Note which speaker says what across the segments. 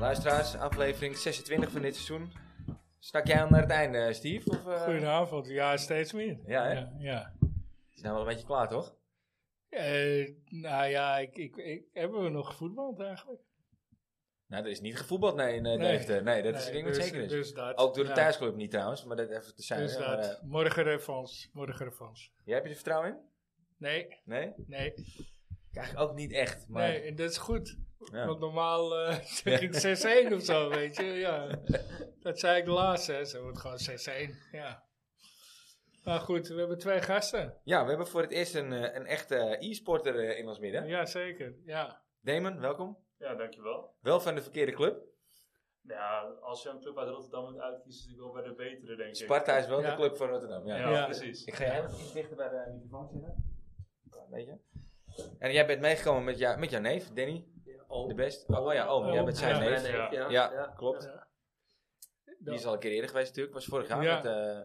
Speaker 1: Luisteraars, aflevering 26 van dit seizoen. Snak jij al naar het einde, Steve? Of, eh,
Speaker 2: Goedenavond, ja, steeds meer.
Speaker 1: Ja, hè?
Speaker 2: ja. ja.
Speaker 1: is nou wel een beetje klaar, toch?
Speaker 2: Eh, nou ja, ik, ik, ik- hebben we nog voetbal eigenlijk?
Speaker 1: Nou, er is niet gevoetbald nee, in eh,
Speaker 2: Nee.
Speaker 1: Deventer. Nee, dat is
Speaker 2: Nee,
Speaker 1: ik denk ik
Speaker 2: dus-
Speaker 1: wat zeker is.
Speaker 2: Dus dat,
Speaker 1: Ook door de
Speaker 2: ja,
Speaker 1: thuisclub niet trouwens, maar dat even te zijn.
Speaker 2: Dus
Speaker 1: hè, maar,
Speaker 2: dat.
Speaker 1: eh,
Speaker 2: Morgen revanche, morgen revanche.
Speaker 1: jij hebt je er vertrouwen in?
Speaker 2: Nee,
Speaker 1: Nee?
Speaker 2: nee,
Speaker 1: Eigenlijk ook niet echt, maar...
Speaker 2: nee, en dat is goed.
Speaker 1: Ja.
Speaker 2: Want normaal eh, zeg ik 6-1 of zo, weet je. Ja. Dat zei ik laatst, hè. Ze wordt gewoon 6-1, ja. Maar goed, we hebben twee gasten.
Speaker 1: Ja, we hebben voor het eerst een, eh, een echte e-sporter eh, in ons
Speaker 2: Ja,
Speaker 1: midden.
Speaker 2: zeker, ja.
Speaker 1: Damon, welkom.
Speaker 3: Ja, dankjewel.
Speaker 1: Wel van de verkeerde club.
Speaker 3: Nou ja, als je een club uit Rotterdam moet uitkiezen, is het wel bij de betere, denk ik.
Speaker 1: Sparta is wel de
Speaker 2: Ja.
Speaker 1: club van Rotterdam, ja.
Speaker 3: Ja,
Speaker 2: Ja.
Speaker 3: precies.
Speaker 1: Ik ga jij even iets dichter bij de microfoon zitten. Een beetje. En jij bent meegekomen met, jou, met jouw neef, Danny. De best. Oh, ja, oom. Jij bent zijn
Speaker 2: Ja.
Speaker 1: neef.
Speaker 3: Ja.
Speaker 1: Ja, klopt. Die is al een keer eerder geweest natuurlijk. Was vorig jaar
Speaker 2: Ja.
Speaker 1: met eh,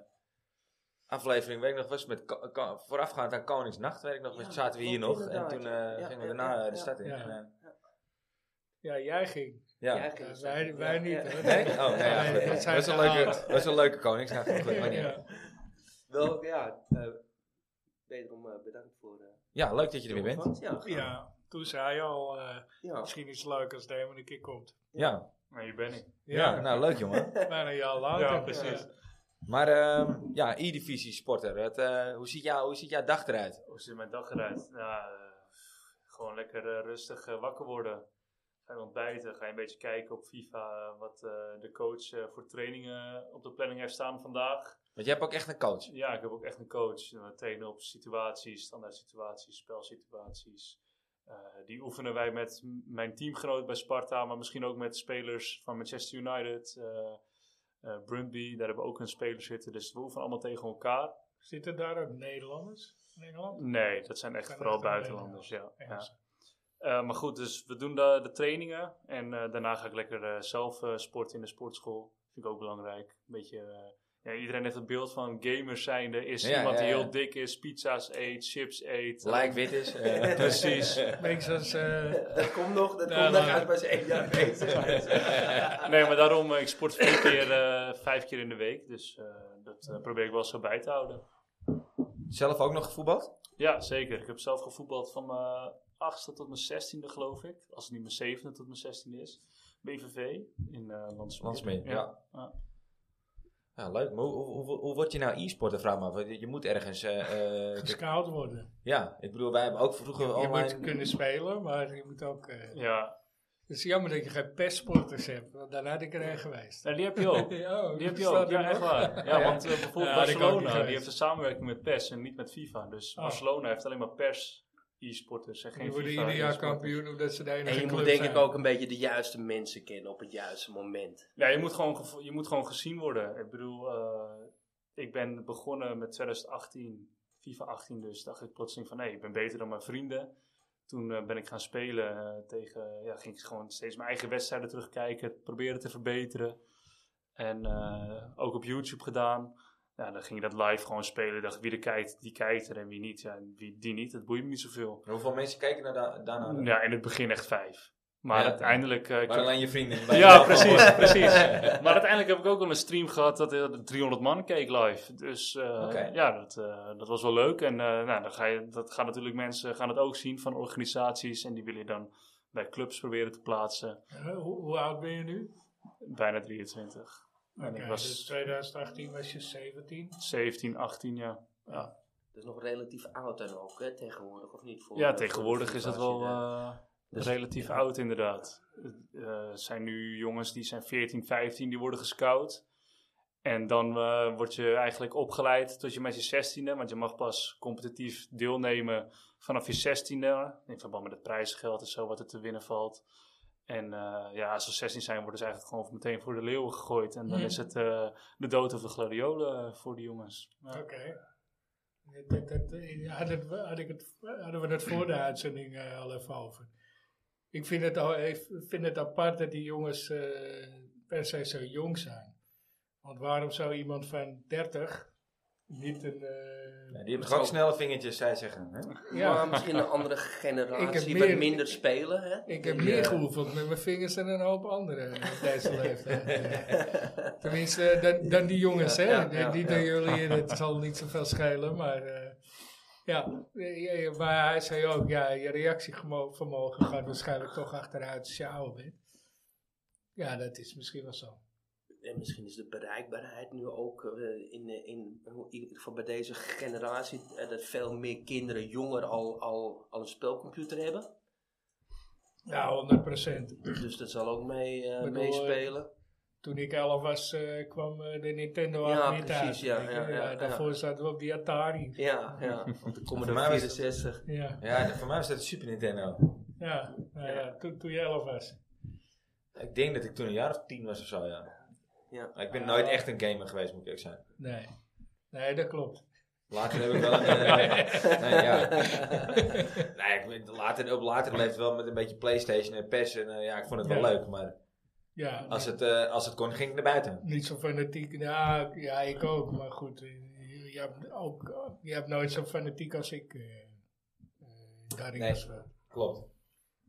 Speaker 1: aflevering, weet ik nog, was met Ko- Ko- voorafgaand aan Koningsnacht, weet ik nog,
Speaker 4: Ja,
Speaker 1: was- zaten we hier
Speaker 4: klopt,
Speaker 1: nog. En
Speaker 4: inderdaad,
Speaker 1: toen eh,
Speaker 4: ja. Ja,
Speaker 1: gingen we
Speaker 4: ja,
Speaker 1: daarna
Speaker 4: ja,
Speaker 1: eh, de
Speaker 4: ja.
Speaker 1: stad in.
Speaker 2: Ja.
Speaker 1: En, eh,
Speaker 2: Ja, jij ging.
Speaker 1: ja.
Speaker 4: Ja,
Speaker 2: Ja,
Speaker 4: oké.
Speaker 2: wij, wij
Speaker 4: Ja,
Speaker 2: niet,
Speaker 4: ja.
Speaker 2: hoor.
Speaker 1: Nee? Oh, nee, ja,
Speaker 2: Nee,
Speaker 1: goed.
Speaker 2: dat
Speaker 1: dat
Speaker 2: zijn
Speaker 1: was een
Speaker 2: de
Speaker 1: leuke,
Speaker 2: ouders.
Speaker 1: dat was een leuke Koningsnacht. dat klopt, maar niet.
Speaker 2: Ja.
Speaker 4: Wel, ja, eh wederom eh, bedankt voor eh
Speaker 1: Ja, leuk dat je er weer
Speaker 4: de
Speaker 1: bent.
Speaker 4: opvang. Ja,
Speaker 2: Ja, toen zei je al, eh,
Speaker 4: ja.
Speaker 2: misschien is het leuk als Damon een keer komt.
Speaker 1: Ja,
Speaker 3: Maar hier ben ik.
Speaker 1: ja. nou leuk jongen.
Speaker 2: Bijna een jaar later.
Speaker 3: Ja, precies.
Speaker 1: Maar ehm, ja, E-divisie sporter, het, eh, hoe, ziet jou, hoe ziet jouw dag eruit?
Speaker 3: Hoe zit mijn dag eruit? Nou, eh, gewoon lekker eh, rustig eh, wakker worden. Ga je ontbijten, ga je een beetje kijken op FIFA eh, wat eh, de coach eh, voor trainingen op de planning heeft staan vandaag.
Speaker 1: Want jij hebt ook echt een coach.
Speaker 3: Ja, ik heb ook echt een coach. En We trainen op situaties, standaard situaties, spelsituaties. Eh, die oefenen wij met m- mijn teamgenoot bij Sparta, maar misschien ook met spelers van Manchester United, eh eh, Brøndby. Daar hebben we ook een speler zitten, dus we oefenen allemaal tegen elkaar.
Speaker 2: Zitten daar ook Nederlanders in Engeland?
Speaker 3: Nee, dat zijn echt
Speaker 2: Zijn
Speaker 3: vooral
Speaker 2: echt alleen,
Speaker 3: buitenlanders, ja. ja.
Speaker 2: Engelsen.
Speaker 3: Eh, maar goed, dus we doen de, de trainingen en eh, daarna ga ik lekker eh, zelf eh, sporten in de sportschool. Vind ik ook belangrijk. Een beetje, eh, ja, iedereen heeft het beeld van gamers zijnde. Is
Speaker 1: Ja,
Speaker 3: iemand
Speaker 1: ja,
Speaker 3: die
Speaker 1: ja.
Speaker 3: heel dik is, pizza's eet, chips eet.
Speaker 1: Like wit is. eh,
Speaker 3: Precies.
Speaker 2: Beetje als, eh,
Speaker 4: Dat komt nog, dat
Speaker 2: Ja,
Speaker 4: komt nog
Speaker 2: maar-
Speaker 4: uit bij zijn één jaar bezig.
Speaker 3: Nee, maar daarom, eh, ik sport vier keer, eh, vijf keer in de week. Dus eh, dat eh, probeer ik wel zo bij te houden.
Speaker 1: Zelf ook nog gevoetbald?
Speaker 3: Ja, zeker. Ik heb zelf gevoetbald van mijn achtste tot mijn zestiende, geloof ik. Als het niet mijn zevende tot mijn zestiende is. BVV in eh Landsmeer.
Speaker 1: Landsmeer, ja.
Speaker 3: ja.
Speaker 1: Ja, leuk. Maar hoe, hoe, hoe, hoe word je nou e-sporter, vraag me af. Want Je je moet ergens... eh, eh, kijk,
Speaker 2: gescout worden.
Speaker 1: ja, ik bedoel, wij hebben ook vroeger
Speaker 2: Je
Speaker 1: online...
Speaker 2: moet kunnen spelen, maar je moet ook... eh,
Speaker 3: Ja,
Speaker 2: het is jammer dat je geen pestsporters hebt, want dan had ik er een geweest.
Speaker 3: en die heb je ook.
Speaker 2: Ja,
Speaker 3: Die heb je
Speaker 2: staat er
Speaker 3: ook, ja,
Speaker 2: nog.
Speaker 3: echt waar. Ja,
Speaker 1: Ja.
Speaker 3: want eh, bijvoorbeeld
Speaker 2: Ja, die kan ook niet
Speaker 3: Barcelona,
Speaker 2: geweest.
Speaker 3: die heeft een samenwerking met PES en niet met FIFA. Dus
Speaker 2: Oh.
Speaker 3: Barcelona heeft alleen maar PES e-sporters en geen
Speaker 2: Die worden
Speaker 3: FIFA
Speaker 2: ieder jaar
Speaker 3: e-sporters.
Speaker 2: kampioen omdat ze de enige
Speaker 4: En je moet
Speaker 2: club
Speaker 4: denk
Speaker 2: zijn.
Speaker 4: ik ook een beetje de juiste mensen kennen op het juiste moment.
Speaker 3: Ja, je moet, gewoon gevo- je moet gewoon gezien worden. Ik bedoel, eh, ik ben begonnen met 2018, FIFA 18 dus, dacht ik plotseling van, hé, ik ben beter dan mijn vrienden. Toen eh, ben ik gaan spelen eh, tegen, ja, ging ik gewoon steeds mijn eigen wedstrijden terugkijken, proberen te verbeteren. En eh, ook op YouTube gedaan. Ja, dan ging je dat live gewoon spelen. Dacht wie er kijkt, die kijkt er en wie niet. Ja, en wie die niet, dat boeit me niet zoveel.
Speaker 1: En Hoeveel mensen kijken naar da- nou daarna?
Speaker 3: Ja, in het begin echt vijf. Maar
Speaker 1: Ja.
Speaker 3: uiteindelijk... eh, ik
Speaker 1: Maar
Speaker 3: heb-
Speaker 1: alleen je vrienden. bij
Speaker 3: ja,
Speaker 1: de
Speaker 3: precies,
Speaker 1: afval.
Speaker 3: precies. Maar uiteindelijk heb ik ook wel een stream gehad dat er 300 man keek live. Dus eh,
Speaker 1: Oké.
Speaker 3: ja, dat, eh, dat was wel leuk. En eh, nou, dan ga je, dat gaan natuurlijk mensen gaan het ook zien van organisaties. En die willen je dan bij clubs proberen te plaatsen.
Speaker 2: Eh, hoe, hoe oud ben je nu?
Speaker 3: Bijna 23. En
Speaker 2: Oké,
Speaker 3: ik was
Speaker 2: dus 2018 was je 17.
Speaker 3: 17, 18 jaar.
Speaker 4: Dat is nog relatief oud dan ook, hè, tegenwoordig, of niet? Voor,
Speaker 3: Ja,
Speaker 4: voor-
Speaker 3: tegenwoordig
Speaker 4: voor-
Speaker 3: is dat
Speaker 4: als je
Speaker 3: wel
Speaker 4: de-
Speaker 3: eh,
Speaker 4: Dus-
Speaker 3: relatief
Speaker 4: ja.
Speaker 3: oud inderdaad. eh, Er zijn nu jongens die zijn 14, 15, die worden gescout. En dan eh, word je eigenlijk opgeleid tot je met je 16e, want je mag pas competitief deelnemen vanaf je 16e. In verband met het prijzengeld en zo wat er te winnen valt. En eh, ja, als ze 16 zijn, worden ze eigenlijk gewoon meteen voor de leeuwen gegooid. En dan
Speaker 4: Mhm.
Speaker 2: Hmm.
Speaker 3: is het eh, de dood of de gladiolen eh, voor de jongens. Ja.
Speaker 2: Oké. Dat- dat- dat- Had het, had ik het, hadden we het voor de uitzending eh, al even over. Ik vind het, al, ik vind het apart dat die jongens eh, per se zo jong zijn. Want waarom zou iemand van 30 niet een... eh,
Speaker 1: Ja, die hebben toch ook snelle vingertjes, zij zeggen. Hè?
Speaker 2: ja,
Speaker 5: Maar misschien een andere
Speaker 2: Ik heb
Speaker 5: generatie
Speaker 2: meer-
Speaker 5: wat minder spelen. Hè?
Speaker 2: ik heb
Speaker 5: Die,
Speaker 2: meer
Speaker 5: eh,
Speaker 2: geoefend met mijn vingers en een hoop anderen op deze leeftijd. Tenminste, eh, dan, dan die jongens,
Speaker 5: Ja,
Speaker 2: hè.
Speaker 5: ja,
Speaker 2: Die-
Speaker 5: ja,
Speaker 2: niet
Speaker 5: ja.
Speaker 2: aan jullie, eh, dat zal niet zoveel schelen, maar... eh, ja, eh, eh, maar hij zei ook, ja, je reactievermogen gaat waarschijnlijk toch achteruit als je ouder bent. Ja, dat is misschien wel zo.
Speaker 5: En misschien is de bereikbaarheid nu ook eh, in, eh, in, in ieder geval bij deze generatie eh, dat veel meer kinderen jonger al, al, al een spelcomputer hebben.
Speaker 2: Ja, 100 procent.
Speaker 5: Dus dat zal ook mee, eh,
Speaker 2: Bedoel, eh,
Speaker 5: meespelen.
Speaker 2: Toen ik 11 was, eh, kwam eh, de Nintendo
Speaker 5: Ja,
Speaker 2: al niet
Speaker 5: precies,
Speaker 2: uit.
Speaker 5: ja,
Speaker 2: Ik,
Speaker 5: ja,
Speaker 2: eh,
Speaker 5: ja,
Speaker 2: daarvoor zaten we op die Atari.
Speaker 5: Ja, ja. Want er komen
Speaker 1: Voor mij
Speaker 5: er
Speaker 1: was het-
Speaker 5: 64.
Speaker 2: Ja,
Speaker 1: Ja, de- voor mij was dat de Super Nintendo.
Speaker 2: ja, nou ja, toen, toen je 11 was.
Speaker 1: Ik denk dat ik toen een jaar of tien was of zo, ja.
Speaker 5: Ja.
Speaker 1: Maar ik ben nooit echt een gamer geweest, moet ik eerlijk zijn.
Speaker 2: Nee, nee dat klopt.
Speaker 1: Later heb ik wel een... eh, nee, ja. nee, ik, weet- later, op later leeftijd wel met een beetje Playstation en PES. En eh, ja, ik vond het wel
Speaker 2: Ja.
Speaker 1: leuk, maar
Speaker 2: Ja,
Speaker 1: als het, eh, als het kon, ging ik naar buiten.
Speaker 2: niet zo fanatiek. Ja, ja, ik ook, maar goed. eh, Je hebt, ook, je hebt nooit zo fanatiek als ik. eh, eh, daarin
Speaker 1: Nee.
Speaker 2: was wel.
Speaker 1: Klopt.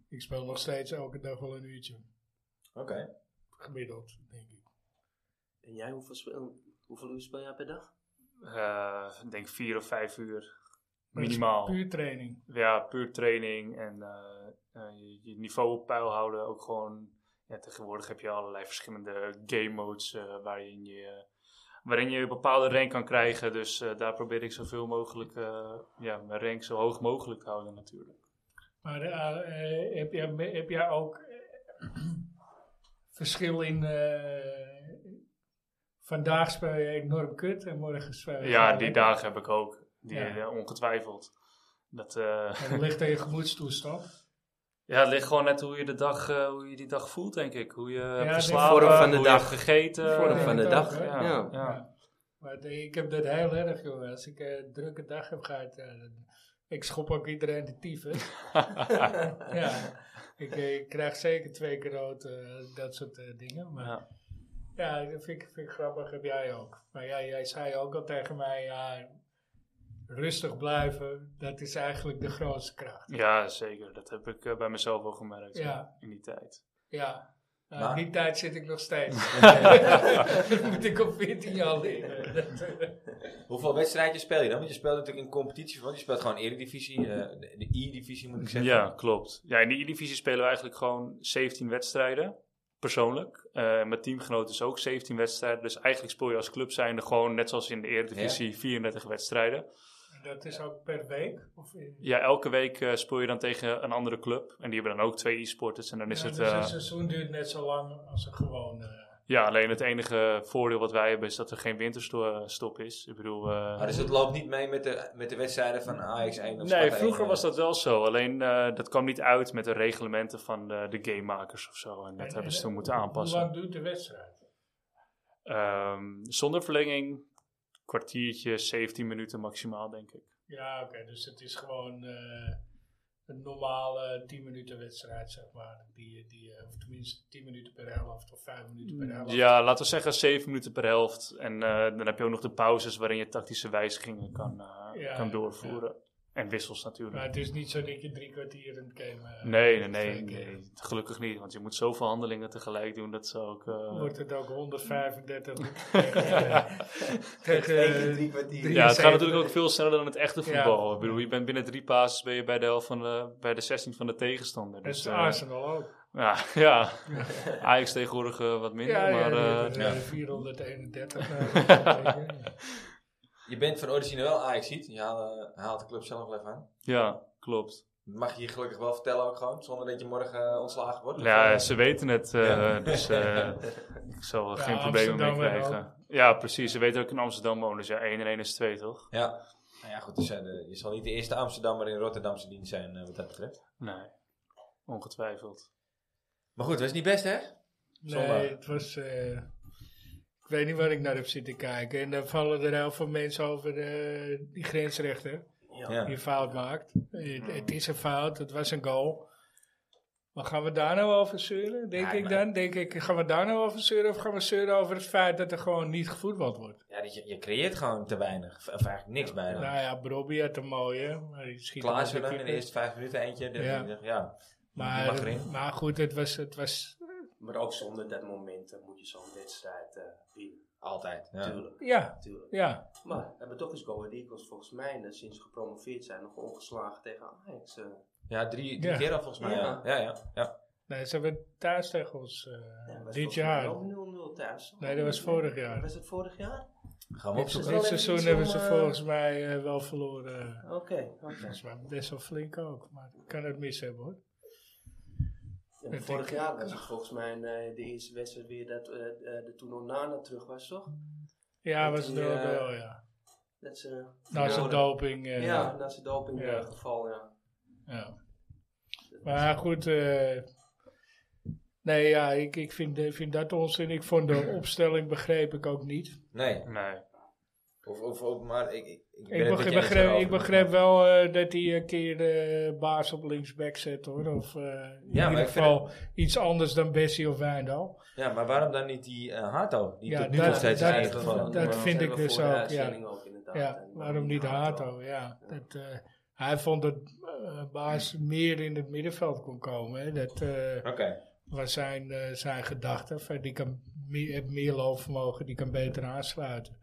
Speaker 2: Ik speel nog steeds elke dag wel een uurtje.
Speaker 1: Oké.
Speaker 2: Gemiddeld, denk ik.
Speaker 5: En jij, hoeveel, speel, hoeveel uur speel jij per dag?
Speaker 3: Eh, ik denk vier of vijf uur
Speaker 2: Maar het is
Speaker 3: minimaal.
Speaker 2: Puur training.
Speaker 3: Ja, puur training en eh, eh, je, je niveau op peil houden. Ook gewoon, ja, tegenwoordig heb je allerlei verschillende game modes eh, waarin, je, waarin je een bepaalde rank kan krijgen. Dus eh, daar probeer ik zoveel mogelijk, eh, ja, mijn rank zo hoog mogelijk te houden natuurlijk.
Speaker 2: Maar eh, eh, heb, jij, heb jij ook eh, verschil in. eh, vandaag speel je enorm kut en morgen speel je.
Speaker 3: Ja,
Speaker 2: gewoon
Speaker 3: die
Speaker 2: lekker.
Speaker 3: dagen heb ik ook. Die,
Speaker 2: Ja.
Speaker 3: eh, ongetwijfeld. Dat, eh,
Speaker 2: En dat ligt aan je gemoedstoestand.
Speaker 3: ja, het ligt gewoon net hoe je, de dag, eh, hoe je die dag voelt, denk ik. Hoe je hebt
Speaker 2: de
Speaker 3: geslapen,
Speaker 5: vorm van de
Speaker 3: hoe je hebt
Speaker 5: dag.
Speaker 3: gegeten.
Speaker 5: Vorm
Speaker 2: ja,
Speaker 5: van de
Speaker 2: dat
Speaker 5: dag.
Speaker 2: ook, hè?
Speaker 3: ja,
Speaker 5: Ja.
Speaker 3: ja.
Speaker 2: Maar het- ik heb dat heel erg, jongen. Als ik eh, een drukke dag heb gehad, ja, dan- ik schop ook iedereen de tyfus. ja. Ik, eh, ik krijg zeker twee keer rood, eh, dat soort eh, dingen. Maar
Speaker 3: Ja.
Speaker 2: Ja, dat vind ik, vind ik grappig, heb jij ook. Maar ja, jij zei ook al tegen mij, ja, rustig blijven, dat is eigenlijk de grootste kracht.
Speaker 3: Ja, zeker. Dat heb ik eh, bij mezelf wel gemerkt
Speaker 2: Ja.
Speaker 3: ja, in die tijd.
Speaker 2: Ja, nou,
Speaker 1: Maar-
Speaker 2: in die tijd zit ik nog steeds. Dat moet ik op 14 jaar leren. Dat, eh,
Speaker 1: Hoeveel wedstrijdjes speel je dan? Want je speelt natuurlijk in competitie, want je speelt gewoon Eredivisie, eh, de de I-divisie moet ik zeggen.
Speaker 3: Ja, klopt. Ja, in de E-divisie spelen we eigenlijk gewoon 17 wedstrijden, persoonlijk. Eh mijn teamgenoten is ook 17 wedstrijden. Dus eigenlijk speel je als club zijnde gewoon, net zoals in de Eredivisie, 34 wedstrijden.
Speaker 2: dat is ook per week? Of in,
Speaker 3: Ja, elke week eh, speel je dan tegen een andere club. En die hebben dan ook twee e-sporters. En dan is
Speaker 2: Ja,
Speaker 3: het...
Speaker 2: dus
Speaker 3: eh,
Speaker 2: een seizoen duurt net zo lang als een eh, gewone.
Speaker 3: ja, alleen het enige voordeel wat wij hebben is dat er geen winterstop eh, is. Ik bedoel... eh,
Speaker 1: Ah, dus het loopt niet mee met de, met de wedstrijden van Ajax 1 of
Speaker 3: Nee,
Speaker 1: Sparta eh,
Speaker 3: vroeger
Speaker 1: 1,
Speaker 3: was dat wel zo. Alleen eh, dat kwam niet uit met de reglementen van eh, de gamemakers of zo. En dat
Speaker 2: En-
Speaker 3: hebben ze
Speaker 2: en-
Speaker 3: toen moeten
Speaker 2: Hoe
Speaker 3: aanpassen.
Speaker 2: lang duurt de wedstrijd?
Speaker 3: Ehm, zonder verlenging, kwartiertje, 17 minuten maximaal, denk ik.
Speaker 2: Ja, oké, dus het is gewoon eh, een normale 10 minuten wedstrijd, zeg maar. Die, die, eh, of tenminste 10 minuten per helft of 5 minuten
Speaker 1: Mm.
Speaker 2: per helft.
Speaker 3: Ja, laten we zeggen 7 minuten per helft. En eh, dan heb je ook nog de pauzes waarin je tactische wijzigingen kan, eh,
Speaker 2: Ja,
Speaker 3: kan
Speaker 2: ja,
Speaker 3: doorvoeren. En wissels
Speaker 2: Maar
Speaker 3: natuurlijk.
Speaker 2: het is niet zo dat je drie kwartier in het game... eh,
Speaker 3: Nee, nee, nee,
Speaker 2: twee keer.
Speaker 3: nee. Gelukkig niet, want je moet zoveel handelingen tegelijk doen. Dat ze ook. eh,
Speaker 2: Wordt het ook 135 tegen, eh, tegen eh,
Speaker 1: Eén
Speaker 3: eh,
Speaker 1: keer
Speaker 3: Dus,
Speaker 1: drie kwartier.
Speaker 2: drie-
Speaker 3: Ja, het gaat
Speaker 2: 73.
Speaker 3: natuurlijk ook veel sneller dan het echte
Speaker 2: Ja.
Speaker 3: voetbal. Ik bedoel, je bent binnen drie passes ben je bij de helft van de, bij de 16 van de tegenstander.
Speaker 2: Dat
Speaker 3: Dus,
Speaker 2: is
Speaker 3: eh,
Speaker 2: Arsenal ook.
Speaker 3: ja, ja, Ajax tegenwoordig eh, wat minder,
Speaker 2: Ja, ja,
Speaker 3: maar
Speaker 2: die
Speaker 3: eh,
Speaker 2: hebben,
Speaker 1: ja.
Speaker 2: eh, 431. eh,
Speaker 1: Je bent van origine wel ajax je haalt, eh, haalt de club zelf wel even aan.
Speaker 3: ja, klopt.
Speaker 1: Dat mag je hier gelukkig wel vertellen ook gewoon, zonder dat je morgen eh, ontslagen wordt.
Speaker 3: Ja,
Speaker 1: Of, eh,
Speaker 3: ze weten het, eh,
Speaker 1: Ja.
Speaker 3: dus eh, ik zal er
Speaker 2: Ja,
Speaker 3: geen problemen mee
Speaker 2: Amsterdam en
Speaker 3: krijgen. Ja, precies. Ze weten dat ik in Amsterdam woon, dus ja, 1 en 1 is 2, toch?
Speaker 1: ja. Nou ja, goed, dus, eh, de- je zal niet de eerste Amsterdammer in Rotterdamse dienst zijn eh, wat dat betreft.
Speaker 3: Nee, ongetwijfeld.
Speaker 1: Maar goed, dat is niet best hè? Zondag.
Speaker 2: Nee, het was. eh, ik weet niet waar ik naar heb zitten kijken. En dan vallen er heel veel mensen over eh, die grensrechter
Speaker 1: Ja. Mm.
Speaker 2: die een fout maakt. Eh, Het, het is een fout, het was een goal. Maar gaan we daar nou over zeuren? Denk
Speaker 1: Ja,
Speaker 2: ik
Speaker 1: maar-
Speaker 2: dan? Denk ik, gaan we daar nou over zeuren? Of gaan we zeuren over het feit dat er gewoon niet gevoetbald wordt?
Speaker 1: Ja, dat je, je creëert gewoon te weinig. Of eigenlijk niks bijna.
Speaker 2: Nou ja, Brobbey had een mooie. Maar die schiet hem
Speaker 1: Klaassen
Speaker 2: op
Speaker 1: dan in de
Speaker 2: keeper.
Speaker 1: eerste vijf minuten eentje. dan
Speaker 2: Ja.
Speaker 1: denk ik, ja. Die mag
Speaker 2: Maar,
Speaker 1: erin.
Speaker 2: maar goed, het was, het was...
Speaker 5: Maar ook zonder dat moment eh, moet je zo'n wedstrijd eh, winnen.
Speaker 1: Altijd. Ja.
Speaker 5: Tuurlijk,
Speaker 2: Ja,
Speaker 5: tuurlijk.
Speaker 2: ja.
Speaker 5: Maar we hebben toch eens Go Ahead Eagles volgens mij, eh, sinds ze gepromoveerd zijn, nog ongeslagen tegen Ajax. eh.
Speaker 1: Ja, drie, drie
Speaker 2: Ja.
Speaker 1: keer al volgens mij. Ja,
Speaker 5: Ja.
Speaker 1: ja, ja. ja.
Speaker 2: Nee, ze hebben thuis tegen ons eh,
Speaker 5: Ja, was
Speaker 2: dit
Speaker 5: volgens mij
Speaker 2: jaar.
Speaker 5: Ook 0-0 thuis.
Speaker 2: Nee, dat was vorig jaar.
Speaker 5: Was het vorig jaar?
Speaker 1: Gaan we
Speaker 2: Dit,
Speaker 1: opzoeken.
Speaker 5: wel
Speaker 2: dit
Speaker 5: even
Speaker 2: seizoen
Speaker 5: iets
Speaker 2: hebben
Speaker 5: om,
Speaker 2: ze
Speaker 5: eh,
Speaker 2: volgens mij eh, wel verloren.
Speaker 5: Oké, oké.
Speaker 2: Dat is maar best wel flink ook. Maar ik kan het mis hebben hoor.
Speaker 5: Ja,
Speaker 2: Ik
Speaker 5: vorig
Speaker 2: denk-
Speaker 5: jaar was het volgens mij eh, de eerste wedstrijd weer dat eh eh, de toen Onana terug was, toch?
Speaker 2: Ja,
Speaker 5: Dat
Speaker 2: was het
Speaker 5: die,
Speaker 2: wel,
Speaker 5: eh,
Speaker 2: wel, ja.
Speaker 5: Dat ze,
Speaker 2: Na zijn
Speaker 5: Ja.
Speaker 2: doping.
Speaker 5: ja,
Speaker 2: eh,
Speaker 5: na zijn doping
Speaker 2: Ja.
Speaker 5: eh, geval, ja.
Speaker 2: Ja. Maar goed, eh, nee ja, ik, ik vind, ik vind dat onzin. Ik vond de opstelling begreep ik ook niet.
Speaker 1: Nee.
Speaker 3: Nee.
Speaker 1: Of, of, of, maar ik, ik, ik ben
Speaker 2: Ik
Speaker 1: het met je
Speaker 2: begreep,
Speaker 1: eens
Speaker 2: begreep,
Speaker 1: daarover.
Speaker 2: ik begreep wel eh, dat hij een keer de baas op linksback zet hoor. Of eh, in
Speaker 1: maar
Speaker 2: ieder
Speaker 1: ik vind
Speaker 2: geval iets anders dan Bessie of Wijndal.
Speaker 1: Ja, maar waarom dan niet die eh, Hato? Die
Speaker 2: Ja,
Speaker 1: tot nu
Speaker 2: dat-
Speaker 1: nog steeds
Speaker 2: dat-
Speaker 1: is
Speaker 2: dat-
Speaker 1: ingevallen.
Speaker 2: dat- vind ik
Speaker 5: Hebben we
Speaker 2: dus
Speaker 5: voor de
Speaker 2: ook, ja.
Speaker 5: uitzending ook, inderdaad.
Speaker 2: Ja,
Speaker 5: En
Speaker 2: waarom eh, niet
Speaker 5: Hato.
Speaker 2: Hato? Ja, dat, eh, hij vond dat eh, baas meer in het middenveld kon komen. Hè. Dat, eh,
Speaker 1: Oké.
Speaker 2: was zijn, eh, zijn gedachte. Van, die kan meer, heeft meer loopvermogen, die kan beter aansluiten.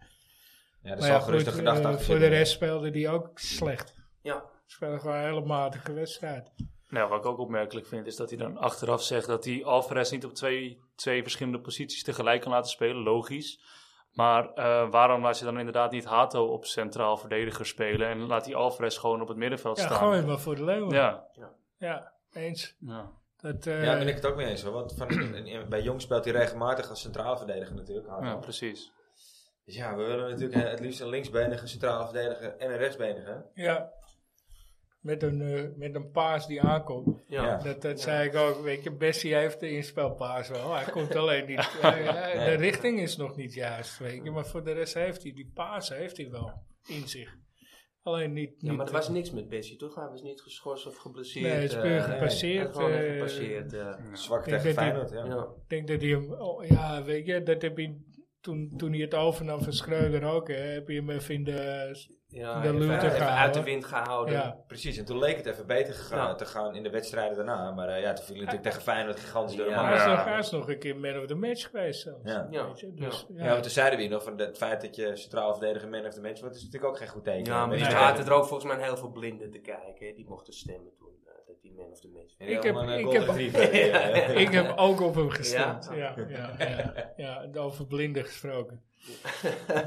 Speaker 1: Ja, dat
Speaker 2: Maar
Speaker 1: zal
Speaker 2: ja,
Speaker 1: gerust
Speaker 2: goed,
Speaker 1: een gedachte
Speaker 2: eh,
Speaker 1: achter
Speaker 2: Voor de
Speaker 1: zitten.
Speaker 2: rest speelde die ook slecht.
Speaker 5: Ja,
Speaker 2: Speelde gewoon een hele matige wedstrijd.
Speaker 3: Nou, wat ik ook opmerkelijk vind, is dat hij dan achteraf zegt dat hij Alvarez niet op twee, twee verschillende posities tegelijk kan laten spelen. Logisch. Maar eh, waarom laat je dan inderdaad niet Hato op centraal verdediger spelen en laat hij Alvarez gewoon op het middenveld
Speaker 2: Ja,
Speaker 3: staan?
Speaker 2: gooi maar voor de leeuwen. Ja,
Speaker 3: Ja.
Speaker 2: eens.
Speaker 3: ja.
Speaker 2: Dat, eh,
Speaker 1: Ja, daar ben ik het ook mee eens hoor. Want van, in- in- bij Jong speelt hij regelmatig als centrale verdediger natuurlijk. Hato.
Speaker 3: Ja, precies.
Speaker 1: Dus ja, we willen natuurlijk eh, het liefst een linksbenige centrale verdediger en een rechtsbenige.
Speaker 2: ja. Met een, eh, met een paas die aankomt.
Speaker 1: Ja.
Speaker 2: Dat, dat zei ik ook. Weet je, Bessie heeft de inspelpaas wel. Hij komt alleen niet. hij- hij-
Speaker 1: Nee.
Speaker 2: De richting is nog niet juist, weet je. Maar voor de rest heeft hij die paas heeft hij wel in zich. Alleen niet.
Speaker 5: ja,
Speaker 2: niet- eh,
Speaker 5: maar er was niks met Bessie, toch? Hij was niet geschorst of
Speaker 2: Nee,
Speaker 5: geblesseerd.
Speaker 2: hij is puur
Speaker 5: eh, hij
Speaker 2: gepasseerd.
Speaker 5: had gewoon even
Speaker 2: eh,
Speaker 5: gepasseerd. eh.
Speaker 1: Zwak
Speaker 2: Ik denk
Speaker 1: tegen
Speaker 2: dat die-
Speaker 1: Feyenoord, ja.
Speaker 5: ja.
Speaker 2: Ik denk dat hij hem, oh, ja, weet je, dat heb je toen, toen hij het overnam van Schreuder ook, hè, heb je hem even in de,
Speaker 5: Ja,
Speaker 2: De
Speaker 5: even-
Speaker 2: lunte
Speaker 5: even
Speaker 2: gehouden.
Speaker 5: uit de wind gehouden.
Speaker 2: ja,
Speaker 1: Precies, en toen leek het even beter gegaan,
Speaker 5: Ja.
Speaker 1: te gaan in de wedstrijden daarna. Maar eh, ja, toen viel hij natuurlijk tegen Feyenoord gigantisch door de
Speaker 5: Ja.
Speaker 1: man.
Speaker 2: hij is,
Speaker 1: Ja.
Speaker 2: nog, hij is nog een keer man of the match geweest zelfs.
Speaker 1: Ja.
Speaker 5: Ja.
Speaker 2: Weet je, dus, ja.
Speaker 1: want toen zeiden we hier nog van het feit dat je centraal verdediger man of the match wordt, is natuurlijk ook geen goed teken.
Speaker 5: Ja, maar
Speaker 1: Weet
Speaker 5: er
Speaker 1: je,
Speaker 5: zaten er ook volgens mij heel veel blinden te kijken. hè. Die mochten stemmen toen, eh, dat die man of the match
Speaker 1: en
Speaker 5: werd.
Speaker 2: Ik
Speaker 1: helemaal
Speaker 2: heb-
Speaker 1: een
Speaker 2: ik
Speaker 1: golden
Speaker 2: heb-
Speaker 1: retriever, eh,
Speaker 2: Ik heb ook op hem gestemd. Ja,
Speaker 5: Ja?
Speaker 2: ja, ja, ja, over blinden gesproken.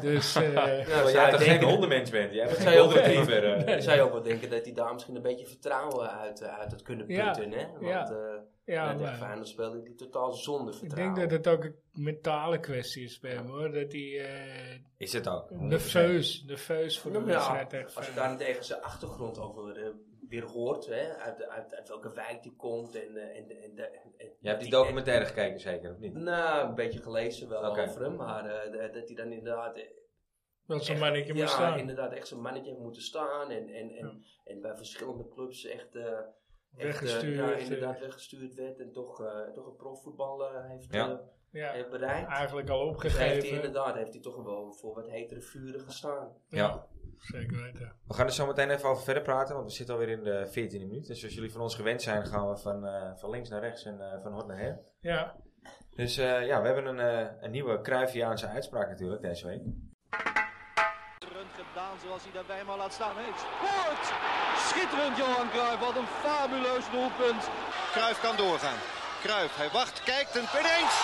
Speaker 2: Dus, eh,
Speaker 5: Ja,
Speaker 1: Terwijl
Speaker 5: zou
Speaker 1: jij
Speaker 5: je
Speaker 1: toch
Speaker 5: denken-
Speaker 1: geen hondenmens bent? Jij bent
Speaker 5: Zou
Speaker 1: geen
Speaker 5: je
Speaker 1: golden
Speaker 5: ook-
Speaker 1: retriever. eh.
Speaker 5: Dan zou je ook wel denken dat hij daar misschien een beetje vertrouwen uit, eh, uit had kunnen
Speaker 2: Ja,
Speaker 5: putten. Hè? Want
Speaker 2: ja.
Speaker 5: ja,
Speaker 2: ja,
Speaker 5: ja, tegen
Speaker 2: maar,
Speaker 5: Feyenoord speelde hij totaal zonder
Speaker 2: ik denk
Speaker 5: vertrouwen.
Speaker 2: dat het ook een mentale kwestie is bij hem hoor, dat hij eh,
Speaker 1: Is het ook.
Speaker 2: nerveus, nerveus voor de
Speaker 5: Nou
Speaker 2: wedstrijd
Speaker 5: ja,
Speaker 2: tegen
Speaker 5: als je
Speaker 2: Feyenoord.
Speaker 5: daarentegen zijn achtergrond over eh, weer hoort, hè, uit, uit, uit welke wijk die komt. En, eh, en, en, en, en-
Speaker 1: Je hebt die documentaire gekeken zeker, of niet?
Speaker 5: Nou, een beetje gelezen wel
Speaker 1: Oké.
Speaker 5: over hem, maar eh, dat hij dan inderdaad eh,
Speaker 2: Dat zo'n mannetje moet
Speaker 5: ja,
Speaker 2: staan.
Speaker 5: inderdaad echt zijn mannetje heeft moeten staan. En, en, en, en bij verschillende clubs echt, eh, echt, eh,
Speaker 2: Weggestuurd,
Speaker 5: ja,
Speaker 2: eh.
Speaker 5: inderdaad weggestuurd werd. En toch, eh, toch een profvoetbal eh, heeft,
Speaker 1: Ja.
Speaker 5: eh,
Speaker 2: Ja.
Speaker 5: heeft bereikt.
Speaker 2: eigenlijk al
Speaker 5: Dus heeft hij
Speaker 2: opgegeven.
Speaker 5: inderdaad heeft hij toch wel voor wat hetere vuren gestaan.
Speaker 1: Ja.
Speaker 2: Zeker weten.
Speaker 1: We gaan er zo meteen even over verder praten, want we zitten alweer in de 14e minuut. Dus zoals jullie van ons gewend zijn, gaan we van, eh, van links naar rechts en eh, van hot naar her.
Speaker 2: Ja,
Speaker 1: Dus eh, ja, we hebben een, eh, een nieuwe Cruyffiaanse uitspraak natuurlijk deze week.
Speaker 6: schitterend gedaan zoals hij daarbij maar laat staan. Hij scoort! Schitterend Johan Cruijff, wat een fabuleus doelpunt.
Speaker 7: Kruif kan doorgaan. Kruif, hij wacht, kijkt en ineens.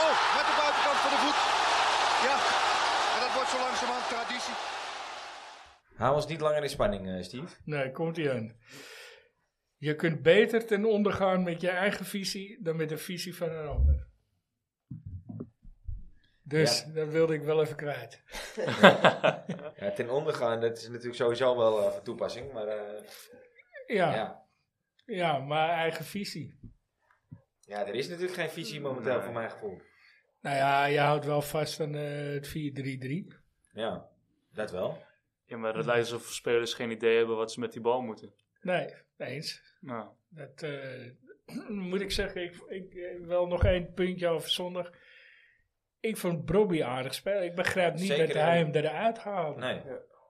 Speaker 7: Oh, met de buitenkant van de voet. Ja, en dat wordt zo langzamerhand traditie.
Speaker 1: Hou ons niet langer in spanning, eh, Steve.
Speaker 2: nee, komt ie aan. Je kunt beter ten onder gaan met je eigen visie dan met de visie van een ander. Dus dat wilde ik wel even kwijt.
Speaker 1: Ja, ten ondergaan, dat is natuurlijk sowieso wel eh, van toepassing, maar eh,
Speaker 2: Ja, ja.
Speaker 1: ja.
Speaker 2: maar eigen visie.
Speaker 1: ja, er is natuurlijk geen visie momenteel
Speaker 3: Nee.
Speaker 1: voor mijn gevoel.
Speaker 2: Nou ja, je houdt wel vast aan eh, het 4-3-3.
Speaker 1: Ja, dat wel.
Speaker 3: Ja, maar het lijkt alsof spelers geen idee hebben wat ze met die bal moeten.
Speaker 2: Nee, eens.
Speaker 3: Nou,
Speaker 2: Dat, eh, moet ik zeggen, ik, ik, eh, wel nog één puntje over zondag. Ik vond Brobby aardig spelen. Ik begrijp niet
Speaker 1: Zeker,
Speaker 2: dat
Speaker 1: hè?
Speaker 2: hij hem eruit haalde.
Speaker 1: Nee.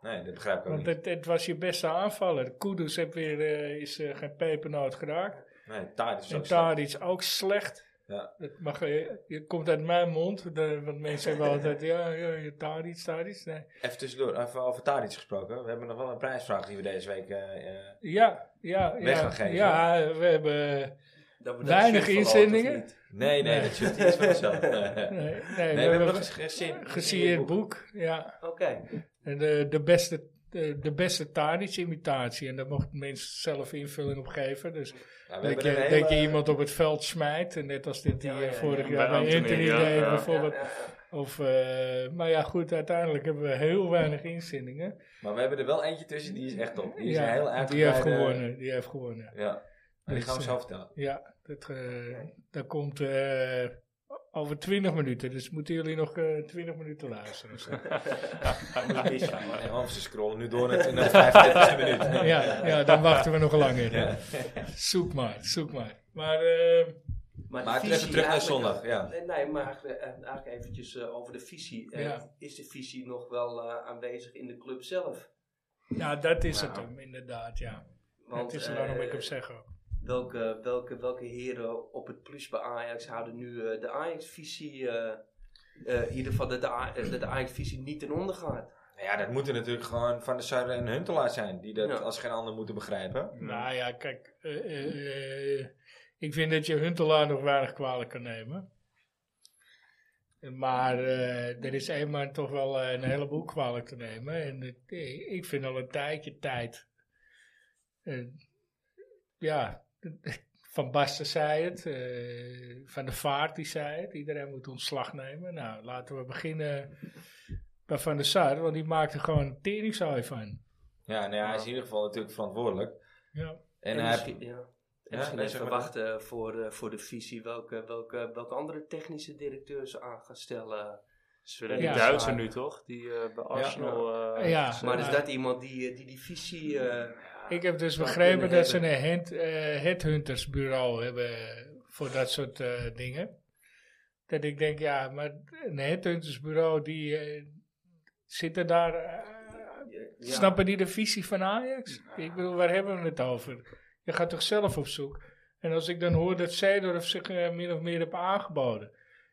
Speaker 1: nee, dat begrijp ik ook
Speaker 2: Want
Speaker 1: niet.
Speaker 2: het, het was je beste aanvaller. Kudus heeft weer, eh, is eh, geen pepernoot geraakt.
Speaker 1: Nee, Tadic is
Speaker 2: En
Speaker 1: ook slecht.
Speaker 2: Tadic ook slecht.
Speaker 1: Ja.
Speaker 2: Dat mag, eh, je komt uit mijn mond. de- want mensen hebben altijd, ja, ja, ja, Tadic, Tadic. Nee.
Speaker 1: Even tussendoor, even over Tadic gesproken. We hebben nog wel een prijsvraag die we deze week... eh, eh,
Speaker 2: Ja, ja,
Speaker 1: Weg
Speaker 2: ja.
Speaker 1: gaan geven.
Speaker 2: Ja, we hebben...
Speaker 5: Dat we dat
Speaker 2: Weinig
Speaker 5: shirt verloten,
Speaker 2: inzendingen?
Speaker 5: of niet?
Speaker 1: nee, nee,
Speaker 2: Nee.
Speaker 1: dat shirt is van onszelf. nee,
Speaker 2: eh, Nee, nee,
Speaker 1: we hebben nog eens gezien. Nou,
Speaker 2: gezien het boek. Ja.
Speaker 5: Oké.
Speaker 2: En de, de beste, de, de beste Tadic-imitatie. En daar mochten mensen zelf invulling op geven. Dus
Speaker 1: Ja, we
Speaker 2: dat
Speaker 1: hebben
Speaker 2: je,
Speaker 1: een
Speaker 2: dat
Speaker 1: hele-
Speaker 2: je iemand op het veld smijt. En net als dit die
Speaker 5: Ja, ja,
Speaker 2: eh,
Speaker 5: ja.
Speaker 2: vorig
Speaker 3: Bij
Speaker 2: jaar bij
Speaker 3: Anthony,
Speaker 2: Anthony
Speaker 3: ja,
Speaker 2: deed
Speaker 3: ja.
Speaker 2: bijvoorbeeld.
Speaker 5: Ja, ja, ja.
Speaker 2: Of, eh, maar ja, goed, uiteindelijk hebben we heel weinig inzendingen.
Speaker 1: Maar we hebben er wel eentje tussen, die is echt top. Die is
Speaker 2: ja,
Speaker 1: een heel eh,
Speaker 2: die heeft
Speaker 1: uitgebreide...
Speaker 2: gewonnen. Die heeft gewonnen.
Speaker 1: Ja, maar die
Speaker 2: Dus,
Speaker 1: gaan we
Speaker 2: eh,
Speaker 1: zo vertellen.
Speaker 2: Ja, dat, eh, dat komt eh, over 20 minuten. Dus moeten jullie nog eh 20 minuten luisteren. of zo.
Speaker 1: En anders ze scrollen nu door naar naar 35 minuten.
Speaker 2: ja, ja, dan wachten we nog langer. Zoek maar, zoek maar. Maar eh,
Speaker 5: de
Speaker 1: Maar
Speaker 5: visie
Speaker 1: even terug naar
Speaker 5: eigenlijk-
Speaker 1: zondag, ja.
Speaker 5: Nee, nee, maar eh, eigenlijk eventjes eh, over de visie. Eh,
Speaker 2: Ja.
Speaker 5: Is de visie nog wel eh, aanwezig in de club zelf?
Speaker 2: ja, nou, dat is het hem, inderdaad, ja.
Speaker 5: Want,
Speaker 2: dat is
Speaker 5: eh,
Speaker 2: waarom ik hem zeg ook.
Speaker 5: Welke, welke, welke heren op het plus bij Ajax houden nu eh, de Ajax-visie... eh, eh, in ieder geval dat de, A- eh, dat de Ajax-visie niet ten onder gaat.
Speaker 1: Nou ja, dat moeten natuurlijk gewoon Van der Sarre en Huntelaar zijn. Die dat
Speaker 5: Ja.
Speaker 1: als geen ander moeten begrijpen.
Speaker 2: Nou ja, kijk, eh, eh, eh, ik vind dat je Huntelaar nog weinig kwalijk kan nemen. Maar eh, er is eenmaal toch wel eh, een heleboel kwalijk te nemen. En het- eh, ik vind al een tijdje tijd. eh, ja, Van Basten zei het, eh, Van de Vaart die zei het, iedereen moet ontslag nemen. Nou, laten we beginnen bij Van der Sar, want die maakt er gewoon een teringzooi van.
Speaker 1: Ja, nou ja, hij is in ieder geval natuurlijk verantwoordelijk.
Speaker 2: Ja.
Speaker 1: En, hij
Speaker 5: misschien, ja. En
Speaker 1: Ja,
Speaker 5: misschien
Speaker 1: nee,
Speaker 5: even
Speaker 1: zeg maar.
Speaker 5: wachten voor, eh, voor de visie welke, welke, welke andere technische directeur ze aan gaan stellen.
Speaker 3: Dus we hebben
Speaker 2: Ja.
Speaker 3: die Duitser nu toch? Die eh, bij Arsenal... eh,
Speaker 2: Ja.
Speaker 3: is, eh,
Speaker 5: Maar is
Speaker 2: Maar-
Speaker 5: dat iemand die, eh, die die visie... eh,
Speaker 2: Ik heb dus
Speaker 5: zou
Speaker 2: begrepen
Speaker 5: kunnen
Speaker 2: dat ze een hand, eh, headhuntersbureau hebben voor dat soort eh, dingen. Dat ik denk, ja, maar een headhuntersbureau die eh, zitten daar. eh,
Speaker 5: ja,
Speaker 2: Snappen die de visie van Ajax? Ik bedoel, waar hebben we het over? Je gaat toch zelf op zoek? En als ik dan hoor dat Seedorf zich eh, min of meer heeft aangeboden,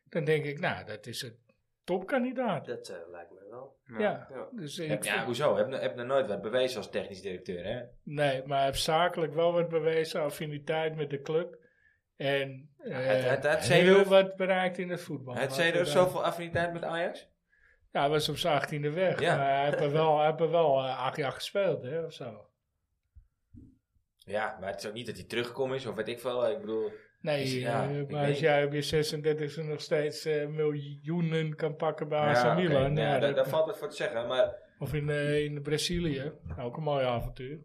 Speaker 2: dan denk ik, nou, dat is een topkandidaat.
Speaker 5: Dat eh, lijkt me wel.
Speaker 2: Ja,
Speaker 5: Ja.
Speaker 2: dus
Speaker 1: Ja,
Speaker 2: ik
Speaker 1: ja, hoezo? Heb, heb nog nooit wat bewezen als technisch directeur, hè?
Speaker 2: Nee, maar hij heeft zakelijk wel wat bewezen, affiniteit met de club. En eh,
Speaker 1: het- het- het
Speaker 2: heel
Speaker 1: Zeedorf-
Speaker 2: wat bereikt in het voetbal.
Speaker 1: Hij
Speaker 2: Laten
Speaker 1: zei
Speaker 2: we
Speaker 1: er
Speaker 2: daar-
Speaker 1: zoveel affiniteit met Ajax?
Speaker 2: Ja, hij was op zijn achttiende weg.
Speaker 1: Ja.
Speaker 2: Maar hij heeft er wel, hij heeft er wel eh, acht jaar gespeeld, hè, of zo.
Speaker 1: Ja, maar het is ook niet dat hij teruggekomen is, of weet ik veel. Ik bedoel,
Speaker 2: Nee,
Speaker 1: Dus ja,
Speaker 2: eh,
Speaker 1: ik
Speaker 2: maar als
Speaker 1: weet-
Speaker 2: jij op je 36 nog steeds eh, miljoenen kan pakken bij AC
Speaker 1: ja, oké,
Speaker 2: Ah, Milan.
Speaker 1: nou ja,
Speaker 2: ja,
Speaker 1: daar,
Speaker 2: dat-
Speaker 1: daar valt het voor te zeggen. Maar
Speaker 2: Of in, eh, in Brazilië. Ook een mooi avontuur.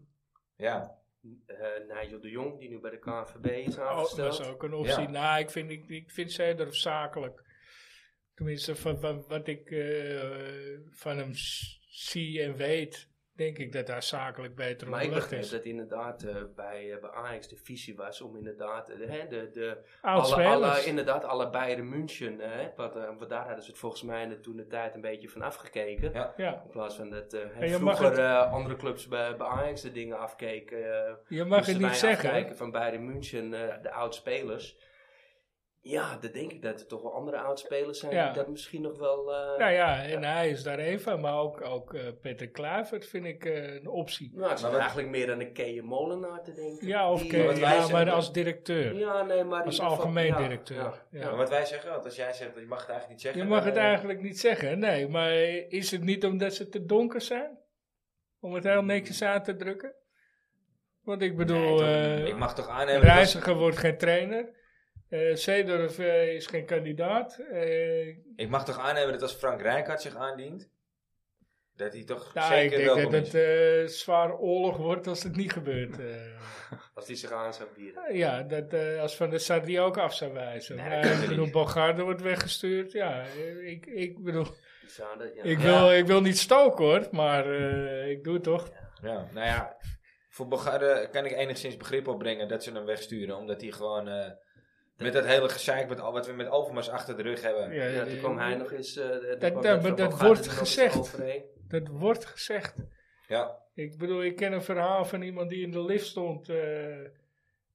Speaker 1: ja,
Speaker 5: Eh, Nigel de Jong, die nu bij de KNVB is
Speaker 2: Oh,
Speaker 5: aangesteld.
Speaker 2: dat is ook een optie.
Speaker 1: Ja.
Speaker 2: Nou, ik vind, ik, ik vind Seedorf zakelijk. Tenminste, van, van wat ik eh, van hem s- zie en weet, denk ik dat hij zakelijk beter
Speaker 5: maar ik
Speaker 2: onderlegd
Speaker 5: begreep
Speaker 2: is.
Speaker 5: dat inderdaad eh, bij, eh, bij Ajax de visie was om inderdaad eh, hè, de, de
Speaker 2: Oud
Speaker 5: alle, alle,
Speaker 2: spelers.
Speaker 5: inderdaad alle Bayern München, hè, wat, eh, want daar hadden ze het volgens mij toen de tijd een beetje van afgekeken.
Speaker 1: Ja.
Speaker 2: ja.
Speaker 5: In plaats van dat eh, hè,
Speaker 2: En je mag
Speaker 5: vroeger
Speaker 2: het-
Speaker 5: eh, andere clubs bij, bij Ajax de dingen afkeken. eh,
Speaker 2: Je mag het
Speaker 5: moesten
Speaker 2: niet
Speaker 5: wij
Speaker 2: zeggen. hè?
Speaker 5: afkijken van Bayern München, eh, de oud-spelers. Ja, dan denk ik dat er toch wel andere oud-spelers zijn
Speaker 2: Ja.
Speaker 5: die dat misschien nog wel... eh,
Speaker 2: Nou ja, en hij is daar één van. Maar ook, ook eh, Peter Kluivert vind ik eh, een optie.
Speaker 5: Nou, ik zit
Speaker 1: Maar wat-
Speaker 5: eigenlijk meer aan de Keeën Molenaar te denken.
Speaker 2: Ja, of
Speaker 5: Die-
Speaker 2: Ke-
Speaker 1: wat wij
Speaker 2: ja,
Speaker 1: zeggen-
Speaker 2: maar als directeur.
Speaker 5: Ja, nee, maar... in
Speaker 2: Als
Speaker 5: ieder geval-
Speaker 2: algemeen
Speaker 5: ja,
Speaker 2: directeur.
Speaker 5: ja.
Speaker 2: Ja.
Speaker 1: maar wat wij zeggen, want als jij zegt, dat je mag het eigenlijk niet zeggen.
Speaker 2: Je mag
Speaker 1: dan,
Speaker 2: het
Speaker 1: eh,
Speaker 2: eigenlijk niet zeggen, nee. Maar is het niet omdat ze te donker zijn? Om het heel netjes aan te drukken? Want ik bedoel, eh
Speaker 1: Ik mag Mm. toch aannemen dat als-
Speaker 2: Reiziger wordt geen trainer. Eh Seedorf eh, is geen kandidaat. Eh
Speaker 1: Ik mag toch aannemen dat als Frank Rijkaard zich aandient, dat hij toch
Speaker 2: nou, ik
Speaker 1: zeker
Speaker 2: denk
Speaker 1: welkom
Speaker 2: dat het
Speaker 1: is.
Speaker 2: eh, zwaar oorlog wordt als het niet gebeurt. eh.
Speaker 5: Als die zich aan zou bieden.
Speaker 2: ja, dat, eh, als Van der Sar die ook af zou wijzen.
Speaker 1: Nee, dat
Speaker 2: maar,
Speaker 1: kan
Speaker 2: ik
Speaker 1: niet.
Speaker 2: bedoel, Bogarde wordt weggestuurd. Ja, eh, ik, ik bedoel,
Speaker 5: Die zouden, ja.
Speaker 2: ik wil, ik wil niet stoken hoor. Maar eh, ik doe het toch.
Speaker 1: Ja, nou ja, Voor Bogarde kan ik enigszins begrip opbrengen dat ze hem wegsturen. Omdat hij gewoon... eh, met dat hele gezeik met al wat we met Overmars achter de rug hebben.
Speaker 2: Ja,
Speaker 5: Ja,
Speaker 2: die-
Speaker 5: toen kwam hij nog eens. eh, de- de
Speaker 2: dat-
Speaker 5: kwam
Speaker 2: dat-
Speaker 5: net
Speaker 2: maar
Speaker 5: van
Speaker 2: dat
Speaker 5: Bogarde
Speaker 2: wordt
Speaker 5: er nog eens
Speaker 2: gezegd.
Speaker 5: overheen.
Speaker 2: Dat wordt gezegd.
Speaker 1: Ja.
Speaker 2: Ik bedoel, ik ken een verhaal van iemand die in de lift stond eh,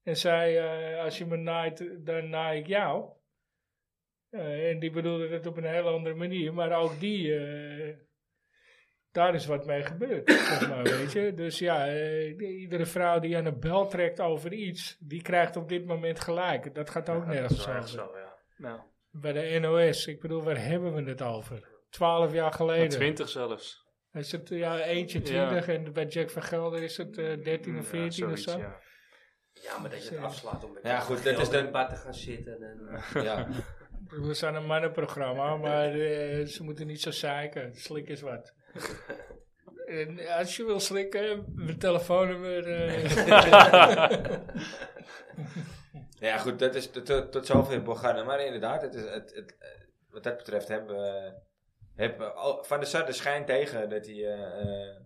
Speaker 2: en zei: eh, Als je me naait, dan naai ik jou. Eh, en die bedoelde het op een heel andere manier, maar ook die, eh, daar is wat mee gebeurd. zeg maar, weet je? Dus ja, eh, die- iedere vrouw die aan een bel trekt over iets, die krijgt op dit moment gelijk. Dat gaat ook
Speaker 3: dat is
Speaker 2: nergens
Speaker 3: wel echt
Speaker 2: over.
Speaker 1: Oh,
Speaker 3: zo, ja. Nou,
Speaker 2: Bij de NOS, ik bedoel, waar hebben we het over? Twaalf jaar geleden.
Speaker 3: twintig zelfs.
Speaker 2: Is het ja, eentje
Speaker 3: Ja.
Speaker 2: 20 en bij Jack van Gelder is het eh, 13
Speaker 3: Ja,
Speaker 2: of 14 of
Speaker 3: zoiets,
Speaker 2: zo?
Speaker 3: ja.
Speaker 5: Ja, maar dat je het afslaat om met
Speaker 1: Ja, goed, dat is
Speaker 5: in
Speaker 1: dan-
Speaker 5: het bad te gaan zitten. En, eh,
Speaker 1: ja.
Speaker 2: We zijn een mannenprogramma, maar eh, ze moeten niet zo zeiken. Slik is wat. En als je wil slikken, mijn telefoonnummer. eh
Speaker 1: Nou Ja, goed, dat is tot, tot, tot zover Bogarde. Maar inderdaad, het is, het, het, eh, wat dat betreft hebben we. hebben we al- Van der Sar de schijn tegen dat hij. eh, eh,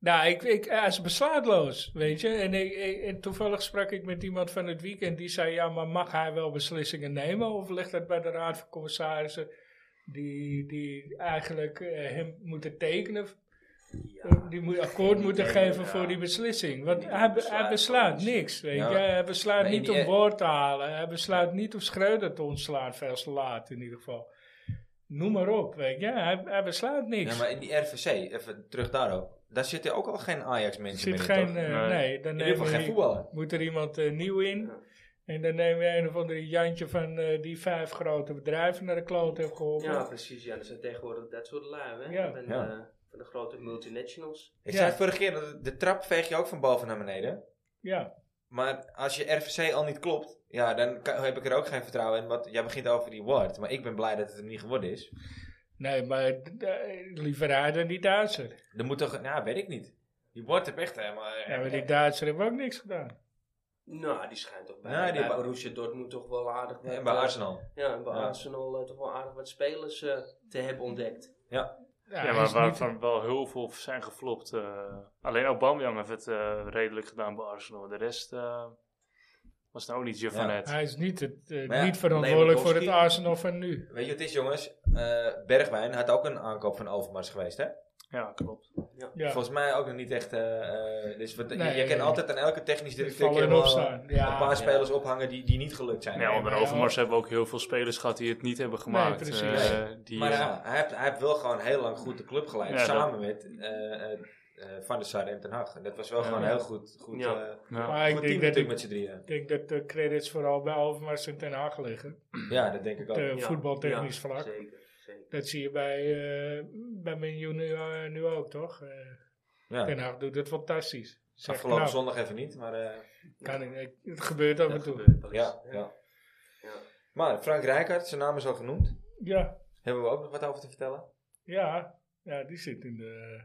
Speaker 2: nou, ik, ik, hij is besluitloos, weet je. En, ik, ik- en toevallig sprak ik met iemand van het weekend die zei: Ja, maar mag hij wel beslissingen nemen? Of ligt dat bij de Raad van Commissarissen, die, die eigenlijk eh, hem moeten tekenen Eh,
Speaker 5: ja.
Speaker 2: die moet akkoord moeten
Speaker 5: Ja,
Speaker 2: geven
Speaker 5: ja.
Speaker 2: voor die beslissing. Want
Speaker 5: Die
Speaker 2: hij, be-
Speaker 5: besluit
Speaker 2: hij besluit
Speaker 5: alles.
Speaker 2: niks. Weet
Speaker 1: Ja.
Speaker 2: je? Hij besluit
Speaker 1: Nee,
Speaker 2: niet
Speaker 1: die- eh,
Speaker 2: om woord te halen. Hij besluit niet om Schreuder te ontslaan, veel te laat in ieder geval. Noem maar op, weet je. Hij, hij besluit niks.
Speaker 1: ja, maar in die RVC, even terug daarop. Daar zitten ook al geen
Speaker 2: er
Speaker 1: Ajax-mensen
Speaker 2: zit
Speaker 1: meer
Speaker 2: geen...
Speaker 1: in. toch?
Speaker 2: eh,
Speaker 3: Nee.
Speaker 2: nee,
Speaker 1: in ieder
Speaker 2: dan nemen
Speaker 1: geval geen
Speaker 2: we,
Speaker 1: voetballen.
Speaker 2: moet er iemand eh, nieuw in.
Speaker 5: Ja.
Speaker 2: En dan nemen we een of andere Jantje van eh, die vijf grote bedrijven naar de kloot heeft geholpen.
Speaker 5: ja, precies. Ja, dat zijn tegenwoordig dat soort lui, hè?
Speaker 2: Ja.
Speaker 5: Van,
Speaker 1: Ja.
Speaker 5: eh, van de grote multinationals.
Speaker 1: Ik
Speaker 2: Ja.
Speaker 1: zei het vorige keer, dat de trap veeg je ook van boven naar beneden.
Speaker 2: Ja.
Speaker 1: Maar als je RVC al niet klopt, ja, dan kan- heb ik er ook geen vertrouwen in. Want jij begint over die Ward. Maar ik ben blij dat het hem niet geworden is.
Speaker 2: Nee, maar eh, liever hij dan die Duitser.
Speaker 1: Er moet toch, nou, weet ik niet. Die Ward heeft echt helemaal.
Speaker 2: Ja, maar die Duitser hebben ook niks gedaan.
Speaker 5: Nou, die schijnt toch bij,
Speaker 1: Nou, die
Speaker 5: bij
Speaker 1: ba-
Speaker 5: Borussia Dortmund toch wel aardig wat,
Speaker 1: En bij
Speaker 5: eh,
Speaker 1: Arsenal.
Speaker 5: Ja, en bij
Speaker 1: Ja.
Speaker 5: Arsenal eh, toch wel aardig wat spelers eh, te hebben ontdekt.
Speaker 2: Ja,
Speaker 3: Ja,
Speaker 2: hij
Speaker 3: maar
Speaker 2: is niet-
Speaker 3: waarvan wel heel veel zijn geflopt. eh. alleen Aubameyang heeft het eh, redelijk gedaan bij Arsenal. De rest eh, was nou ook niet Giovanet.
Speaker 2: Hij is niet, het, eh,
Speaker 1: Maar ja,
Speaker 2: niet verantwoordelijk voor het
Speaker 1: Lewandowski-
Speaker 2: Arsenal van nu.
Speaker 1: Weet je wat het is, jongens? Eh, Bergwijn had ook een aankoop van Overmars geweest, hè?
Speaker 3: Ja, klopt.
Speaker 2: Ja,
Speaker 1: Volgens mij ook nog niet echt... eh, eh, dus wat, je-
Speaker 2: Nee,
Speaker 1: je, kan
Speaker 2: nee.
Speaker 1: altijd aan elke technisch
Speaker 2: die
Speaker 1: directeur
Speaker 2: vallen en
Speaker 1: helemaal
Speaker 2: opstaan. Ja,
Speaker 1: een paar spelers ophangen die, die niet gelukt zijn.
Speaker 3: Ja,
Speaker 2: Nee,
Speaker 3: onder
Speaker 2: maar-
Speaker 3: Overmars hebben we ook heel veel spelers gehad die het niet hebben gemaakt.
Speaker 2: precies.
Speaker 3: Eh, die,
Speaker 1: maar
Speaker 3: eh,
Speaker 1: ja, hij, heeft, hij heeft wel gewoon heel lang goed de club geleid.
Speaker 3: Ja,
Speaker 1: samen met eh, eh, eh, Van der Sar en Ten Hag. En dat was wel
Speaker 3: Ja.
Speaker 1: gewoon heel goed, goed,
Speaker 3: Ja.
Speaker 1: eh,
Speaker 3: ja.
Speaker 2: Maar ik
Speaker 1: goed team
Speaker 2: denk dat,
Speaker 1: natuurlijk
Speaker 2: ik,
Speaker 1: met z'n drieën.
Speaker 2: denk dat de credits vooral bij Overmars en Ten Haag liggen.
Speaker 1: Ja, dat denk ik ook.
Speaker 2: De
Speaker 5: Ja,
Speaker 2: voetbaltechnisch
Speaker 5: ja,
Speaker 2: vlak.
Speaker 5: Zeker, zeker.
Speaker 2: Dat zie je bij, eh bij Menu nu, eh, nu ook, toch? Eh,
Speaker 1: ja.
Speaker 2: Ten Haag doet het fantastisch. Zeg,
Speaker 1: Afgelopen
Speaker 2: nou,
Speaker 1: zondag even niet, maar... eh,
Speaker 2: kan ik, ik- het gebeurt af en
Speaker 5: Dat
Speaker 2: toe.
Speaker 5: gebeurt wel eens.
Speaker 1: ja, ja. Maar Frank Rijkaard, zijn naam is al genoemd.
Speaker 2: Ja,
Speaker 1: Hebben we ook nog wat over te vertellen?
Speaker 2: ja, ja, die zit in de...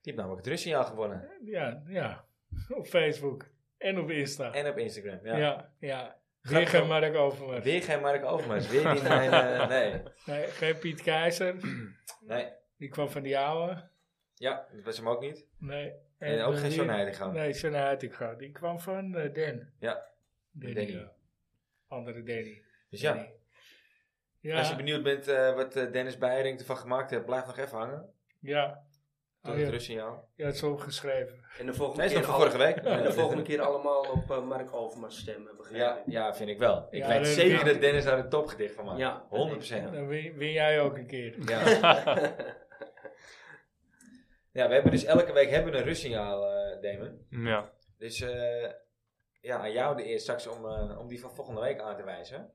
Speaker 1: Die heeft namelijk het rustsignaal gewonnen.
Speaker 2: Ja, ja, op Facebook en op Insta.
Speaker 1: En op Instagram, ja.
Speaker 2: ja, ja.
Speaker 1: Gaat
Speaker 2: Weer geen
Speaker 1: wel.
Speaker 2: Mark Overmars.
Speaker 1: Weer geen Mark Overmars. Weer niet mijn... eh, nee.
Speaker 2: Nee, geen Piet Keizer.
Speaker 1: nee.
Speaker 2: Die kwam van die oude.
Speaker 1: Ja, dat was hem ook niet.
Speaker 2: Nee.
Speaker 1: En ook geen
Speaker 2: eh, die-
Speaker 1: John Heidegang.
Speaker 2: Nee, John Heitinga. Die kwam van eh, Den.
Speaker 1: Ja.
Speaker 2: Danny.
Speaker 1: Danny.
Speaker 2: ja. Andere Danny.
Speaker 1: Dus ja,
Speaker 2: Danny. Ja.
Speaker 1: als je benieuwd bent eh, wat eh, Dennis Beiring ervan gemaakt heeft, blijf nog even hangen.
Speaker 2: ja.
Speaker 1: Tot
Speaker 2: Oh,
Speaker 1: het
Speaker 2: ja.
Speaker 1: rustsignaal.
Speaker 2: ja, het is opgeschreven.
Speaker 5: En de volgende,
Speaker 1: Nee, is nog
Speaker 5: keer
Speaker 1: van
Speaker 5: al-
Speaker 1: vorige week.
Speaker 5: en de volgende keer allemaal op eh, Mark Overmars stemmen, begrijp
Speaker 1: Ja,
Speaker 5: ik.
Speaker 1: ja, vind ik wel. Ik
Speaker 2: Ja,
Speaker 1: weet
Speaker 2: dat-
Speaker 1: zeker
Speaker 2: ja.
Speaker 1: dat Dennis daar een topgedicht van maakt.
Speaker 5: Ja.
Speaker 1: 100
Speaker 2: Dan win, win jij ook een keer.
Speaker 1: Ja. ja, we hebben dus elke week hebben we een rustsignaal, eh Damon.
Speaker 3: ja.
Speaker 1: Dus eh, ja, aan jou de eer straks om, eh, om die van volgende week aan te wijzen.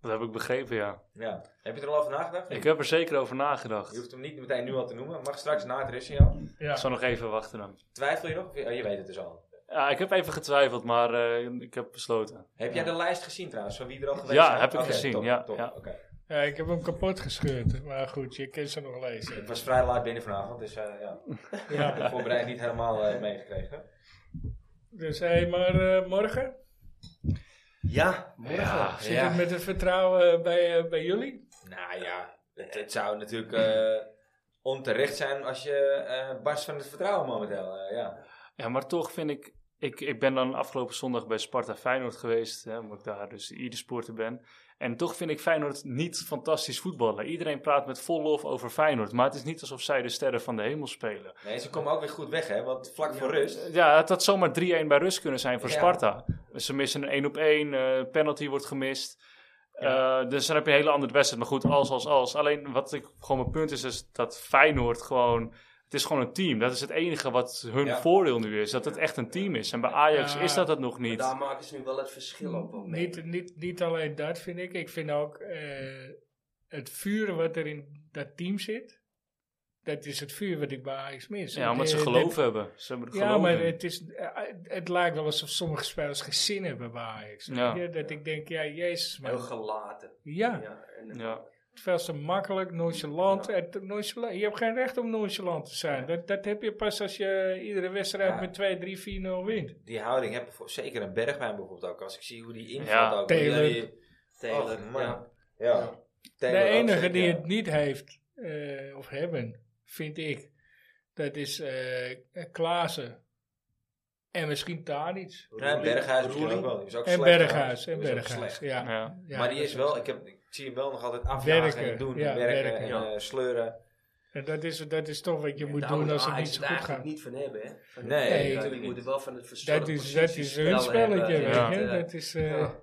Speaker 3: dat heb ik begrepen, ja.
Speaker 1: Ja. Heb je er al over nagedacht?
Speaker 3: Ik heb er zeker over
Speaker 1: Je
Speaker 3: nagedacht.
Speaker 1: hoeft hem niet meteen nu al te noemen. Mag straks na het rustsignaal.
Speaker 3: Ik
Speaker 2: Ja.
Speaker 3: zal nog even wachten dan.
Speaker 1: Twijfel je nog? Of je- oh, je weet het dus al.
Speaker 3: Ja, ik heb even getwijfeld, maar eh, ik heb besloten.
Speaker 1: Heb jij de lijst gezien trouwens, van wie er al geweest
Speaker 3: Ja,
Speaker 1: zijn?
Speaker 3: heb ik
Speaker 1: Oké,
Speaker 3: gezien,
Speaker 1: top,
Speaker 3: ja,
Speaker 1: top,
Speaker 3: ja.
Speaker 1: oké.
Speaker 2: ja, ik heb hem kapot gescheurd. Maar goed, je kunt ze nog lezen.
Speaker 1: Het was vrij laat binnen vanavond, dus eh ja, ik heb
Speaker 2: Ja.
Speaker 1: de voorbereiding niet helemaal eh, meegekregen.
Speaker 2: Dus hé, hey, maar eh, morgen?
Speaker 5: Ja, morgen.
Speaker 3: Ja,
Speaker 2: Zit het met het vertrouwen bij, eh, bij eh, jullie?
Speaker 1: Nou ja, het, het zou natuurlijk... eh, onterecht zijn als je eh barst van het vertrouwen momenteel. eh, ja.
Speaker 3: Ja, maar toch vind ik, ik, ik ben dan afgelopen zondag bij Sparta Feyenoord geweest, hè, omdat ik daar dus ieder sporter ben. En toch vind ik Feyenoord niet fantastisch voetballen. Iedereen praat met vol lof over Feyenoord, maar het is niet alsof zij de sterren van de hemel spelen.
Speaker 1: Nee, ze komen ook weer goed weg, hè? Want vlak voor rust.
Speaker 3: Ja, het had zomaar 3-1 bij rust kunnen zijn voor
Speaker 1: Ja.
Speaker 3: Sparta. Ze missen een 1 op 1, penalty wordt gemist. Eh, dus dan heb je een hele andere wedstrijd. Maar goed, als, als, als. Alleen wat ik gewoon mijn punt is, is dat Feyenoord gewoon... Het is gewoon een team. Dat is het enige wat hun
Speaker 1: Ja.
Speaker 3: voordeel nu is. Dat het echt een team is. En bij Ajax
Speaker 2: Ja.
Speaker 3: is dat dat nog
Speaker 5: Maar
Speaker 3: niet.
Speaker 5: daar maken ze nu wel het verschil op. wel mee.
Speaker 2: Niet, niet, niet alleen dat vind ik. Ik vind ook eh, het vuur wat er in dat team zit. Dat is het vuur wat ik bij Ajax mis.
Speaker 3: ja, omdat ze
Speaker 2: Eh,
Speaker 3: geloof
Speaker 2: dat-
Speaker 3: hebben. Ze hebben er
Speaker 2: Ja,
Speaker 3: geloof
Speaker 2: maar
Speaker 3: in.
Speaker 2: het, is, eh, het lijkt wel alsof sommige spelers geen zin hebben bij Ajax. weet
Speaker 3: Ja.
Speaker 2: je? Dat ik denk, ja, jezus
Speaker 5: Heel
Speaker 2: man.
Speaker 5: gelaten.
Speaker 2: Ja,
Speaker 5: Ja, en,
Speaker 3: Ja.
Speaker 2: terwijl ze makkelijk, nonchalant, het- nonchalant. Je hebt geen recht om nonchalant te zijn. Dat, dat heb je pas als je iedere wedstrijd
Speaker 1: Ja.
Speaker 2: met 2, 3, 4, 0 wint.
Speaker 1: Die houding heb ik voor, zeker een Bergwijn bijvoorbeeld ook. Als ik zie hoe die invalt
Speaker 3: Ja,
Speaker 1: ook. hoe die-
Speaker 2: Taylor.
Speaker 1: die-
Speaker 5: Taylor,
Speaker 1: Och, man.
Speaker 5: ja.
Speaker 1: ja. Taylor
Speaker 2: De
Speaker 1: ook
Speaker 2: enige
Speaker 1: zeker,
Speaker 2: die
Speaker 1: ja.
Speaker 2: het niet heeft, eh, of hebben, vind ik, dat is eh Klaassen. En misschien Tadic.
Speaker 1: Ja, en Berghuis misschien ook wel. Die is ook
Speaker 2: En
Speaker 1: slecht,
Speaker 2: Berghuis.
Speaker 1: trouwens.
Speaker 2: En
Speaker 1: Die is ook
Speaker 2: Berghuis,
Speaker 1: slecht.
Speaker 2: ja.
Speaker 3: Ja.
Speaker 2: Ja,
Speaker 1: maar die
Speaker 2: dat
Speaker 1: is wel, ik, heb, ik zie hem wel nog altijd afjagen en
Speaker 2: Werken,
Speaker 1: doen.
Speaker 2: ja,
Speaker 1: werken,
Speaker 2: werken,
Speaker 1: en
Speaker 2: ja.
Speaker 1: eh, sleuren.
Speaker 2: En dat is, dat is toch wat je moet
Speaker 5: Daar
Speaker 2: doen
Speaker 5: moet
Speaker 2: als het
Speaker 5: Ajax
Speaker 2: niet zo goed gaat.
Speaker 5: eigenlijk niet van hebben, hè? Van-
Speaker 1: Nee,
Speaker 2: Nee,
Speaker 5: ja,
Speaker 1: natuurlijk
Speaker 5: die moeten wel van het verzorgde
Speaker 2: Dat is, dat is hun
Speaker 5: positiespel
Speaker 2: spelletje,
Speaker 5: hebben.
Speaker 2: weet
Speaker 3: Ja.
Speaker 2: je.
Speaker 5: Ja.
Speaker 2: Dat is eh,
Speaker 5: Ja.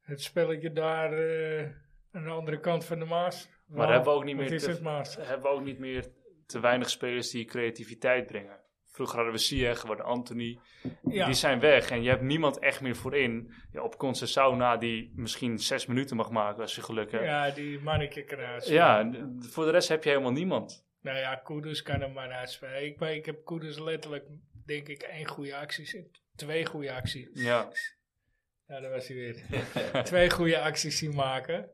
Speaker 2: het spelletje daar eh, aan de andere kant van de Maas.
Speaker 3: Maar hebben we ook niet
Speaker 2: wat
Speaker 3: meer
Speaker 2: is
Speaker 3: te-
Speaker 2: het Maas?
Speaker 3: Hebben we ook niet meer te weinig spelers die creativiteit brengen. Vroeger hadden we Sieg, we hadden Anthony.
Speaker 2: Ja.
Speaker 3: Die zijn weg en je hebt niemand echt meer voorin. Ja, op Concessao na die misschien zes minuten mag maken als je geluk hebt.
Speaker 2: ja, die mannetje kan uitspelen.
Speaker 3: Ja, d- voor de rest heb je helemaal niemand.
Speaker 2: Nou ja, Koeders kan hem maar uitspelen. Ik, maar ik heb Koeders letterlijk, denk ik, één goede actie. zien- Twee goede acties.
Speaker 3: Ja.
Speaker 2: Ja, daar was hij weer. twee goede acties zien maken.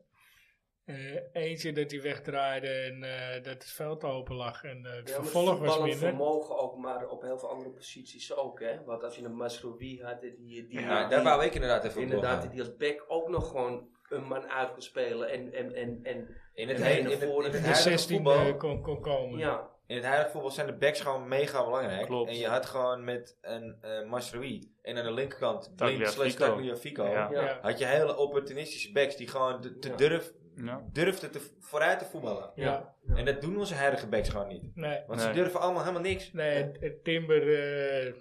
Speaker 2: Eh, eentje dat hij wegdraaide en eh, dat het veld open lag. En eh, het
Speaker 5: Ja, maar
Speaker 2: vervolg was
Speaker 5: voetballend
Speaker 2: minder.
Speaker 5: vermogen ook, maar op heel veel andere posities ook, hè? Want als je een Masrobi had, die, die, die,
Speaker 1: Ja, Nou, daar wou ik inderdaad even op
Speaker 5: inderdaad,
Speaker 1: doorgaan.
Speaker 5: die als back ook nog gewoon een man uit kon spelen en, en, en, en
Speaker 1: In het,
Speaker 5: en
Speaker 1: hele- in
Speaker 5: naar
Speaker 1: het, in
Speaker 5: voren.
Speaker 1: het
Speaker 5: De
Speaker 2: De
Speaker 1: huidige
Speaker 2: 16
Speaker 1: voetbal...
Speaker 2: eh, kon, kon komen.
Speaker 5: ja,
Speaker 1: In het huidige voetbal zijn de backs gewoon mega belangrijk.
Speaker 3: Klopt.
Speaker 1: En je had gewoon met een eh Masrui en aan de linkerkant Blind
Speaker 3: Tagliafico.
Speaker 1: slash Tagliafico.
Speaker 3: Ja.
Speaker 5: ja.
Speaker 2: Ja.
Speaker 1: Had je hele opportunistische backs die gewoon te, te
Speaker 5: Ja.
Speaker 1: durf,
Speaker 3: Ja.
Speaker 1: durfden te, vooruit te voetballen.
Speaker 2: Ja.
Speaker 1: En dat doen onze huidige backs gewoon niet.
Speaker 2: Nee,
Speaker 1: Want ze
Speaker 3: Nee.
Speaker 1: durven allemaal helemaal niks.
Speaker 2: nee het- het Timber, eh,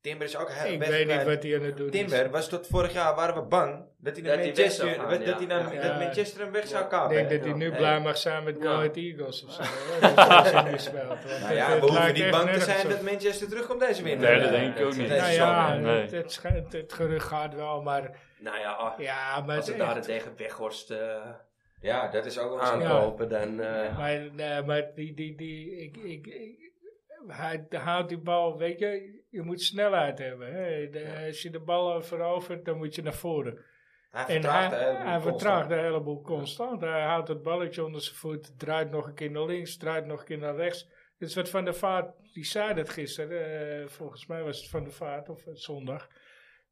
Speaker 1: Timber is ook heel
Speaker 2: ik
Speaker 1: weg
Speaker 2: weet niet
Speaker 1: kwijt.
Speaker 2: wat hij aan het doen is.
Speaker 1: Timber was tot vorig jaar waren we bang dat hij naar
Speaker 5: Dat hij weg
Speaker 1: Manchester,
Speaker 5: zou gaan,
Speaker 1: dat- dat
Speaker 5: ja.
Speaker 1: hij naar,
Speaker 2: Ja.
Speaker 1: dat Manchester hem weg zou
Speaker 2: Ik
Speaker 1: kapen.
Speaker 2: denk
Speaker 1: hè.
Speaker 2: dat hij nu
Speaker 1: eh, Ja.
Speaker 2: blij mag zijn met Go
Speaker 5: Ja.
Speaker 2: Ahead Eagles of zo. hè, dat hij nu speelt, want
Speaker 1: Nou
Speaker 2: het-
Speaker 1: ja,
Speaker 2: het
Speaker 1: we hoeven
Speaker 2: lijkt
Speaker 1: niet
Speaker 2: echt
Speaker 1: bang te
Speaker 2: nergens
Speaker 1: zijn
Speaker 2: op.
Speaker 1: dat Manchester terugkomt deze winter.
Speaker 3: Nee, dat denk ik ook niet.
Speaker 1: Deze
Speaker 2: Nou
Speaker 1: zomer.
Speaker 2: ja,
Speaker 3: nee.
Speaker 2: het, het, schijnt- het, gerucht gaat wel, maar...
Speaker 5: nou ja, ah,
Speaker 2: Ja, maar...
Speaker 5: als
Speaker 2: Het,
Speaker 5: het daar tegen Weghorst eh
Speaker 1: Ja, dat is ook
Speaker 2: Ah.
Speaker 1: wel zo.
Speaker 5: aankopen, dan... eh,
Speaker 2: maar, nee, maar die... die, die ik, ik, ik- hij houdt die bal, weet je... Je moet snelheid hebben. Hè. De- Als je de bal verovert, dan moet je naar voren.
Speaker 1: Hij
Speaker 2: En hij,
Speaker 1: vertraagt de hele boel
Speaker 2: hij
Speaker 1: constant.
Speaker 2: vertraagt de heleboel constant. Hij houdt het balletje onder zijn voet, draait nog een keer naar links, draait nog een keer naar rechts. Het is wat Van der Vaart, die zei dat gisteren, eh, volgens mij was het Van der Vaart of eh, zondag.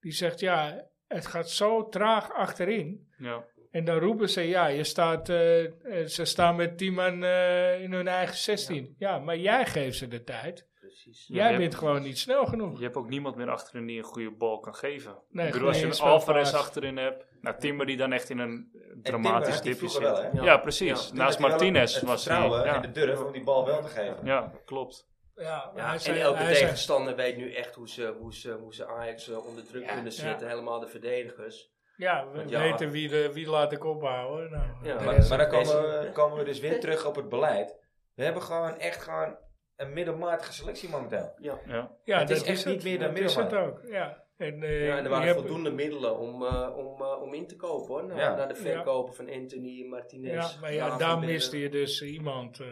Speaker 2: Die zegt, ja, het gaat zo traag achterin.
Speaker 3: Ja.
Speaker 2: En dan roepen ze, ja, je staat, eh, eh, ze staan met tien man eh, in hun eigen 16. Ja. maar jij geeft ze de tijd.
Speaker 5: precies.
Speaker 3: Ja,
Speaker 2: jij
Speaker 3: je
Speaker 2: bent
Speaker 3: hebt-
Speaker 2: gewoon niet snel genoeg.
Speaker 3: Je hebt ook niemand meer achterin die een goede bal kan geven.
Speaker 2: Nee,
Speaker 3: ik bedoel, als je
Speaker 2: goede
Speaker 3: een Alvarez
Speaker 2: speelpaas.
Speaker 3: achterin hebt. Nou, Timber die dan echt in een
Speaker 1: Timber
Speaker 3: dramatisch
Speaker 1: had die
Speaker 3: dipje zit.
Speaker 1: vroeger wel, hè?
Speaker 3: ja.
Speaker 5: Ja.
Speaker 3: precies.
Speaker 1: Dus
Speaker 3: Naast
Speaker 1: dat hij wel
Speaker 3: Martinez
Speaker 1: het
Speaker 3: was hij.
Speaker 1: vertrouwen en de
Speaker 3: Ja.
Speaker 1: durf om die bal wel te geven.
Speaker 3: ja, klopt.
Speaker 2: Ja, maar
Speaker 5: Ja,
Speaker 2: hij
Speaker 5: en
Speaker 2: zei-
Speaker 5: elke
Speaker 2: hij zei-
Speaker 5: tegenstander weet nu echt hoe ze, hoe ze, hoe ze Ajax eh, onder druk
Speaker 1: Ja.
Speaker 5: kunnen zetten. Helemaal de verdedigers.
Speaker 2: Ja, we
Speaker 5: Want ja.
Speaker 2: weten wie, de, wie laat ik opbouwen. Nou,
Speaker 5: Ja,
Speaker 2: de
Speaker 1: Maar,
Speaker 2: rest-
Speaker 1: maar dan komen
Speaker 5: Deze-
Speaker 1: we, komen we dus weer terug op het beleid. We hebben gewoon echt gewoon een middelmatige selectie momenteel.
Speaker 3: Ja.
Speaker 2: ja,
Speaker 1: het is
Speaker 2: dat
Speaker 1: echt niet
Speaker 2: het.
Speaker 1: meer dan
Speaker 2: Dat is het
Speaker 1: middelmaat.
Speaker 2: ook, ja. En, eh,
Speaker 5: Ja, en
Speaker 2: je
Speaker 5: er waren
Speaker 2: hebt-
Speaker 5: voldoende middelen om, eh, om, eh, om in te kopen hoor. Na,
Speaker 1: Ja.
Speaker 5: na de verkopen van Anthony, Martinez.
Speaker 2: Ja, maar ja,
Speaker 5: Van
Speaker 2: daar
Speaker 5: Binnen.
Speaker 2: miste je dus iemand eh,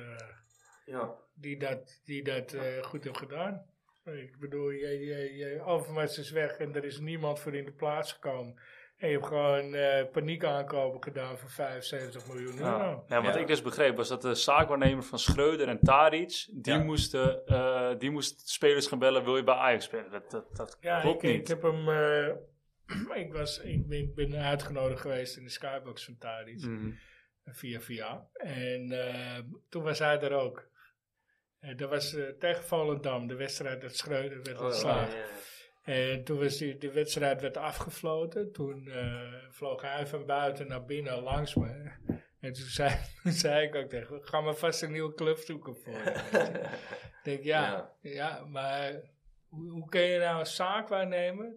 Speaker 5: Ja.
Speaker 2: die dat, die dat eh, goed heeft gedaan. Ik bedoel, je, je, je Overmars is weg en er is niemand voor in de plaats gekomen. En je hebt gewoon eh paniek aankopen gedaan voor 75 miljoen euro.
Speaker 3: Ja. Ja, wat
Speaker 1: Ja.
Speaker 3: ik dus begreep was dat de zaakwaarnemer van Schreuder en Tadic, die,
Speaker 1: Ja.
Speaker 3: moesten, eh, die moest spelers gaan bellen, wil je bij Ajax spelen? Dat, dat, dat
Speaker 2: Ja,
Speaker 3: klopt
Speaker 2: ik, ik
Speaker 3: niet.
Speaker 2: heb hem. eh, ik, was, ik ben, ben uitgenodigd geweest in de skybox
Speaker 3: Mm.
Speaker 2: van Tadic.
Speaker 3: Mhm.
Speaker 2: eh, via via. En eh, toen was hij er ook. Eh, dat was eh, tegen Volendam, de wedstrijd dat Schreuder werd
Speaker 1: Oh,
Speaker 2: ontslagen.
Speaker 5: Ja.
Speaker 2: En toen was die, de wedstrijd werd afgefloten. Toen eh, vloog hij van buiten naar binnen langs me. En toen zei, toen zei ik ook tegen hem, ga maar vast een nieuwe club zoeken voor je. weet je. ik denk, ja, ja.
Speaker 1: Ja.
Speaker 2: maar hoe, hoe kun je nou als zaakwaarnemer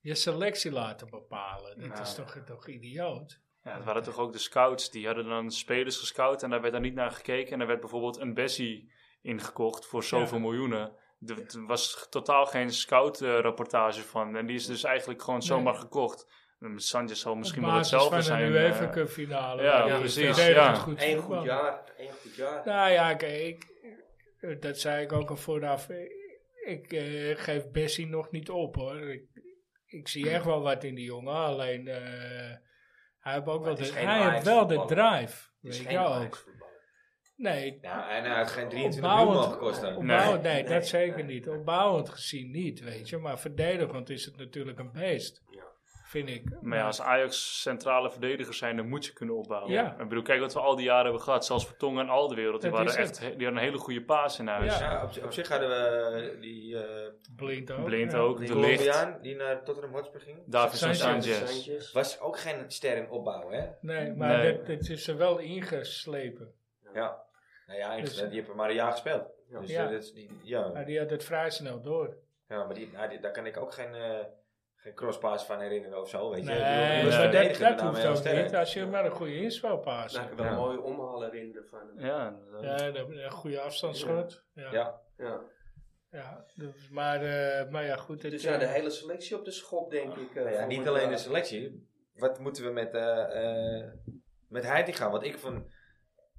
Speaker 2: je selectie laten bepalen? Dat
Speaker 3: Nou.
Speaker 2: is toch, toch idioot?
Speaker 3: Ja, het waren toch ook de scouts, die hadden dan spelers gescout en daar werd dan niet naar gekeken. En er werd bijvoorbeeld een Bessie ingekocht voor zoveel miljoenen. Er er was totaal geen scout-rapportage van. En die is dus eigenlijk gewoon zomaar gekocht. Met Sanchez zal misschien
Speaker 2: Op
Speaker 3: wel
Speaker 2: basis
Speaker 3: hetzelfde
Speaker 2: van
Speaker 3: zijn.
Speaker 2: een UEFA
Speaker 3: eh,
Speaker 2: Cup finale.
Speaker 3: ja,
Speaker 2: waar je
Speaker 3: precies,
Speaker 2: verdedigend
Speaker 3: ja.
Speaker 2: goed
Speaker 5: Eén
Speaker 2: voetbalt.
Speaker 5: goed jaar, één goed jaar.
Speaker 2: Nou ja, kijk, ik, eh, dat zei ik ook al vooraf. eh, Ik eh, geef Bessie nog niet op hoor. Ik, ik zie echt wel wat in die jongen. Alleen eh, hij heeft, ook wel
Speaker 1: het is
Speaker 2: de,
Speaker 1: geen
Speaker 2: hij heeft
Speaker 1: Ajax
Speaker 2: wel de
Speaker 1: voetballer.
Speaker 2: drive.
Speaker 5: Het
Speaker 2: Weet
Speaker 5: is
Speaker 2: je
Speaker 5: geen
Speaker 2: ook.
Speaker 5: Ajax-voetballer.
Speaker 2: Nee,
Speaker 1: Nou, en hij had geen 23 miljoen
Speaker 2: opbouwend,
Speaker 1: mogen kosten.
Speaker 2: opbouwend- nee,
Speaker 5: Nee,
Speaker 2: dat
Speaker 5: nee,
Speaker 2: zeker
Speaker 5: nee.
Speaker 2: niet. Opbouwend gezien niet, weet je. Maar verdedigend is het natuurlijk een beest.
Speaker 5: Ja.
Speaker 2: Vind ik.
Speaker 3: Maar ja, als Ajax centrale verdediger zijn, dan moet je kunnen opbouwen.
Speaker 2: Ja.
Speaker 3: Ik bedoel, kijk wat we al die jaren hebben gehad. Zelfs Vertongen en al de wereld, die,
Speaker 2: Dat
Speaker 3: waren
Speaker 2: is het.
Speaker 3: echt, he- die hadden een hele goede paas in huis.
Speaker 2: Ja.
Speaker 1: Ja, op, zi- op zich hadden we die eh
Speaker 2: blind ook.
Speaker 3: Blind
Speaker 2: ja.
Speaker 3: ook,
Speaker 1: die
Speaker 3: de licht.
Speaker 1: Colombiaan die naar Tottenham Hotspur ging.
Speaker 3: Davinson
Speaker 2: Sanchez.
Speaker 3: Sanchez.
Speaker 5: Sanchez.
Speaker 1: Was ook geen ster in opbouw, hè?
Speaker 2: Nee, maar
Speaker 3: Nee.
Speaker 2: Dat, dat is er wel ingeslepen.
Speaker 1: Ja. Nou ja,
Speaker 2: Dus-
Speaker 1: dus, die hebben maar een jaar gespeeld. Dus
Speaker 2: Ja.
Speaker 1: eh, dat is die, ja.
Speaker 2: Maar die had het vrij snel door.
Speaker 1: ja, maar die, nou, die- daar kan ik ook geen, eh geen crosspass van herinneren of zo, weet je.
Speaker 2: Nee,
Speaker 1: Ik bedoel, eh, die was
Speaker 2: maar dat- dat,
Speaker 1: verdedigend met name
Speaker 2: hoeft
Speaker 1: heel
Speaker 2: ook
Speaker 1: sterk.
Speaker 2: niet. Als je maar een goede inspelpaas
Speaker 5: Nou,
Speaker 2: hebt.
Speaker 5: ik heb wel
Speaker 1: Ja.
Speaker 5: een mooie omhaal herinneren van hem.
Speaker 3: Ja, dat-
Speaker 2: Ja, en een, een goede afstandsschot. Ja. Ja.
Speaker 1: Ja,
Speaker 5: Ja.
Speaker 2: Dus, maar, eh, maar ja, goed.
Speaker 5: Dus
Speaker 2: Het,
Speaker 5: ja, de
Speaker 2: eh,
Speaker 5: hele selectie op de schop, denk ik. eh,
Speaker 1: Nou ja,
Speaker 5: voor
Speaker 1: niet
Speaker 5: het,
Speaker 1: alleen
Speaker 5: eh,
Speaker 1: de selectie. Wat moeten we met, eh eh met Heitinga? Want ik van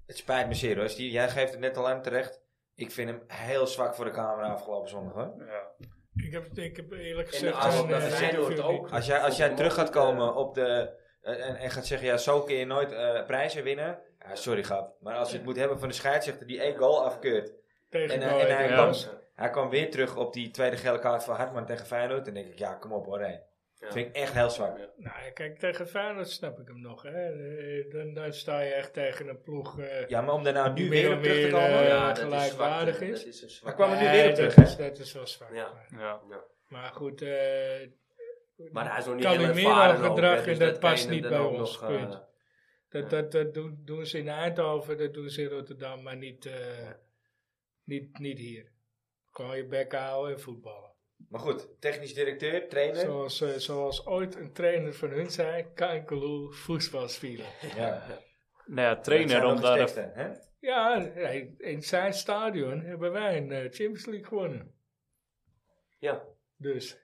Speaker 1: Het spijt me zeer hoor. Steve, jij geeft het net al aan terecht. Ik vind hem heel zwak voor de camera afgelopen zondag hoor.
Speaker 3: ja.
Speaker 2: ik, heb, ik heb eerlijk
Speaker 5: En de
Speaker 2: gezegd...
Speaker 1: als-
Speaker 2: een,
Speaker 1: dat
Speaker 2: eh,
Speaker 1: is
Speaker 2: interview
Speaker 5: Feyenoord ook.
Speaker 1: Als jij, als jij
Speaker 5: Op-
Speaker 1: terug gaat komen op de, eh, en, en gaat zeggen, ja, zo kun je nooit eh, prijzen winnen. Ja, sorry, grap. Maar als je het moet hebben van de scheidsrechter die één goal afkeurt.
Speaker 2: Tegen
Speaker 1: En, eh,
Speaker 2: Go
Speaker 1: en
Speaker 2: Ahead
Speaker 1: hij
Speaker 3: kan-
Speaker 2: Eagles.
Speaker 1: Hij kwam weer terug op die tweede gele kaart van Hartman tegen Feyenoord. Dan denk ik, ja, kom op hoor. hé.
Speaker 5: Ja.
Speaker 1: Dat vind ik echt heel zwak.
Speaker 2: Nou, ja, kijk, tegen Feyenoord snap ik hem nog. Hè. Eh, Dan, dan sta je echt tegen een ploeg... eh
Speaker 1: Ja, maar om daar nou nu
Speaker 2: Meer
Speaker 1: weer
Speaker 2: en
Speaker 1: op terug te
Speaker 2: meer,
Speaker 1: komen.
Speaker 2: eh,
Speaker 5: Ja, dat is
Speaker 2: gelijkwaardig
Speaker 5: zwakte.
Speaker 2: is.
Speaker 5: Dat is een
Speaker 1: maar
Speaker 5: zwak.
Speaker 1: kwam er nu
Speaker 2: nee,
Speaker 1: weer op
Speaker 2: dat
Speaker 1: terug. hè?
Speaker 2: is- Dat is wel zwaar.
Speaker 5: Ja.
Speaker 2: Maar-
Speaker 3: Nou Ja.
Speaker 2: Maar goed, eh,
Speaker 5: Maar hij is nog niet heel
Speaker 2: Calimero
Speaker 5: ervaren ook, hè,
Speaker 2: gedrag,
Speaker 5: dus
Speaker 2: dat
Speaker 5: kan je
Speaker 2: past
Speaker 5: hem
Speaker 2: niet
Speaker 5: dan
Speaker 2: bij
Speaker 5: ook
Speaker 2: ons,
Speaker 5: nog,
Speaker 2: punt.
Speaker 5: eh,
Speaker 2: Dat, dat, dat doen, doen ze in Eindhoven, dat doen ze in Rotterdam, maar niet, eh, niet, niet hier. Gewoon je bek houden en voetballen.
Speaker 1: Maar goed, technisch directeur, trainer.
Speaker 2: Zoals, eh, zoals ooit een trainer van hun zei, Kankeloe voetbal spelen.
Speaker 1: Ja.
Speaker 3: Nou ja,
Speaker 1: Dat
Speaker 3: trainer
Speaker 1: zijn
Speaker 3: om
Speaker 1: nog
Speaker 3: daar
Speaker 1: eens
Speaker 3: de-
Speaker 1: teksten, hè?
Speaker 2: Ja, hij- in zijn stadion hebben wij een eh, Champions League gewonnen.
Speaker 5: Ja.
Speaker 2: Dus,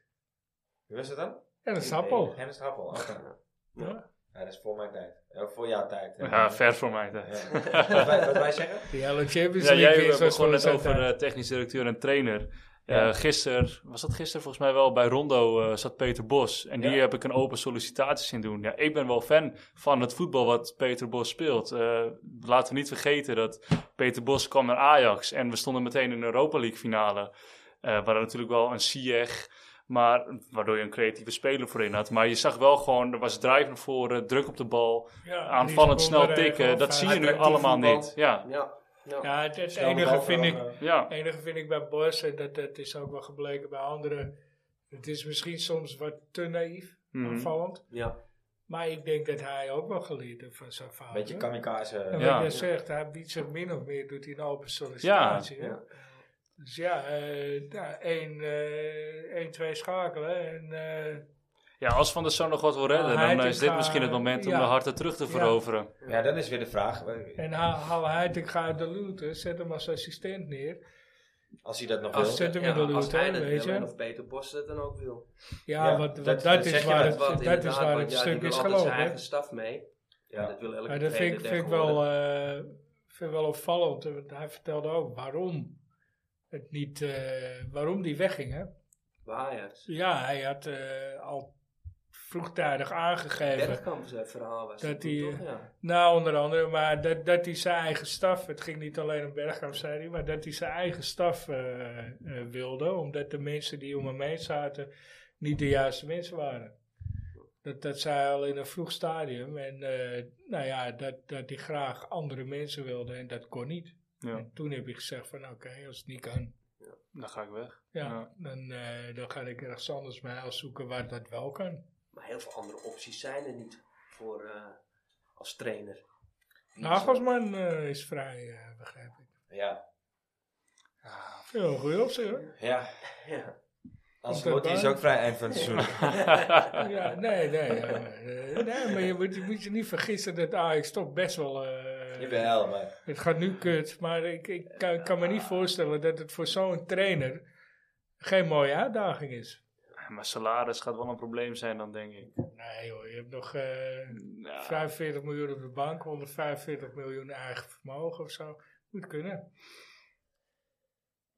Speaker 1: Wie was dat dan?
Speaker 2: en een sappel.
Speaker 1: Hennis Happel. oké.
Speaker 2: Ja.
Speaker 1: Ja, dat is voor mijn tijd. Ja, voor jouw tijd. hè.
Speaker 3: Ja, ver voor mij. hè.
Speaker 1: Ja. wat, wij, wat wij zeggen?
Speaker 2: Die hele Champions
Speaker 3: Ja,
Speaker 2: League
Speaker 3: jij eh,
Speaker 2: is was
Speaker 3: begon
Speaker 2: gewoon
Speaker 3: net over
Speaker 2: altijd-
Speaker 3: eh, technisch directeur en trainer.
Speaker 1: Ja.
Speaker 3: Eh, gisteren, was dat gisteren volgens mij wel, bij Rondo eh, zat Peter Bos. En die
Speaker 1: Ja.
Speaker 3: heb ik een open sollicitatie zien doen. Ja, ik ben wel fan van het voetbal wat Peter Bos speelt. Eh, laten we niet vergeten dat Peter Bos kwam naar Ajax. En we stonden meteen in de Europa League finale. Eh waar natuurlijk wel een Sieg, maar waardoor je een creatieve speler voorin had. Maar je zag wel gewoon, er was drive naar voren, druk op de bal,
Speaker 2: Ja,
Speaker 3: aanvallend
Speaker 2: die
Speaker 3: snel
Speaker 2: seconden, eh,
Speaker 3: tikken.
Speaker 2: gewoon
Speaker 3: Dat zie je nu
Speaker 5: Attractief
Speaker 3: allemaal
Speaker 5: voetbal.
Speaker 3: niet. Ja,
Speaker 5: Ja. ja.
Speaker 2: Ja, het, het
Speaker 1: Snel de
Speaker 2: enige
Speaker 1: bal
Speaker 2: vind ik,
Speaker 1: veranderen.
Speaker 3: ja.
Speaker 2: Het enige vind ik bij Bos, en dat, dat is ook wel gebleken bij anderen, het is misschien soms wat te naïef,
Speaker 3: Mhm.
Speaker 2: aanvallend.
Speaker 5: Ja.
Speaker 2: Maar ik denk dat hij ook wel geleerd heeft van zijn vader.
Speaker 1: Beetje kamikaze.
Speaker 2: En wat
Speaker 3: Ja.
Speaker 2: jij zegt, hij biedt zich min of meer, doet hij een open sollicitatie.
Speaker 5: Ja,
Speaker 2: hè.
Speaker 5: ja.
Speaker 2: Dus ja, eh ja, één, eh, één, twee schakelen en... eh,
Speaker 3: Ja, als Van der Sar nog wat wil redden,
Speaker 2: Ah,
Speaker 3: dan eh,
Speaker 2: Heitinga,
Speaker 3: is dit misschien het moment om
Speaker 2: ja.
Speaker 3: de harten terug te
Speaker 2: Ja.
Speaker 3: veroveren.
Speaker 1: Ja, dan is weer de vraag. eh,
Speaker 2: en haal, haal hij ik ga de Luton, zet hem als assistent neer.
Speaker 1: Als hij dat nog
Speaker 2: Als
Speaker 1: wil.
Speaker 2: zet hem
Speaker 5: Ja,
Speaker 2: in de
Speaker 5: als hij
Speaker 2: Luton,
Speaker 5: dat
Speaker 2: weet
Speaker 5: wil en
Speaker 2: je.
Speaker 5: of Peter Bos dat dan ook wil.
Speaker 2: Ja,
Speaker 1: Ja,
Speaker 2: want, want dat,
Speaker 1: dat- dat
Speaker 2: is
Speaker 1: zeg je
Speaker 2: waar
Speaker 1: wel,
Speaker 2: het,
Speaker 5: Want
Speaker 2: dat is
Speaker 5: inderdaad,
Speaker 2: waar
Speaker 5: want
Speaker 2: het
Speaker 5: ja,
Speaker 2: stuk
Speaker 5: die
Speaker 2: is
Speaker 5: wil altijd
Speaker 2: gelopen.
Speaker 5: zijn
Speaker 2: hè.
Speaker 5: eigen staf mee. Ja.
Speaker 1: Ja.
Speaker 5: Dat wil elke
Speaker 2: Maar dat vind, ik-
Speaker 5: trainer
Speaker 2: vind, ik wel,
Speaker 5: tegenwoordig.
Speaker 2: eh, vind ik wel opvallend. eh, Want hij vertelde ook waarom het niet, eh, waarom die wegging. Hè?
Speaker 5: Bij Ajax.
Speaker 2: Ja, hij had eh, al vroegtijdig aangegeven.
Speaker 5: Bergkamp zijn eh, verhaal was
Speaker 2: Dat
Speaker 5: dat toen,
Speaker 2: die,
Speaker 5: toch? Ja.
Speaker 2: Nou, onder andere, maar dat, dat hij zijn eigen staf, het ging niet alleen om Bergkamp, zei hij, maar dat hij zijn eigen staf eh, eh, wilde, omdat de mensen die om hem heen zaten niet de juiste mensen waren. Dat, dat zei hij al in een vroeg stadium en eh, nou ja, dat, dat hij graag andere mensen wilde en dat kon niet.
Speaker 3: Ja,
Speaker 2: En toen heb ik gezegd van oké, als het niet kan,
Speaker 3: dan ga ik weg.
Speaker 2: ja,
Speaker 3: Ja.
Speaker 2: Dan, eh, dan ga ik ergens anders mij uitzoeken waar dat wel kan.
Speaker 5: Maar heel veel andere opties zijn er niet voor eh, als trainer.
Speaker 2: Nagelsman eh, is vrij, eh, begrijp ik.
Speaker 1: Ja.
Speaker 2: Heel goed op zich hoor.
Speaker 1: Ja.
Speaker 5: Ja.
Speaker 1: Als
Speaker 2: Komt
Speaker 1: wordt
Speaker 2: erbij.
Speaker 1: is ook vrij eind van het seizoen.
Speaker 2: Ja, nee, nee, ja, maar, eh, nee, maar je moet, je moet je niet vergissen dat Ajax toch best wel... eh,
Speaker 1: Jawel, maar...
Speaker 2: Het gaat nu kut, maar ik, ik kan, kan me niet voorstellen dat het voor zo'n trainer geen mooie uitdaging is.
Speaker 3: Maar salaris gaat wel een probleem zijn dan, denk ik.
Speaker 2: Nee joh, je hebt nog eh,
Speaker 1: Nou.
Speaker 3: Ja.
Speaker 2: 45 miljoen op de bank, 145 miljoen eigen vermogen of zo. Moet kunnen.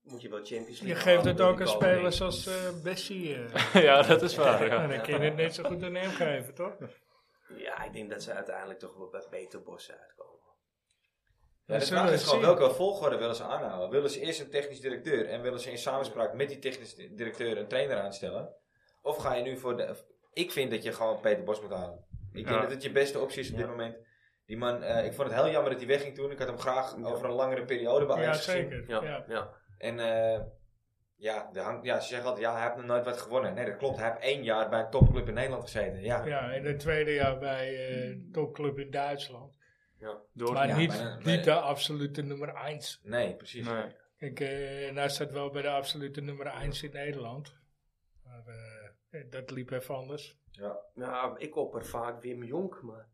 Speaker 5: Moet je wel Champions League
Speaker 2: Je geeft
Speaker 5: halen,
Speaker 2: het ook aan
Speaker 5: wil je komen.
Speaker 2: spelers als eh Bessie. eh.
Speaker 3: ja, dat is waar.
Speaker 2: Nou,
Speaker 3: Ja.
Speaker 2: dan kun je het net zo goed aan hem geven, toch?
Speaker 5: Ja, ik denk dat ze uiteindelijk toch wel bij Peter Bos uitkomen.
Speaker 1: Ja, de
Speaker 2: zullen
Speaker 1: vraag is
Speaker 2: het
Speaker 1: gewoon
Speaker 2: zien.
Speaker 1: welke volgorde willen ze aanhouden? Willen ze eerst een technisch directeur en willen ze in samenspraak met die technisch di- directeur een trainer aanstellen? Of ga je nu voor de... Ik vind dat je gewoon Peter Bos moet halen. Ik
Speaker 3: Ja.
Speaker 1: denk dat het je beste optie is op dit moment. Die man, eh, ik vond het heel jammer dat hij wegging toen. Ik had hem graag over een langere periode bij
Speaker 2: Ja,
Speaker 1: Ajax gezien.
Speaker 2: zeker. Ja.
Speaker 5: ja.
Speaker 1: En eh, ja, de hang- ja, ze zeggen altijd, ja, hij heeft nog nooit wat gewonnen. Nee, dat klopt. Hij heeft één jaar bij een topclub in Nederland gezeten. Ja,
Speaker 2: Ja, in het tweede jaar bij eh topclub in Duitsland.
Speaker 5: Oh,
Speaker 3: Door,
Speaker 2: Maar
Speaker 1: Ja,
Speaker 2: niet,
Speaker 1: maar- maar-
Speaker 2: niet de absolute nummer 1.
Speaker 1: nee, precies.
Speaker 3: nee.
Speaker 2: Kijk, eh, en hij staat wel bij de absolute nummer 1 in Nederland. Maar eh, dat liep even anders.
Speaker 5: Nou, ik opper vaak Wim Jonk, maar...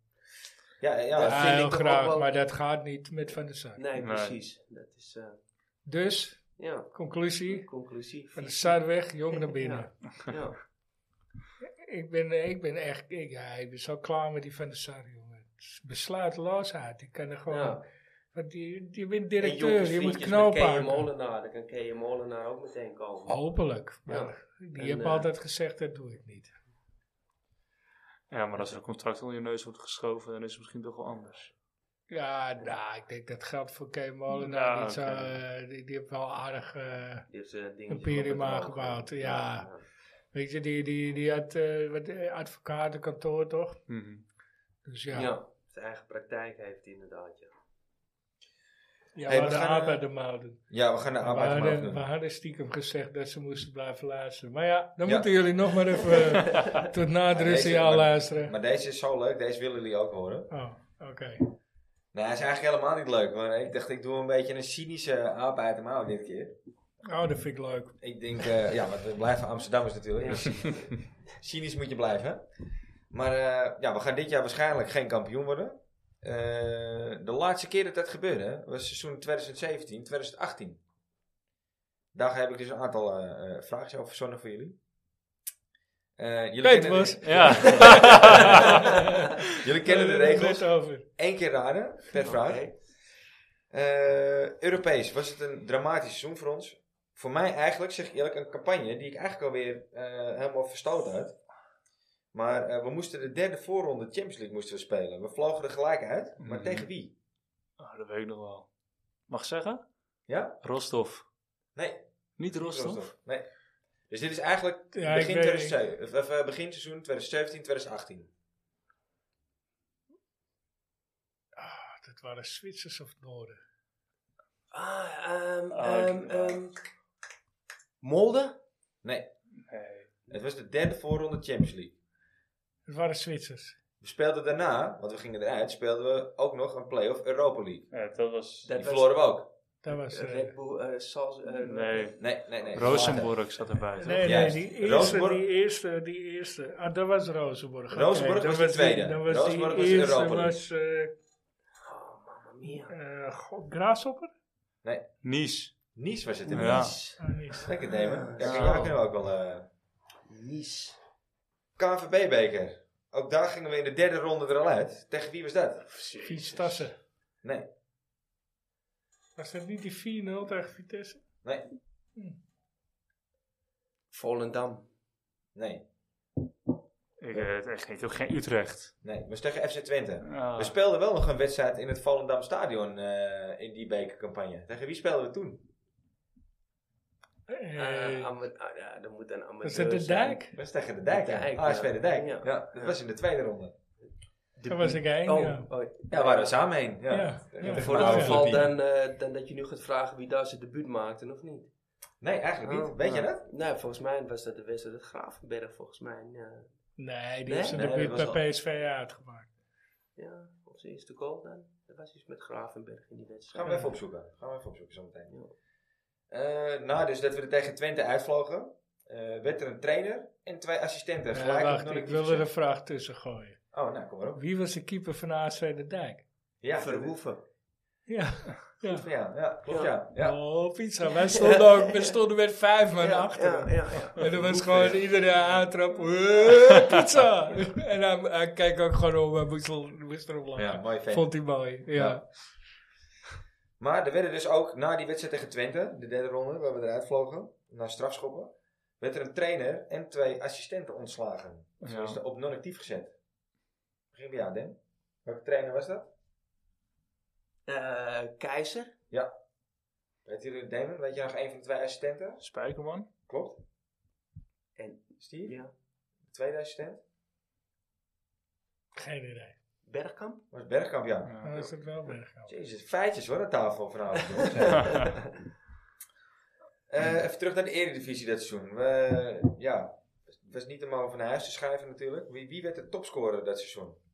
Speaker 1: Ja, eh, ja,
Speaker 5: Dat
Speaker 2: Ja,
Speaker 5: vind ik
Speaker 2: heel
Speaker 5: toch ook
Speaker 2: graag,
Speaker 5: wel-
Speaker 2: maar dat gaat niet met Van der Sar.
Speaker 5: Nee,
Speaker 3: Nee.
Speaker 5: precies. Dat is, eh,
Speaker 2: Dus,
Speaker 5: ja,
Speaker 2: conclusie,
Speaker 5: conclusief.
Speaker 2: Van der Sar weg, jong naar binnen.
Speaker 5: Ja.
Speaker 2: Ik, ben, eh, ik ben echt, ik, ja, ik ben zo klaar met die Van der Sar, jongen. Het is Besluiteloosheid, ik kan er gewoon...
Speaker 5: Ja.
Speaker 2: Want je, je bent
Speaker 5: En
Speaker 2: directeur,
Speaker 5: Jonkers
Speaker 2: je moet
Speaker 5: vriendjes met
Speaker 2: knopen
Speaker 5: Kea
Speaker 2: hakken.
Speaker 5: Molenaar, dan kan Kea Molenaar ook meteen komen.
Speaker 2: Hopelijk.
Speaker 5: Ja.
Speaker 2: Maar die
Speaker 5: En,
Speaker 2: hebben
Speaker 5: eh,
Speaker 2: altijd gezegd, dat doe ik niet.
Speaker 3: Ja, maar als er een contract onder je neus wordt geschoven, dan is het misschien toch wel anders.
Speaker 2: Ja, nou, ik denk dat geldt voor Kay Molenaar
Speaker 3: Nou,
Speaker 2: niet zo...
Speaker 3: oké.
Speaker 2: eh, die, die heeft wel aardig... eh,
Speaker 5: Die heeft, eh, dingetjes
Speaker 2: Imperium
Speaker 5: op het oog.
Speaker 2: aangebouwd, ja. weet je, die, die, die had eh, wat eh, advocatenkantoor, toch?
Speaker 3: Mhm.
Speaker 2: Dus
Speaker 5: Ja.
Speaker 2: ja, ja,
Speaker 5: Ja, zijn eigen praktijk heeft hij inderdaad, ja.
Speaker 1: Hey,
Speaker 2: we
Speaker 1: we
Speaker 2: hadden
Speaker 1: gaan,
Speaker 2: aap
Speaker 1: eh,
Speaker 2: uit de mouw doen.
Speaker 1: ja we gaan de
Speaker 2: We
Speaker 1: arbeid maar
Speaker 2: hadden, we
Speaker 1: doen.
Speaker 2: hadden stiekem gezegd dat ze moesten blijven luisteren. Maar ja, dan
Speaker 1: Ja.
Speaker 2: moeten jullie nog maar even eh, tot na het
Speaker 1: Maar deze-
Speaker 2: rustsignaal
Speaker 1: maar-
Speaker 2: luisteren.
Speaker 1: Maar deze is zo leuk, deze willen jullie ook horen.
Speaker 2: Oh, oké.
Speaker 1: Nee, hij is eigenlijk helemaal niet leuk. Maar ik dacht, ik doe een beetje een cynische aap uit de mouw dit keer.
Speaker 2: Oh, dat vind ik leuk.
Speaker 1: Ik denk, eh, ja, want we blijven Amsterdammers natuurlijk. Dus cynisch moet je blijven. hè? Maar eh, ja, we gaan dit jaar waarschijnlijk geen kampioen worden. Eh, de laatste keer dat dat gebeurde hè, was seizoen 2017, 2018. Daar heb ik dus een aantal eh eh, vraagjes over verzonnen voor jullie. Eh, jullie,
Speaker 2: Peter
Speaker 1: kennen
Speaker 2: was.
Speaker 1: de,
Speaker 3: Ja.
Speaker 1: jullie kennen de regels.
Speaker 2: Net over.
Speaker 1: Eén keer raden per vraag. Eh, Europees was het een dramatisch seizoen voor ons. Voor mij eigenlijk, zeg ik eerlijk, een campagne die ik eigenlijk alweer eh helemaal verstoot had. Maar eh, we moesten de derde voorronde Champions League moesten we spelen. We vlogen er gelijk uit, maar
Speaker 3: Mhm.
Speaker 1: tegen wie?
Speaker 3: Ah, dat weet ik nog wel. Mag ik zeggen?
Speaker 1: Ja?
Speaker 3: Rostov.
Speaker 1: Nee.
Speaker 3: Niet Rostov?
Speaker 1: Rostov. Nee. Dus dit is eigenlijk
Speaker 2: Ja, ik
Speaker 1: begin,
Speaker 2: weet-
Speaker 1: 2007, of, of, eh, begin seizoen 2017, 2018.
Speaker 2: Ah, dat waren Zwitsers of Noorden.
Speaker 5: Ah, ehm,
Speaker 3: Ah, ik-
Speaker 5: ehm, ehm, Molde?
Speaker 1: Nee.
Speaker 3: Nee.
Speaker 1: Het was de derde voorronde Champions League.
Speaker 2: Het waren Zwitsers.
Speaker 1: We speelden daarna, want we gingen eruit, speelden we ook nog een play-off Europa League.
Speaker 3: Ja, dat was...
Speaker 5: Dat
Speaker 1: Die
Speaker 5: was
Speaker 1: verloren we ook.
Speaker 2: Dat was... eh,
Speaker 5: Red Bull, eh, Sals... eh,
Speaker 3: Nee.
Speaker 1: Nee, nee, nee.
Speaker 3: Rosenborg zat erbij. toch?
Speaker 2: Nee, nee,
Speaker 1: Juist.
Speaker 2: die eerste,
Speaker 1: Rozenborg-
Speaker 2: die eerste, die eerste. Ah, dat was Rozenborg. Oké,
Speaker 1: Rozenborg
Speaker 2: dat
Speaker 1: was de tweede.
Speaker 2: dat was
Speaker 1: Rozenborg
Speaker 2: die
Speaker 1: was
Speaker 2: eerste
Speaker 1: Europa League.
Speaker 2: was eh
Speaker 5: Oh, mamma mia.
Speaker 2: eh, God, Grasshopper?
Speaker 3: Nice.
Speaker 1: Nice was het in
Speaker 3: Ja.
Speaker 5: Nice.
Speaker 2: Ah, niet.
Speaker 1: Lekker nemen. Ja,
Speaker 3: Zo.
Speaker 1: ja, kunnen we ook wel. eh
Speaker 5: Nice.
Speaker 1: KNVB-beker. Ook daar gingen we in de derde ronde er al uit. Tegen wie was dat?
Speaker 2: Fiets Tassen.
Speaker 1: Nee,
Speaker 2: Was dat niet die 4-0 tegen Vitesse?
Speaker 1: nee,
Speaker 5: Volendam.
Speaker 1: nee,
Speaker 3: Ik weet het echt niet. Ook geen Utrecht.
Speaker 1: nee. Het was tegen FC Twente.
Speaker 3: Ah,
Speaker 1: We speelden wel nog een wedstrijd in het Volendam Stadion eh, in die bekercampagne. Tegen wie speelden we toen?
Speaker 2: Eh,
Speaker 5: Eh, ama- ah, ja, dat moet een amateur
Speaker 2: was dat de
Speaker 5: zijn.
Speaker 2: dijk?
Speaker 1: Dat was tegen de Dijk.
Speaker 5: De Dijk,
Speaker 1: ASV de Dijk.
Speaker 5: ja.
Speaker 1: Ja, dat was in de tweede ronde.
Speaker 2: Daar was ik heen.
Speaker 5: Oh,
Speaker 2: ja.
Speaker 5: oh,
Speaker 1: Ja, waar we samen heen. Ja.
Speaker 2: Ja, ja.
Speaker 1: Voor
Speaker 5: Voor
Speaker 1: de
Speaker 5: het
Speaker 2: Ja.
Speaker 5: geval
Speaker 1: geval
Speaker 5: dan, eh, dan dat je nu gaat vragen wie daar zijn debuut maakte of niet.
Speaker 1: Nee, eigenlijk niet.
Speaker 5: Oh,
Speaker 1: Weet je
Speaker 5: nou.
Speaker 1: dat?
Speaker 5: Nee, volgens mij was dat de wedstrijd het Gravenberg, volgens mij. eh, Ja,
Speaker 2: Nee, die
Speaker 5: Nee?
Speaker 2: is er
Speaker 1: Nee,
Speaker 2: de buurt
Speaker 1: dat was
Speaker 2: bij PSV uitgemaakt.
Speaker 5: ja of zijn eerste goal dan. Er was iets met Gravenberg in die wedstrijd.
Speaker 1: Gaan we even opzoeken. Gaan we even opzoeken zometeen. Eh, nou, dus dat we er tegen Twente uitvlogen. Eh, werd er een trainer en twee assistenten.
Speaker 2: Eh,
Speaker 1: Gelijk
Speaker 2: wacht,
Speaker 1: op
Speaker 2: ik
Speaker 1: non-actief
Speaker 2: wil er een
Speaker 1: gezet.
Speaker 2: vraag tussen gooien.
Speaker 1: Oh, nou, kom maar op.
Speaker 2: Wie was de keeper van ASV de Dijk?
Speaker 1: Ja,
Speaker 5: Verhoeven.
Speaker 2: Ja.
Speaker 1: dat- Ja, ja, klopt, ja. ja.
Speaker 2: Oh, pizza. Wij stonden, ook, wij stonden met vijf man
Speaker 5: Ja,
Speaker 2: achter.
Speaker 5: ja, ja, ja.
Speaker 2: En er was gewoon iedereen aantrap. "Hey, Pizza! en hij, hij kijkt ook gewoon om en moest, er- moest erop lachen.
Speaker 1: Ja, mooi vent.
Speaker 2: Vond hij mooi, ja.
Speaker 1: Ja. Maar er werden dus ook na die wedstrijd tegen Twente, de derde ronde, waar we eruit vlogen, naar strafschoppen, werd er een trainer en twee assistenten ontslagen. Of
Speaker 3: Ja.
Speaker 1: is er op non-actief gezet. Begin bij jou, Den. Welke trainer was dat?
Speaker 5: Eh, Keizer?
Speaker 1: Weet je, Damon, weet je nog een van de twee assistenten?
Speaker 3: Spijkerman?
Speaker 1: Klopt.
Speaker 5: En-
Speaker 1: Steve?
Speaker 5: Ja.
Speaker 1: De tweede assistent?
Speaker 2: Geen idee.
Speaker 5: Bergkamp?
Speaker 1: Was Bergkamp, ja.
Speaker 3: Ja.
Speaker 2: Dan is het wel Bergkamp.
Speaker 1: Jezus, feitjes hoor, aan tafel vanavond. jongens. Eh, even terug naar de Eredivisie dat seizoen. We, ja, het was niet helemaal van huis te schuiven natuurlijk. Wie, wie werd de topscorer dat seizoen?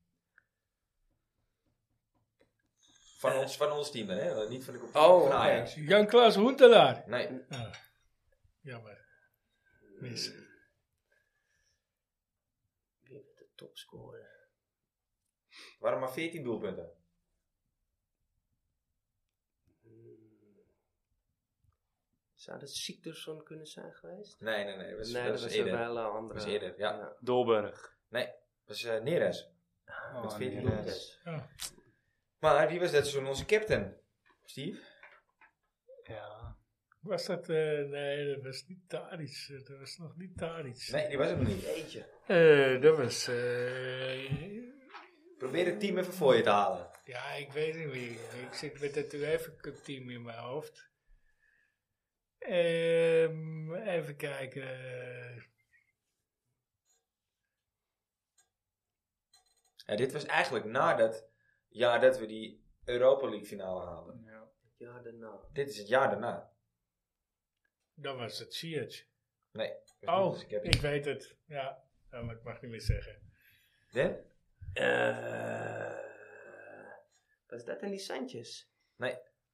Speaker 1: Van ons, van ons team, hè? Eh, Niet van de competitie,
Speaker 5: Oh,
Speaker 1: van Ajax.
Speaker 2: Jan-Klaas Hoentelaar.
Speaker 1: Nee,
Speaker 2: Ah, jammer. Mis.
Speaker 5: Wie werd de topscorer?
Speaker 1: het waren maar 14 doelpunten.
Speaker 5: Zou dat Siktersson kunnen zijn geweest?
Speaker 1: Nee, nee, nee. Dat was,
Speaker 5: nee, dat was een
Speaker 1: eerder.
Speaker 5: hele andere.
Speaker 1: Dat was eerder, ja.
Speaker 3: Dolberg.
Speaker 1: Dat was eh, Neres. Met 14 doelpunten.
Speaker 5: Yes.
Speaker 1: Maar wie was dat seizoen onze captain? Steve?
Speaker 3: Ja.
Speaker 2: Was dat... eh, nee, dat was niet Taric. Dat was nog niet Taric.
Speaker 1: Nee, die was het nog niet. Eentje.
Speaker 2: Eh, dat was... eh,
Speaker 1: Probeer het team even voor je te halen.
Speaker 2: ja, ik weet niet meer. Ik zit met het UEFA Cup team in mijn hoofd. Ehm, even kijken.
Speaker 1: Ja, dit was eigenlijk nadat het jaar dat we die Europa League finale haalden.
Speaker 3: ja.
Speaker 5: Ja, daarna.
Speaker 1: Dit is het jaar daarna.
Speaker 2: Dan was het Siege.
Speaker 1: Dus
Speaker 2: Oh,
Speaker 1: ik heb
Speaker 2: ik weet het. Ja, Ja, maar ik mag niet meer zeggen.
Speaker 1: Den?
Speaker 5: Eh, was dat dan die Sanchez?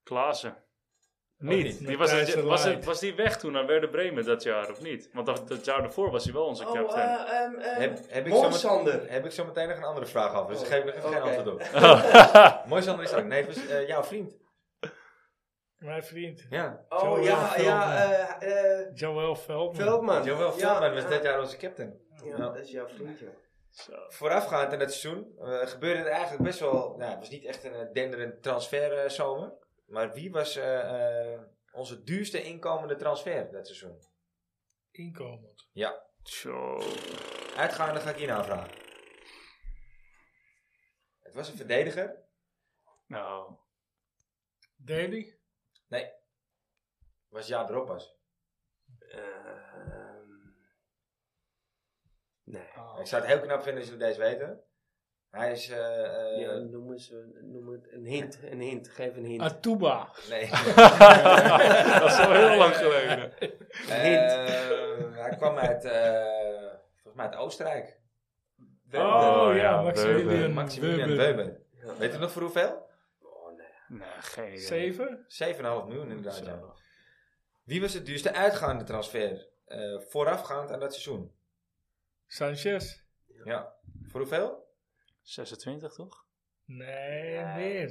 Speaker 3: Klaassen.
Speaker 1: Niet.
Speaker 2: Oh,
Speaker 3: Niet. Die was,
Speaker 2: Matthijs de
Speaker 3: was,
Speaker 2: Ligt.
Speaker 3: was die weg toen naar Werder Bremen dat jaar of niet? Want dat, dat jaar daarvoor was hij wel onze
Speaker 5: Oh,
Speaker 3: captain.
Speaker 5: eh, ehm, ehm,
Speaker 1: Heb, heb, ik zo meteen,
Speaker 5: Monsander.
Speaker 1: heb ik zo meteen nog een andere vraag over, dus daar geef ik nog even geen
Speaker 5: Oh, Oké.
Speaker 1: antwoord op. Mooi Sander is ook. Nee, het was eh, jouw vriend.
Speaker 2: Mijn vriend.
Speaker 1: Ja.
Speaker 5: Oh
Speaker 2: Joel
Speaker 5: ja, ja,
Speaker 2: Veldman.
Speaker 5: eh, eh,
Speaker 2: Joël Veldman.
Speaker 5: Veldman.
Speaker 1: Jawel, Veldman was dit jaar onze captain.
Speaker 5: Ja,
Speaker 1: Ja.
Speaker 5: dat is jouw vriendje.
Speaker 3: Zo.
Speaker 1: Voorafgaand aan dat seizoen eh, gebeurde er eigenlijk best wel... Nou, het was niet echt een eh, denderend transferzomer. maar wie was eh, eh, onze duurste inkomende transfer dat seizoen?
Speaker 2: Inkomend.
Speaker 3: Zo.
Speaker 1: Uitgaande ga ik hier aanvragen. Het was een verdediger.
Speaker 3: Nou.
Speaker 2: Daly?
Speaker 1: Was jaar erop pas.
Speaker 5: Ehm, nee.
Speaker 1: Ik zou het heel knap vinden als jullie deze weten. Hij is... eh, eh, Ah.
Speaker 5: Ja, noem, eens, een- noem het een hint, een hint, geef een hint.
Speaker 2: Atuba.
Speaker 1: Nee.
Speaker 3: dat is al heel lang geleden.
Speaker 1: Eh, hij kwam uit, eh, volgens mij uit Oostenrijk.
Speaker 3: Oh, ja,
Speaker 1: Weber.
Speaker 2: Maximilian.
Speaker 1: Maximilian
Speaker 2: Weber.
Speaker 1: Weber. Weet je nog voor hoeveel?
Speaker 5: Oh, nee.
Speaker 3: Nee, geen idee.
Speaker 2: Zeven?
Speaker 1: 7,5 miljoen inderdaad. ja.
Speaker 3: Zo.
Speaker 1: Wie was het duurste uitgaande transfer eh, voorafgaand aan dat seizoen?
Speaker 2: Sanchez?
Speaker 1: Ja. Voor hoeveel?
Speaker 3: 26 toch?
Speaker 2: Nee, meer.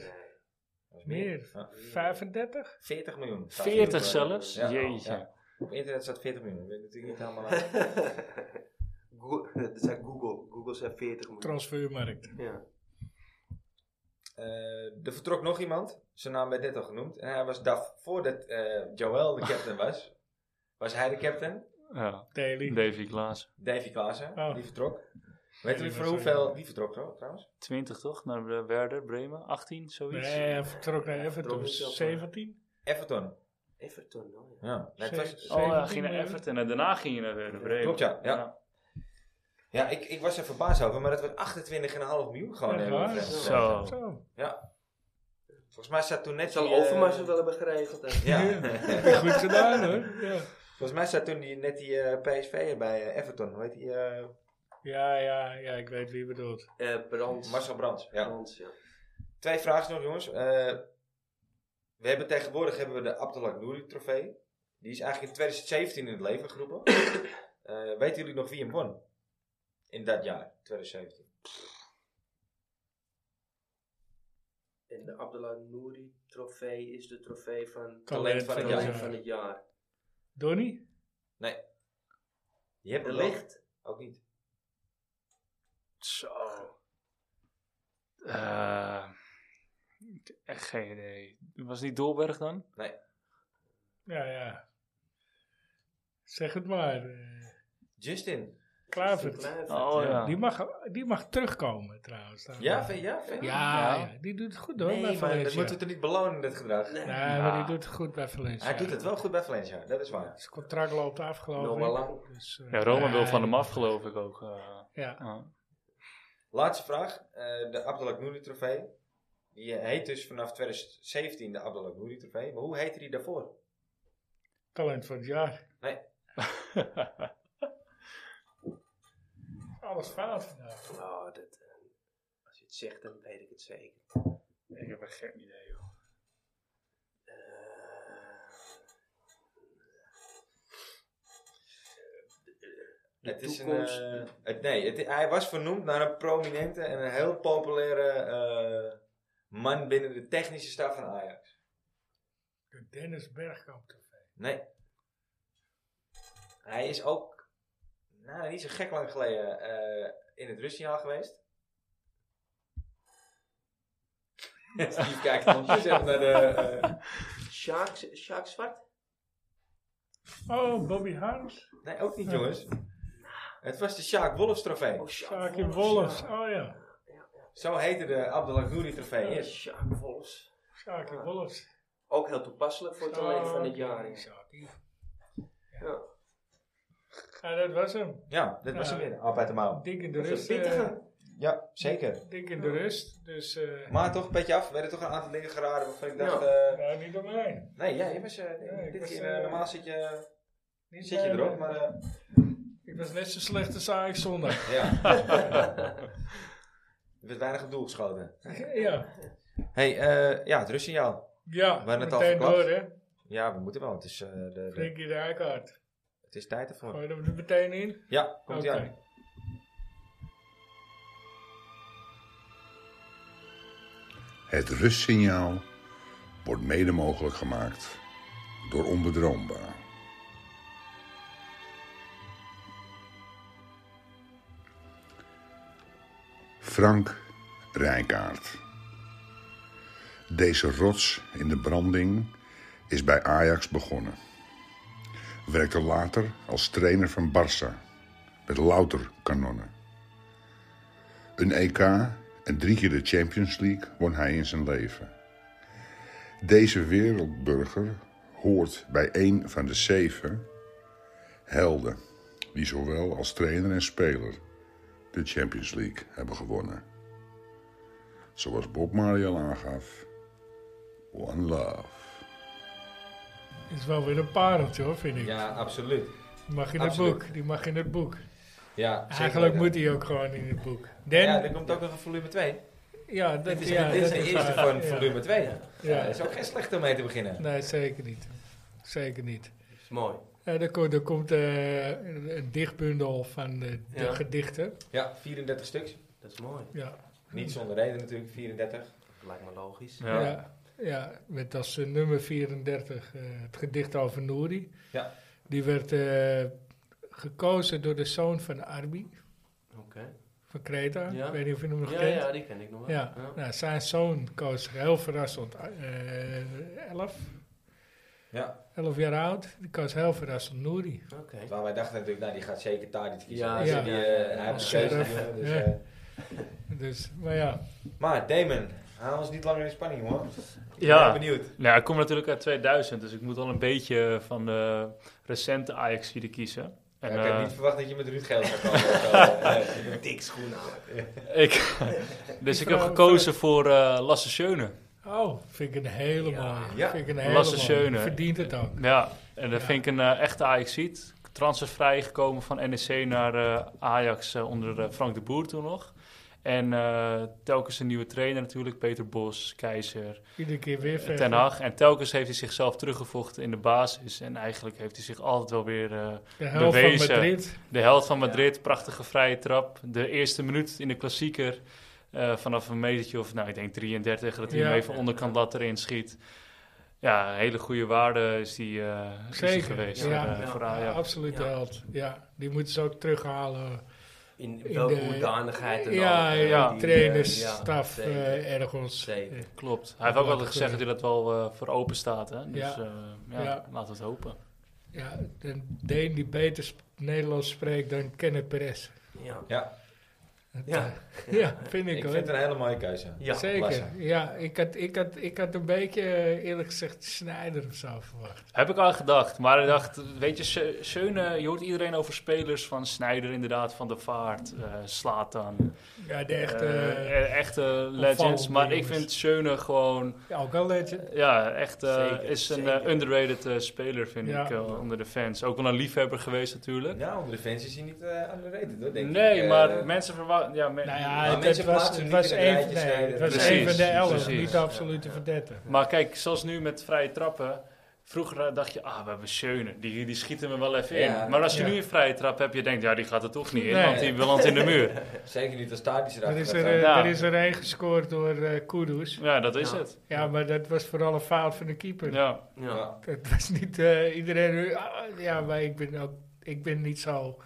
Speaker 1: Dat is
Speaker 2: Meer.
Speaker 1: Ja.
Speaker 2: 35?
Speaker 1: 40 miljoen.
Speaker 3: 40 zelfs?
Speaker 1: eh, Ja,
Speaker 3: Jeetje.
Speaker 1: ja. Op internet staat 40 miljoen. Ik weet natuurlijk niet helemaal. uit.
Speaker 5: Go- dat zei Google. Google zei 40 miljoen.
Speaker 2: Transfermarkt.
Speaker 5: Ja.
Speaker 1: Eh, er vertrok nog iemand. Zijn naam werd net al genoemd. En hij was daar voordat eh Joel de captain was. Was hij de captain?
Speaker 3: Ja.
Speaker 2: Daly.
Speaker 3: Davy Klaassen.
Speaker 1: Davy Klaassen,
Speaker 2: Oh.
Speaker 1: die vertrok. Weet
Speaker 2: die
Speaker 1: jullie voor
Speaker 2: was er
Speaker 1: hoeveel
Speaker 2: niet.
Speaker 1: die vertrok trouw- trouwens?
Speaker 3: 20 toch? Naar eh, Werder, Bremen. 18, zoiets.
Speaker 2: Nee, hij vertrok naar
Speaker 5: Vertrok
Speaker 2: Everton.
Speaker 5: niet zelf,
Speaker 2: 17?
Speaker 1: Everton.
Speaker 5: Everton, oh ja.
Speaker 1: Ja, nee, het was-
Speaker 2: Zeven.
Speaker 3: Oh ja,
Speaker 2: 17
Speaker 3: ging naar
Speaker 2: miljoen.
Speaker 3: Everton en daarna ging je naar Werder Bremen.
Speaker 1: Klopt, ja, ja. Ja, ik, ik was er verbaasd over, maar dat was 28,5 miljoen gewoon.
Speaker 2: Echt
Speaker 1: hebben
Speaker 2: waar?
Speaker 1: we gezegd.
Speaker 3: Zo.
Speaker 2: Zo.
Speaker 1: Ja. Volgens mij staat toen net
Speaker 5: Zal
Speaker 1: die,
Speaker 5: Overmars
Speaker 1: eh,
Speaker 5: het wel hebben geregeld. hè?
Speaker 1: Ja.
Speaker 2: Heb je goed gedaan hoor. Ja,
Speaker 1: Volgens mij staat toen die, net die eh, PSV'er bij eh, Everton. Hoe heet die? eh,
Speaker 2: ja, ja, ja, ik weet wie je bedoelt.
Speaker 5: Eh, brand.
Speaker 1: Marcel Brands. Ja.
Speaker 5: Brands, ja.
Speaker 1: Twee vragen nog, jongens. Eh, we hebben tegenwoordig hebben we de Abdelak Nouri trofee. Die is eigenlijk in 2017 in het leven geroepen. Eh, weten jullie nog wie hem won? In dat jaar, 2017.
Speaker 5: En de Abdullah Nouri trofee is de trofee van
Speaker 1: Talent van het
Speaker 5: talent
Speaker 1: jaar.
Speaker 2: eh,
Speaker 5: van het jaar.
Speaker 2: Donnie?
Speaker 1: Je hebt
Speaker 5: De
Speaker 1: hem wel.
Speaker 5: licht.
Speaker 1: Ook niet.
Speaker 3: Zo. Eh, ik heb echt geen idee. Was het niet Dolberg dan?
Speaker 2: Ja, ja. Zeg het maar. eh,
Speaker 1: Justin.
Speaker 2: Klavert.
Speaker 3: Oh ja.
Speaker 2: Die mag, die mag terugkomen trouwens. Dan.
Speaker 1: Ja, vind je? Ja, vind
Speaker 2: Ja,
Speaker 1: je?
Speaker 2: ja, die doet het goed hoor.
Speaker 1: Nee,
Speaker 2: bij
Speaker 1: maar dat
Speaker 2: Valencia.
Speaker 1: moeten we toch niet belonen, dat gedrag?
Speaker 5: Nee.
Speaker 2: Ja, maar die doet het goed bij Valencia.
Speaker 1: Hij doet het wel goed bij Valencia, dat is waar.
Speaker 2: Zijn contract loopt af, geloof ik.
Speaker 1: Nog wel lang.
Speaker 2: Dus, eh,
Speaker 3: Ja, Roma wil van
Speaker 2: nee.
Speaker 3: hem af, geloof ik ook. eh.
Speaker 2: Ja.
Speaker 3: Ja.
Speaker 1: Laatste vraag. eh, de Abdelak Nouri trofee. Die eh, heet dus vanaf 2017 de Abdelak Nouri trofee. Maar hoe heette die daarvoor?
Speaker 2: Talent van het jaar.
Speaker 1: Nee.
Speaker 2: Alles fout vandaag.
Speaker 5: Oh, dat, eh, als je het zegt, dan weet ik het zeker.
Speaker 3: Ik heb echt geen idee, joh.
Speaker 1: Het is een,
Speaker 5: toekomst.
Speaker 1: eh, het, nee, het- hij was vernoemd naar een prominente en een heel populaire eh, man binnen de technische staf van Ajax.
Speaker 2: De Dennis Bergkamp.
Speaker 1: Nee. Hij is ook nou, niet zo gek lang geleden eh, in het Russiaal geweest. Steve kijkt ondertussen even naar de... eh,
Speaker 5: Sjaak, Sjaak Zwart?
Speaker 2: Oh, Bobby Harms.
Speaker 1: nee, ook niet jongens. Het was de Sjaak Wolfs trofee.
Speaker 5: Oh, Sjaak
Speaker 2: Sjaakje
Speaker 5: Wolfs,
Speaker 2: Wolfs.
Speaker 5: ja.
Speaker 2: Oh ja,
Speaker 1: Zo heette de Abdelagnouri trofee.
Speaker 5: Ja,
Speaker 1: eerst.
Speaker 5: Sjaak Wolfs.
Speaker 2: Sjaakje
Speaker 5: Ja.
Speaker 2: Wolfs.
Speaker 5: Ook heel toepasselijk voor het talent
Speaker 2: Oh,
Speaker 5: van het jaar. ja.
Speaker 2: Sjaakje.
Speaker 5: Ja.
Speaker 2: Ja, dat was hem.
Speaker 1: Ja, dat was hem weer. Al bij de mouw.
Speaker 2: Dik in de
Speaker 5: is een
Speaker 2: rust. eh,
Speaker 5: pittige.
Speaker 1: Ja, zeker.
Speaker 2: dik in de rust. Dus eh
Speaker 1: Maar toch, een beetje af. We werden toch een aantal dingen geraden waarvan ik dacht...
Speaker 5: Ja.
Speaker 1: eh,
Speaker 2: nou, niet omheen.
Speaker 1: nee, ja, je was... eh, nee,
Speaker 2: Nee, ik
Speaker 1: dit
Speaker 2: was,
Speaker 1: keer,
Speaker 2: eh,
Speaker 1: eh, normaal zit je,
Speaker 2: Niet
Speaker 1: zit je
Speaker 2: bij,
Speaker 1: erop,
Speaker 2: eh,
Speaker 1: maar... eh,
Speaker 2: Ik was net zo slecht als Ajax zondag.
Speaker 1: ja. er werd weinig op doel geschoten.
Speaker 2: ja.
Speaker 1: hey, eh, ja, het rustsignaal.
Speaker 2: Ja,
Speaker 1: hadden het al
Speaker 2: meteen
Speaker 1: verklapt.
Speaker 2: door hè.
Speaker 1: Ja, we moeten wel. Het is, eh, de, de,
Speaker 2: Frenkie de Rijkaard.
Speaker 1: het is tijd ervoor.
Speaker 2: Gooi hem er meteen in.
Speaker 1: Ja, komt ie
Speaker 2: Oké.
Speaker 1: aan.
Speaker 8: Het rustsignaal wordt mede mogelijk gemaakt door onbedroombaar. Frank Rijkaard. Deze rots in de branding is bij Ajax begonnen. Werkte later als trainer van Barça met louter kanonnen. Een EK en drie keer de Champions League won hij in zijn leven. Deze wereldburger hoort bij een van de zeven helden die zowel als trainer en speler de Champions League hebben gewonnen. Zoals Bob Marley al aangaf, One Love.
Speaker 2: Is wel weer een pareltje hoor, vind ik.
Speaker 1: Ja, absoluut.
Speaker 2: Die mag in het
Speaker 1: absoluut.
Speaker 2: boek. Die mag in het boek.
Speaker 1: Ja, zeker
Speaker 2: Eigenlijk
Speaker 1: weten.
Speaker 2: moet hij ook gewoon in het boek.
Speaker 1: Ja,
Speaker 2: Dan,
Speaker 1: er komt ook nog een volume 2.
Speaker 2: ja, dat
Speaker 1: Dit is,
Speaker 2: ja,
Speaker 1: dit is
Speaker 2: dat
Speaker 1: de eerste
Speaker 2: waar.
Speaker 1: van
Speaker 2: Ja.
Speaker 1: volume 2. Ja.
Speaker 2: Ja.
Speaker 1: dat is ook geen slecht om mee te beginnen.
Speaker 2: Nee, zeker niet. Zeker niet.
Speaker 5: Is mooi.
Speaker 2: Eh er, komt, er komt eh, een een dichtbundel van de, de
Speaker 5: Ja.
Speaker 2: gedichten.
Speaker 1: Ja, 34 stuks.
Speaker 5: Dat is mooi.
Speaker 2: Ja.
Speaker 1: Niet zonder reden natuurlijk, 34.
Speaker 5: Lijkt me logisch.
Speaker 2: Ja. ja. met als eh, nummer 34 eh, het gedicht over Nouri.
Speaker 1: Ja.
Speaker 2: Die werd eh, gekozen door de zoon van Arbi,
Speaker 5: Oké.
Speaker 2: van Kreta.
Speaker 5: Ja.
Speaker 2: Ik weet niet of je hem nog
Speaker 5: Ja,
Speaker 2: kent.
Speaker 5: ja, die ken ik nog wel.
Speaker 2: Ja, Nou, zijn zoon koos zich heel verrassend. eh 11,
Speaker 1: Ja.
Speaker 2: 11 jaar oud. Die koos heel verrassend Nouri.
Speaker 5: Oké.
Speaker 1: Waar wij dachten natuurlijk, nou die gaat zeker Tadic kiezen.
Speaker 5: Ja,
Speaker 1: Maar
Speaker 2: ja.
Speaker 1: Die, eh, hij heeft een keuze.
Speaker 2: Scherp.
Speaker 1: gevonden, Dus,
Speaker 2: Ja.
Speaker 1: eh,
Speaker 2: Dus, maar ja.
Speaker 1: Maar Damon, haal ons niet langer in spanning hoor. Ik ben
Speaker 3: Ja.
Speaker 1: heel benieuwd.
Speaker 3: Nou, ik kom natuurlijk uit 2000, dus ik moet al een beetje van de recente Ajax-zieden kiezen. En,
Speaker 1: Ja, ik
Speaker 3: eh,
Speaker 1: had niet verwacht dat je met Ruud Geel zou komen. eh, of zo. Nee.
Speaker 5: Dik schoen aan.
Speaker 3: ik, dus ik heb
Speaker 2: vrouw-
Speaker 3: gekozen voor eh Lasse Schöne.
Speaker 2: Oh, vind ik een hele mooie.
Speaker 1: Ja.
Speaker 2: Vind ik een hele
Speaker 3: Lasse
Speaker 2: mooie.
Speaker 3: Schöne.
Speaker 2: Verdient het ook.
Speaker 3: Ja, en dat vind ik een eh, echte Ajaxiet. Transfervrij gekomen van NEC naar eh, Ajax eh, onder eh, Frank de Boer toen nog. En eh, telkens een nieuwe trainer natuurlijk, Peter Bos, Keizer, eh,
Speaker 2: Iedere keer weer verder.
Speaker 3: Ten Hag. En telkens heeft hij zichzelf teruggevochten in de basis. En eigenlijk heeft hij zich altijd wel weer eh,
Speaker 2: De helft van
Speaker 3: bewezen.
Speaker 2: Madrid.
Speaker 3: de held van Madrid, prachtige vrije trap. De eerste minuut in de klassieker. eh, vanaf een metertje of, nou, ik denk 33, dat hij
Speaker 2: Ja.
Speaker 3: hem even onderkant lat erin schiet. Ja, een hele goede waarde is die, eh, is die
Speaker 2: Zeker,
Speaker 3: geweest
Speaker 2: ja.
Speaker 3: voor, eh, voor
Speaker 2: Ja,
Speaker 3: Ajax.
Speaker 2: absoluut de held. Ja, die moeten ze ook terughalen.
Speaker 5: In,
Speaker 2: In
Speaker 5: welke
Speaker 2: de-
Speaker 5: hoedanigheid dan
Speaker 2: ja,
Speaker 5: ook.
Speaker 2: ja,
Speaker 5: eh,
Speaker 3: ja,
Speaker 5: die,
Speaker 2: trainers,
Speaker 5: eh, ja,
Speaker 2: staf,
Speaker 5: zeker.
Speaker 2: eh, ergens.
Speaker 5: Zeker.
Speaker 3: Klopt. Hij heeft ook
Speaker 2: laten
Speaker 3: altijd gezegd dat hij
Speaker 2: gebeuren.
Speaker 3: dat wel eh, voor open staat. Hè? Dus
Speaker 2: Ja.
Speaker 3: eh, ja,
Speaker 2: Ja.
Speaker 3: laten we het hopen.
Speaker 2: Ja, de Deen die beter sp- Nederlands spreekt dan Kenneth Perez.
Speaker 5: ja.
Speaker 1: Ja,
Speaker 5: Ja.
Speaker 2: Ja, vind ik
Speaker 1: ik
Speaker 2: hoor.
Speaker 1: vind het een hele mooie keuze.
Speaker 5: Ja.
Speaker 1: Lasse.
Speaker 2: Zeker. Ja, ik had, ik, had, ik had een beetje, eh, eerlijk gezegd, Snijder of zo verwacht.
Speaker 3: Heb ik al gedacht. Maar ik dacht, weet je, Schö- Schöne, je hoort iedereen over spelers van Snijder inderdaad, Van de Vaart, eh Slatan.
Speaker 2: Ja, de echte...
Speaker 3: Eh, eh, echte legends.
Speaker 2: opvallende
Speaker 3: Maar ik
Speaker 2: jongens.
Speaker 3: vind Schöne gewoon,
Speaker 2: ja, eh, ook al legend.
Speaker 3: ja, echt eh,
Speaker 5: Zeker,
Speaker 3: is een
Speaker 5: zeker.
Speaker 3: eh, underrated eh, speler, vind
Speaker 2: Ja.
Speaker 3: ik, eh, onder de fans. Ook wel een liefhebber geweest natuurlijk.
Speaker 1: Ja, onder de fans is hij niet eh underrated hoor, denk
Speaker 3: Nee,
Speaker 1: ik. Eh,
Speaker 3: maar mensen verwachten... Ja, me-
Speaker 2: Nou
Speaker 1: Maar
Speaker 2: ja, het,
Speaker 1: mensen
Speaker 2: het was,
Speaker 1: plaatsen
Speaker 2: het
Speaker 1: hem
Speaker 2: was
Speaker 1: niet in het
Speaker 2: één
Speaker 1: rijtje
Speaker 2: nee,
Speaker 1: Snijder.
Speaker 2: het was
Speaker 3: Precies,
Speaker 2: één van de elf,
Speaker 3: precies.
Speaker 2: niet de absolute verdette.
Speaker 3: Maar kijk, zoals nu met vrije trappen. Vroeger eh, dacht je, ah, we hebben Schöne. Die, die schieten me wel even
Speaker 1: Ja.
Speaker 3: in. Maar als je
Speaker 2: Ja.
Speaker 3: nu een vrije trap hebt, je denkt, ja, die gaat er toch niet in.
Speaker 2: Nee.
Speaker 3: Want die belandt in de muur.
Speaker 1: Zeker niet als staat die
Speaker 2: Er
Speaker 1: erachter
Speaker 2: is
Speaker 1: gaat
Speaker 2: er,
Speaker 1: staan.
Speaker 2: eh,
Speaker 3: Ja.
Speaker 2: er is er één gescoord door eh Kudus.
Speaker 3: Ja, dat is
Speaker 5: Ja.
Speaker 3: het.
Speaker 2: Ja, maar dat was vooral een fout van de keeper.
Speaker 3: Ja.
Speaker 5: Ja.
Speaker 1: Ja.
Speaker 2: Het was niet eh, iedereen... nu, ah, ja, maar ik ben, ook, ik ben niet zo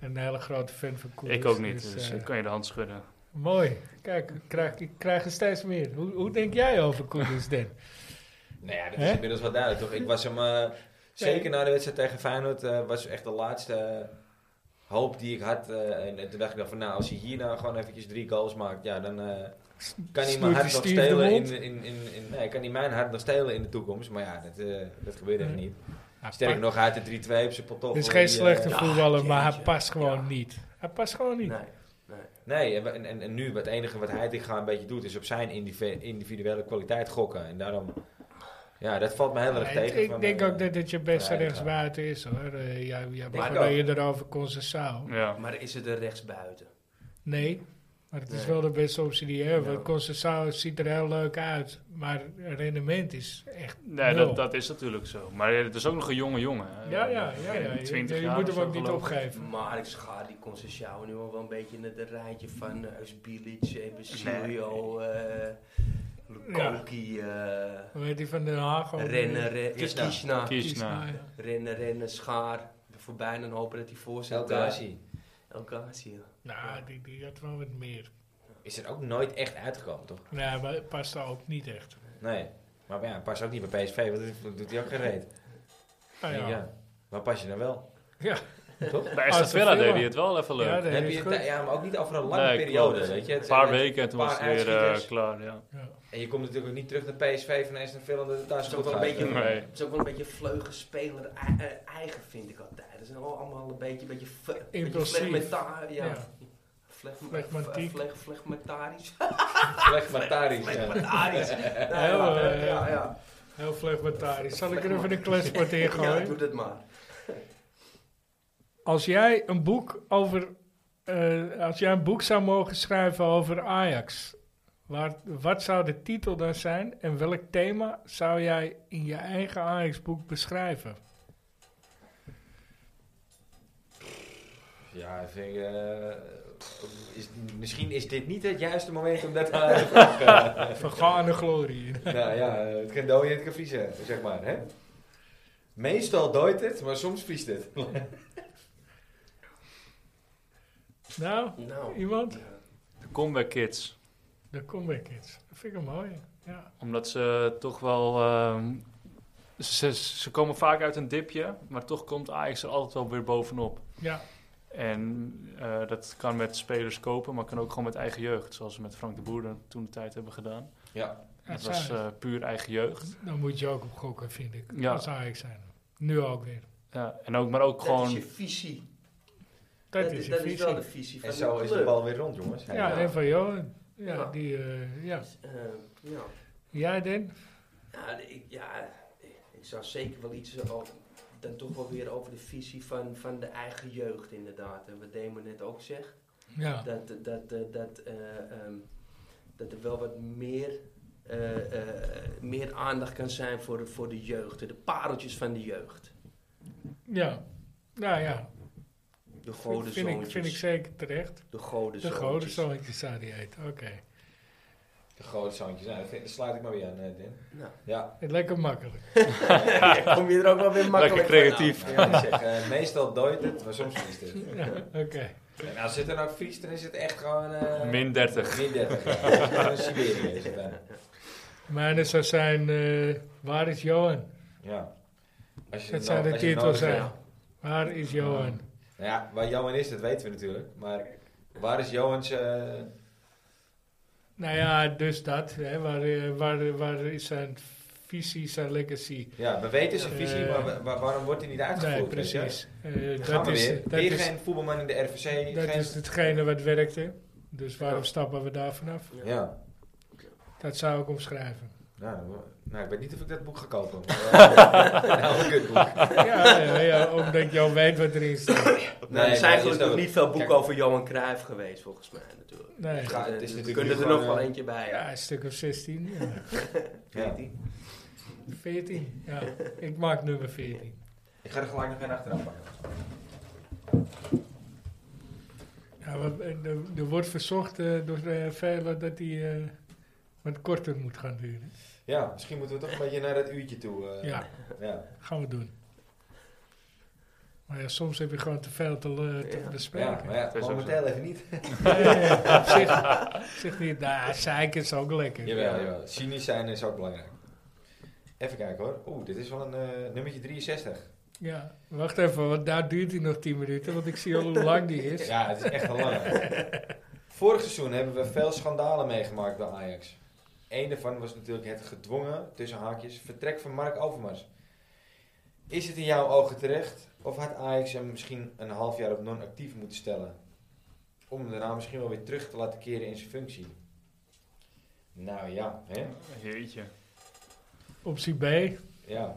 Speaker 2: een hele grote fan van Kudus.
Speaker 3: Ik ook niet, dus,
Speaker 2: eh,
Speaker 3: ik kan je de hand schudden.
Speaker 2: Mooi. Kijk, ik krijg, ik krijg er steeds meer. Hoe, hoe denk jij over Kudus, Den?
Speaker 1: Nou ja, dat is
Speaker 2: Hè?
Speaker 1: inmiddels wel duidelijk toch? Ik was hem, eh, zeker na de wedstrijd tegen Feyenoord, eh, was echt de laatste eh, hoop die ik had. eh, en, en toen dacht ik dan van, nou als hij hier nou gewoon eventjes drie goals maakt, ja dan eh, kan hij
Speaker 2: Snoert
Speaker 1: mijn
Speaker 2: die
Speaker 1: hart nog
Speaker 2: Steve de
Speaker 1: stelen. In,
Speaker 2: Mond?
Speaker 1: de- in, in, in, nee, kan hij mijn hart nog stelen in de toekomst. Maar ja, dat, eh, dat gebeurt echt
Speaker 2: Ja.
Speaker 1: niet. Sterker nog, uit de 3-2 op zijn pantoffel.
Speaker 2: Het is geen
Speaker 1: die, eh,
Speaker 2: slechte
Speaker 5: ja,
Speaker 2: voetballer, maar hij
Speaker 5: jeetje.
Speaker 2: past gewoon
Speaker 5: Ja.
Speaker 2: niet. Hij past gewoon niet.
Speaker 5: Nee.
Speaker 1: Nee, en, en, en nu het enige wat hij tegen een beetje doet, is op zijn indivi- individuele kwaliteit gokken. En daarom, ja, dat valt me heel erg
Speaker 2: Nee,
Speaker 1: tegen.
Speaker 2: ik
Speaker 1: van,
Speaker 2: denk
Speaker 1: eh,
Speaker 2: ook dat het je beste
Speaker 1: van Heidegaard.
Speaker 2: rechtsbuiten is hoor. Eh, ja, ja,
Speaker 1: Maar
Speaker 2: voordat
Speaker 1: ook.
Speaker 2: je erover kon ze zou.
Speaker 3: Ja.
Speaker 5: Maar is het er rechtsbuiten?
Speaker 2: Nee, maar het is
Speaker 5: Nee.
Speaker 2: wel de beste optie die je hebt.
Speaker 5: Ja.
Speaker 2: Want Concessao ziet er heel leuk uit, maar het rendement is echt
Speaker 3: Nee,
Speaker 2: nul.
Speaker 3: dat, dat is natuurlijk zo. Maar eh, het is ook nog een jonge jongen.
Speaker 2: Ja, ja, ja. ja. Je-
Speaker 3: 20
Speaker 2: je
Speaker 3: jaar
Speaker 2: moet
Speaker 3: of
Speaker 2: hem
Speaker 3: zo,
Speaker 2: ook niet
Speaker 3: geloof ik.
Speaker 2: opgeven.
Speaker 5: Maar ik schaar die concessiaal nu al wel een beetje naar het rijtje van eh, Eusbilic, eh, Basilio, eh Lukoki, eh,
Speaker 2: Hoe heet die van Den Haag? ook?
Speaker 5: Rennen, Re-
Speaker 1: Kishna.
Speaker 5: Kishna.
Speaker 3: Kiesna.
Speaker 2: ja.
Speaker 5: Rennen, rennen, schaar. Er voorbij en hopen dat hij voor zit.
Speaker 1: El Ghazi
Speaker 5: Elkaar zie je.
Speaker 2: Nou, die, die had wel wat meer.
Speaker 1: is er ook nooit echt uitgekomen, toch?
Speaker 2: Nee, maar het past daar ook niet echt.
Speaker 1: Nee. Maar ja, hij past ook niet bij PSV, want dat- dat doet hij ook geen reet.
Speaker 2: Ah,
Speaker 1: Ja.
Speaker 2: ja. Ja.
Speaker 1: Waar pas je dan wel?
Speaker 2: Ja.
Speaker 1: Toch?
Speaker 3: Bij Aston
Speaker 2: Aston
Speaker 3: Villa
Speaker 2: Villa.
Speaker 3: deed hij het wel even leuk.
Speaker 2: dat
Speaker 1: Heb
Speaker 2: is
Speaker 1: je,
Speaker 2: goed.
Speaker 1: ja, maar ook niet over een lange
Speaker 3: Nee,
Speaker 1: periode,
Speaker 3: klopt.
Speaker 1: weet je. Het
Speaker 3: Een
Speaker 1: is
Speaker 3: paar
Speaker 1: echt-
Speaker 3: weken en toen
Speaker 1: paar
Speaker 3: was het weer eh,
Speaker 1: uitschieters.
Speaker 3: klaar. Ja.
Speaker 2: Ja.
Speaker 1: En je komt natuurlijk ook niet terug naar PSV van eens naar veel dat het daar
Speaker 5: Het
Speaker 1: zo
Speaker 5: is ook
Speaker 1: goed
Speaker 5: wel een
Speaker 1: gaat.
Speaker 5: beetje,
Speaker 3: Nee.
Speaker 5: het is ook wel een beetje vleugelspeler ei- eh, eigen, vind ik altijd. Het zijn wel allemaal een beetje, beetje, fe- beetje
Speaker 2: Impulsief.
Speaker 5: flegmata- ja.
Speaker 2: Ja.
Speaker 5: Flegma-
Speaker 2: Flegmatiek.
Speaker 5: fleg- Flegmatarisch.
Speaker 1: Slecht maar Tariq, ja.
Speaker 5: Flegmatarisch. Ja,
Speaker 2: Heel,
Speaker 5: ja,
Speaker 2: eh,
Speaker 5: ja, ja.
Speaker 2: Heel flegmatarisch. Zal ik er even een kletsport in
Speaker 5: Ja,
Speaker 2: gooien?
Speaker 5: doe dat maar.
Speaker 2: Als jij een boek over. eh, als jij een boek zou mogen schrijven over Ajax. waar- wat zou de titel dan zijn en welk thema zou jij in je eigen Ajax-boek beschrijven?
Speaker 1: Ja, ik vind, eh, is, misschien is dit niet het juiste moment om dat aan te vragen.
Speaker 2: Vergane glorie.
Speaker 1: nou ja, eh, het kan dooien, het kan vriezen, zeg maar. Hè? Meestal dooit het, maar soms vriest het.
Speaker 2: Nou,
Speaker 5: Nou.
Speaker 2: iemand?
Speaker 3: De Comeback Kids.
Speaker 2: De Comeback Kids. Dat vind ik een mooie. Ja.
Speaker 3: Omdat ze eh, toch wel. ehm, ze, ze komen vaak uit een dipje, maar toch komt Ajax er altijd wel weer bovenop.
Speaker 2: ja.
Speaker 3: En eh, dat kan met spelers kopen, maar kan ook gewoon met eigen jeugd. Zoals we met Frank de Boer dan toen de tijd hebben gedaan.
Speaker 1: Ja,
Speaker 3: Dat
Speaker 2: zou
Speaker 3: was
Speaker 2: het.
Speaker 3: eh, puur eigen jeugd.
Speaker 2: Dan moet je ook op gokken, vind ik.
Speaker 3: Ja.
Speaker 2: Als Ajax zijn. Nu ook weer.
Speaker 3: Ja, en ook, maar ook
Speaker 5: Dat
Speaker 3: gewoon...
Speaker 5: is je visie.
Speaker 2: Dat is je
Speaker 5: dat is wel
Speaker 2: visie.
Speaker 5: de visie van
Speaker 1: En zo
Speaker 5: de
Speaker 1: is de
Speaker 5: club.
Speaker 1: bal weer rond, jongens.
Speaker 2: Ja,
Speaker 5: Ja.
Speaker 2: en van Johan. Ja,
Speaker 5: Ja.
Speaker 2: die, eh, ja.
Speaker 5: Eh, ja.
Speaker 2: Jij Den?
Speaker 5: Ja, Nou, ik, ja, ik- ik zou zeker wel iets eh, over, dan toch wel weer over de visie van, van de eigen jeugd inderdaad. En wat Damon net ook zegt,
Speaker 2: Ja.
Speaker 5: dat, dat, dat, dat, eh, ehm, dat er wel wat meer, eh, eh, meer aandacht kan zijn voor de, voor de jeugd. De pareltjes van de jeugd.
Speaker 2: Ja. Nou ja,
Speaker 5: De
Speaker 2: vind, vind ik,
Speaker 5: godenzoontjes.
Speaker 2: vind ik zeker terecht.
Speaker 5: De godenzoontjes.
Speaker 2: De grote zoontjes zou die heten, oké.
Speaker 1: De grote zoontjes. Nou, dat vind- dat sluit ik maar weer aan, eh, Den.
Speaker 5: Nou.
Speaker 1: Ja,
Speaker 2: Lekker makkelijk.
Speaker 5: Ja, kom je er ook wel weer makkelijk
Speaker 3: Lekker
Speaker 5: vanaf.
Speaker 3: creatief.
Speaker 1: nou, ik zeg, eh, meestal dooit het, maar soms vriest het.
Speaker 2: Ja, oké.
Speaker 1: En als het er nou vriest, dan is het echt gewoon... eh,
Speaker 3: Min 30.
Speaker 1: Min 30. ja. Gewoon een Siberië is het bijna.
Speaker 2: Mijne zou zijn, eh, waar is Johan?
Speaker 1: Ja. Als je
Speaker 2: Dat
Speaker 1: het
Speaker 2: zou
Speaker 1: nou-
Speaker 2: de
Speaker 1: als je het
Speaker 2: titel
Speaker 1: nodig
Speaker 2: zijn.
Speaker 1: hebt.
Speaker 2: Waar is Johan?
Speaker 1: Nou ja, waar Johan is, dat weten we natuurlijk. Maar waar is Johans... eh,
Speaker 2: Nou ja, dus dat. Hè, waar, eh, waar, waar is zijn visie, zijn legacy?
Speaker 1: ja, we weten zijn visie,
Speaker 2: Eh,
Speaker 1: maar wa- wa- waarom wordt hij niet uitgevoerd?
Speaker 2: Nee,
Speaker 1: weet je?
Speaker 2: precies.
Speaker 1: Dan
Speaker 2: Eh,
Speaker 1: gaan
Speaker 2: dat
Speaker 1: we
Speaker 2: is,
Speaker 1: weer.
Speaker 2: dat,
Speaker 1: weer
Speaker 2: is,
Speaker 1: geen voetbalman in de RVC.
Speaker 2: dat
Speaker 1: geen-
Speaker 2: is hetgene wat werkte. Dus waarom stappen we daar vanaf?
Speaker 1: Ja.
Speaker 2: Dat zou ik omschrijven.
Speaker 1: Nou, we- nou, ik weet niet of ik dat boek ga kopen. maar, eh, nou, een kutboek.
Speaker 2: ja, ja, ja, omdat ik jou weet wat erin staat.
Speaker 5: Nou, er
Speaker 1: Nee,
Speaker 5: zijn
Speaker 1: maar is
Speaker 5: eigenlijk
Speaker 1: dat
Speaker 5: nog
Speaker 1: ook-
Speaker 5: niet veel boeken
Speaker 1: Kijk,
Speaker 5: over Johan Cruijff geweest, volgens mij natuurlijk. Eh,
Speaker 2: Nee.
Speaker 1: Ja, het is
Speaker 5: we
Speaker 1: natuurlijk
Speaker 5: kunnen er
Speaker 1: gewoon,
Speaker 5: nog wel
Speaker 1: eh,
Speaker 5: eentje bij.
Speaker 2: Ja, een stuk of 16. Ja.
Speaker 1: Ja.
Speaker 2: 14. Ja, ik maak nummer 14.
Speaker 1: Ik ga er gelijk nog een achteraan pakken.
Speaker 2: Ja, wat- eh, er, er wordt verzocht eh, door eh, velen dat hij eh, wat korter moet gaan duren.
Speaker 1: Ja, misschien moeten we toch een beetje naar dat uurtje toe. eh,
Speaker 2: Ja,
Speaker 1: ja.
Speaker 2: gaan we doen. Maar ja, soms heb je gewoon te veel te, le- te
Speaker 1: Ja,
Speaker 2: bespreken.
Speaker 1: maar ja,
Speaker 3: is ook
Speaker 1: momenteel even niet.
Speaker 2: Nee, op zich, op zich niet. Nou, zeiken is ook lekker.
Speaker 1: Jawel, jawel. Cynisch zijn is ook belangrijk. Even kijken hoor. Oeh, dit is wel een eh, nummertje 63.
Speaker 2: Ja, wacht even, want daar duurt hij nog 10 minuten, want ik zie al hoe lang die is.
Speaker 1: Ja, het is echt een lange. Vorig seizoen hebben we veel schandalen meegemaakt bij Ajax. Eén daarvan was natuurlijk het gedwongen, tussen haakjes, vertrek van Mark Overmars. Is het in jouw ogen terecht? Of had Ajax hem misschien een half jaar op non-actief moeten stellen? Om hem daarna misschien wel weer terug te laten keren in zijn functie. Nou ja, hè?
Speaker 3: Jeetje.
Speaker 2: Optie B,
Speaker 1: Ja.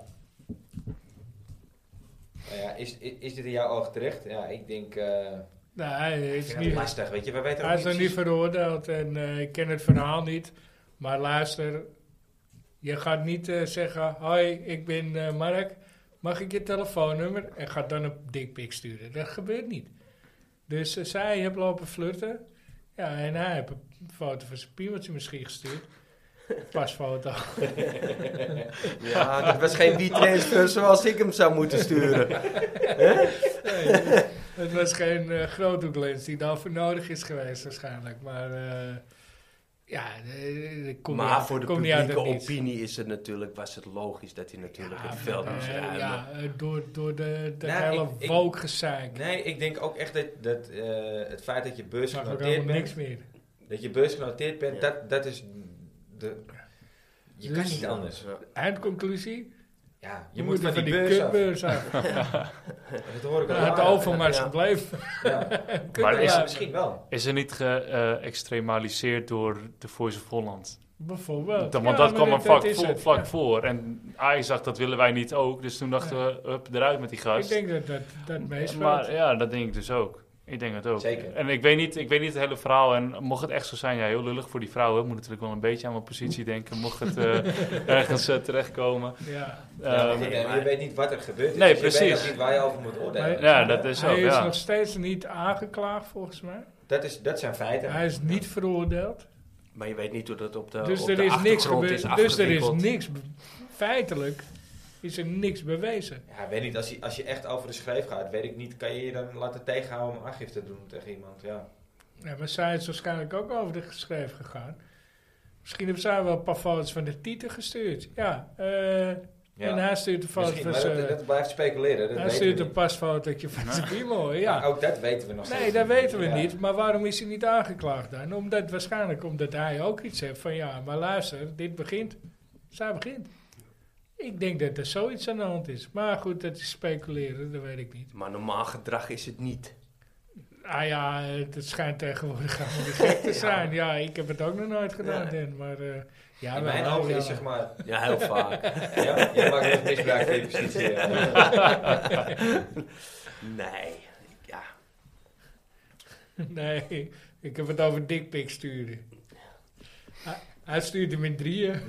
Speaker 1: Nou ja, is, is, is dit in jouw ogen terecht? Ja, ik denk... eh
Speaker 2: Nou, hij
Speaker 1: ik
Speaker 2: is,
Speaker 1: vind het
Speaker 2: niet,
Speaker 1: lastig, weet je. We weten
Speaker 2: hij
Speaker 1: ook
Speaker 2: is nog
Speaker 1: precies-
Speaker 2: niet veroordeeld en eh, ik ken het verhaal niet. Maar luister, je gaat niet eh, zeggen, hoi, ik ben eh, Mark, mag ik je telefoonnummer? En gaat dan een dikpik sturen. Dat gebeurt niet. Dus eh, zij heeft lopen flirten. Ja, en hij heeft een foto van zijn piemeltje misschien gestuurd. Pasfoto.
Speaker 5: Ja, dat was geen WeTransfer zoals ik hem zou moeten sturen.
Speaker 2: Nee, het was geen eh, groothoeklens die daarvoor nodig is geweest waarschijnlijk. Maar eh, ja, eh, dat komt niet
Speaker 5: maar
Speaker 2: uit-
Speaker 5: voor de
Speaker 2: komt niet uit het
Speaker 5: publieke
Speaker 2: niets.
Speaker 5: opinie is het natuurlijk, was het logisch dat hij natuurlijk het veld
Speaker 2: maar,
Speaker 5: moest
Speaker 2: eh,
Speaker 5: ruimen.
Speaker 2: Ja, eh, door, door de, de
Speaker 1: Nou,
Speaker 2: hele
Speaker 1: ik- ik-
Speaker 2: woke gezeik.
Speaker 1: Nee, ik denk ook echt dat, dat eh, het feit dat je
Speaker 2: ik zag ook
Speaker 1: beursgenoteerd
Speaker 2: helemaal
Speaker 1: bent,
Speaker 2: niks meer.
Speaker 1: dat je beursgenoteerd bent,
Speaker 5: Ja.
Speaker 1: dat, dat is de... Je kan
Speaker 2: Dus-
Speaker 1: niet anders.
Speaker 2: Eindconclusie?
Speaker 1: Ja, je
Speaker 2: we
Speaker 1: moet
Speaker 2: moeten
Speaker 1: van die beurs af.
Speaker 2: kutbeurs af.
Speaker 1: Dat hoor ik al
Speaker 2: Daar had
Speaker 1: jaren.
Speaker 2: Overmars
Speaker 5: Ja.
Speaker 2: gebleven.
Speaker 1: Ja, dat is
Speaker 3: Maar is-
Speaker 2: Kutbeurs.
Speaker 1: misschien wel.
Speaker 3: Is er niet eh, geëxtremaliseerd door de Voice of Holland?
Speaker 2: Bijvoorbeeld.
Speaker 3: Dan- want
Speaker 2: Ja,
Speaker 3: dat kwam
Speaker 2: maar
Speaker 3: er vlak,
Speaker 2: dat is
Speaker 3: voor,
Speaker 2: het.
Speaker 3: vlak
Speaker 2: Ja.
Speaker 3: voor. En Ajax dacht, dat willen wij niet ook. Dus toen dachten we, up, eruit met die
Speaker 2: Ik
Speaker 3: gast.
Speaker 2: denk dat dat, dat meespeelt.
Speaker 3: maar ja, dat denk ik dus ook. Ik denk het ook.
Speaker 1: Zeker.
Speaker 3: En ik weet, niet, ik weet niet het hele verhaal. En mocht het echt zo zijn, ja, heel lullig voor die vrouwen. Ik moet natuurlijk wel een beetje aan mijn positie denken. Mocht het eh, ergens eh, terechtkomen.
Speaker 2: ja.
Speaker 1: Ja, want
Speaker 3: Ehm,
Speaker 1: je- je weet niet wat er gebeurt. is,
Speaker 3: Nee,
Speaker 1: dus Je weet
Speaker 3: precies.
Speaker 1: ook niet waar je over moet oordelen.
Speaker 2: Maar-
Speaker 3: ja, dat is zo.
Speaker 2: Hij is
Speaker 3: Dus Ja.
Speaker 2: nog steeds niet aangeklaagd volgens mij.
Speaker 1: Dat, is, dat zijn feiten.
Speaker 2: Hij is niet veroordeeld.
Speaker 5: Maar je weet niet hoe dat op de,
Speaker 2: Dus
Speaker 5: op
Speaker 2: er
Speaker 5: de
Speaker 2: is niks
Speaker 5: achtergrond
Speaker 2: gebeurd.
Speaker 5: is
Speaker 2: Dus er is
Speaker 5: afgewikkeld.
Speaker 2: niks. be- Feitelijk is er niks bewezen.
Speaker 1: Ja, ik weet niet, als je, als je echt over de schreef gaat, weet ik niet, kan je je dan laten tegenhouden om aangifte te doen tegen iemand? Ja.
Speaker 2: Ja, maar zij is waarschijnlijk ook over de geschreven gegaan. Misschien hebben zij wel een paar foto's van de titel gestuurd. Ja, eh,
Speaker 1: ja.
Speaker 2: en hij stuurt een foto
Speaker 1: Misschien,
Speaker 2: van
Speaker 1: maar dat,
Speaker 2: zijn...
Speaker 1: dat blijft speculeren. Dat
Speaker 2: Hij
Speaker 1: weten
Speaker 2: stuurt
Speaker 1: we
Speaker 2: een
Speaker 1: niet.
Speaker 2: pasfotootje van zijn piemel,
Speaker 1: Maar
Speaker 2: ja.
Speaker 1: Ook dat weten we nog
Speaker 2: Nee,
Speaker 1: steeds
Speaker 2: dat weten we
Speaker 1: Ja.
Speaker 2: niet. Maar waarom is hij niet aangeklaagd dan? Omdat, waarschijnlijk omdat hij ook iets heeft van... Ja, maar luister, dit begint. Zij begint. Ik denk dat er zoiets aan de hand is. Maar goed, dat is speculeren, dat weet ik niet.
Speaker 5: Maar normaal gedrag is het niet.
Speaker 2: Ah ja, het het schijnt tegenwoordig allemaal niet gek te zijn. ja. ik heb het ook nog nooit gedaan,
Speaker 5: Ja.
Speaker 2: Dan. Maar eh, ja,
Speaker 1: In
Speaker 2: wij
Speaker 1: mijn
Speaker 2: waren
Speaker 1: ogen
Speaker 2: wel-
Speaker 1: is zeg maar...
Speaker 5: Ja, heel vaak.
Speaker 1: Ja, jij maakt echt misbruik van je positie. Dus- ja.
Speaker 5: Nee. Ja.
Speaker 2: Nee, ik heb het over dikpik sturen. Hij- Hij stuurde hem in drieën.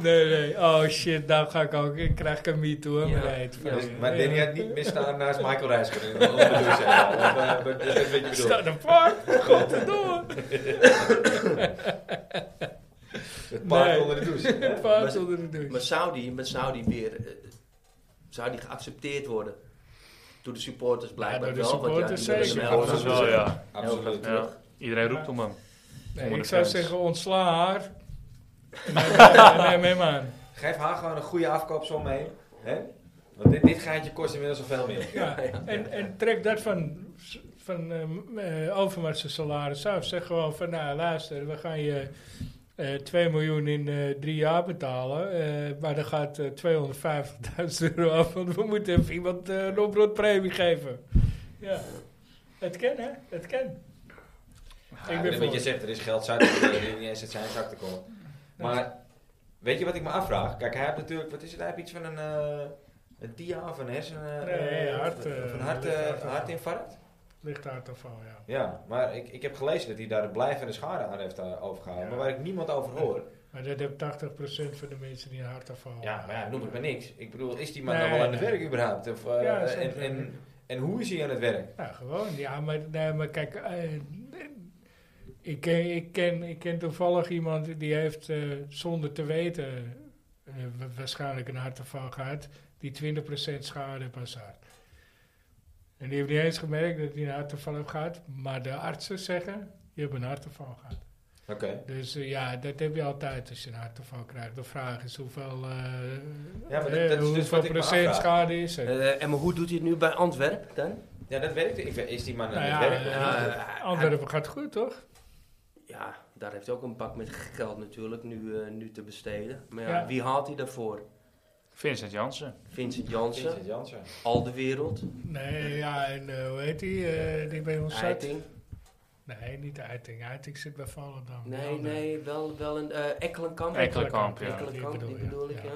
Speaker 2: nee, nee. Oh shit, nou ga ik ook. Ik krijg ik een MeToo. hè,
Speaker 5: Ja.
Speaker 2: maar nee, het-
Speaker 5: Ja.
Speaker 2: nee.
Speaker 1: dus- Maar Danny had niet misstaan naast Michael Reisker. in de onderdoos, ja. Dat, eh, Dat dat is wat je bedoelt.
Speaker 2: Staat een park. Godverdomme.
Speaker 1: Het paard
Speaker 2: Nee.
Speaker 1: onder de douche.
Speaker 2: Een paard onder de douche.
Speaker 5: Maar zou die, maar zou die weer eh, zou die geaccepteerd worden? Door de supporters blijkbaar
Speaker 2: door de
Speaker 5: wel. want
Speaker 2: supporters
Speaker 5: die willen
Speaker 2: zeker.
Speaker 5: hem wel.
Speaker 3: Dat is wel, ja.
Speaker 1: Absoluut.
Speaker 3: ja. Iedereen roept om hem.
Speaker 2: Nee,
Speaker 3: onder
Speaker 2: ik
Speaker 3: de
Speaker 2: zou
Speaker 3: fans.
Speaker 2: zeggen, ontsla haar. Nee, neem hem aan.
Speaker 1: Geef haar gewoon een goede afkoopsom mee. Hè? Want dit, dit gaatje kost inmiddels al veel meer.
Speaker 2: Ja, en, en trek dat van, van ehm, eh, Overmars zijn salaris af. Zeg gewoon van, nou luister, we gaan je eh 2 miljoen in eh, drie jaar betalen. eh, maar dan gaat eh, 250.000 euro af, want we moeten even iemand eh, een oproodpremie geven. Ja, het kan hè, het kan.
Speaker 1: Ja,
Speaker 2: ik ben
Speaker 1: wat
Speaker 2: voor.
Speaker 1: je zegt, er is geld zat die niet eens uit zijn zak te komen. Maar weet je wat ik me afvraag? Kijk, hij heeft natuurlijk, wat is het? Hij heeft iets van een, eh, een dia of een hersen... eh,
Speaker 2: Nee,
Speaker 1: eh,
Speaker 2: hart,
Speaker 1: of
Speaker 2: eh,
Speaker 1: een hart, eh,
Speaker 2: lichaam.
Speaker 1: hartinfarct?
Speaker 2: Ligt hard of al, ja.
Speaker 1: Ja, maar ik, ik heb gelezen dat hij daar een blijvende schade aan heeft eh, overgehouden. Maar waar ik niemand over hoor.
Speaker 2: Maar dat heeft 80% van de mensen die een hartafval
Speaker 1: Ja, maar ja, noem het maar niks. Ik bedoel, is die man
Speaker 2: Nee,
Speaker 1: nou wel aan het
Speaker 2: nee.
Speaker 1: werk überhaupt? Of, eh,
Speaker 2: Ja,
Speaker 1: en,
Speaker 2: zeker.
Speaker 1: en, en hoe is hij aan het werk?
Speaker 2: Nou, gewoon. Ja, maar, nee, maar kijk, eh, ik, ken, ik, ken, ik ken toevallig iemand die heeft eh, zonder te weten eh, wa- waarschijnlijk een hartaanval gehad, die 20% schade heeft aan zijn hart. En die heeft niet eens gemerkt dat hij een hartaanval heeft gehad, maar de artsen zeggen, je hebt een hartaanval gehad.
Speaker 1: Oké.
Speaker 2: Dus eh, ja, dat heb je altijd als je een hartaanval krijgt. De vraag is hoeveel, eh,
Speaker 1: Ja, maar dat-
Speaker 2: eh,
Speaker 1: dat is dus
Speaker 2: hoeveel
Speaker 1: wat ik me
Speaker 2: procent
Speaker 1: afvraag.
Speaker 2: schade is er.
Speaker 5: Eh, en maar hoe doet hij het nu bij Antwerpen dan?
Speaker 1: Ja, dat werkt. Ik, weet- is die man aan
Speaker 2: nou
Speaker 1: het
Speaker 2: ja,
Speaker 1: werk? of niet?
Speaker 2: eh, Antwerpen gaat goed, toch?
Speaker 5: Ja, daar heeft hij ook een pak met geld natuurlijk nu, eh, nu te besteden. Maar ja,
Speaker 2: Ja.
Speaker 5: wie haalt hij daarvoor?
Speaker 3: Vincent Jansen.
Speaker 5: Vincent
Speaker 1: Vincent
Speaker 5: Jansen,
Speaker 1: Jansen.
Speaker 5: al de wereld,
Speaker 2: Nee, ja, en eh, hoe heet die? eh, die bij ons zat?
Speaker 5: Eiting.
Speaker 2: Nee, niet de Eiting. Eiting zit bij Volendam. Die
Speaker 5: Nee,
Speaker 2: andere.
Speaker 5: nee, wel, wel een eh Ekkelenkamp.
Speaker 3: Ekkelenkamp, ja.
Speaker 5: Ekkelenkamp, die bedoel ik, ja.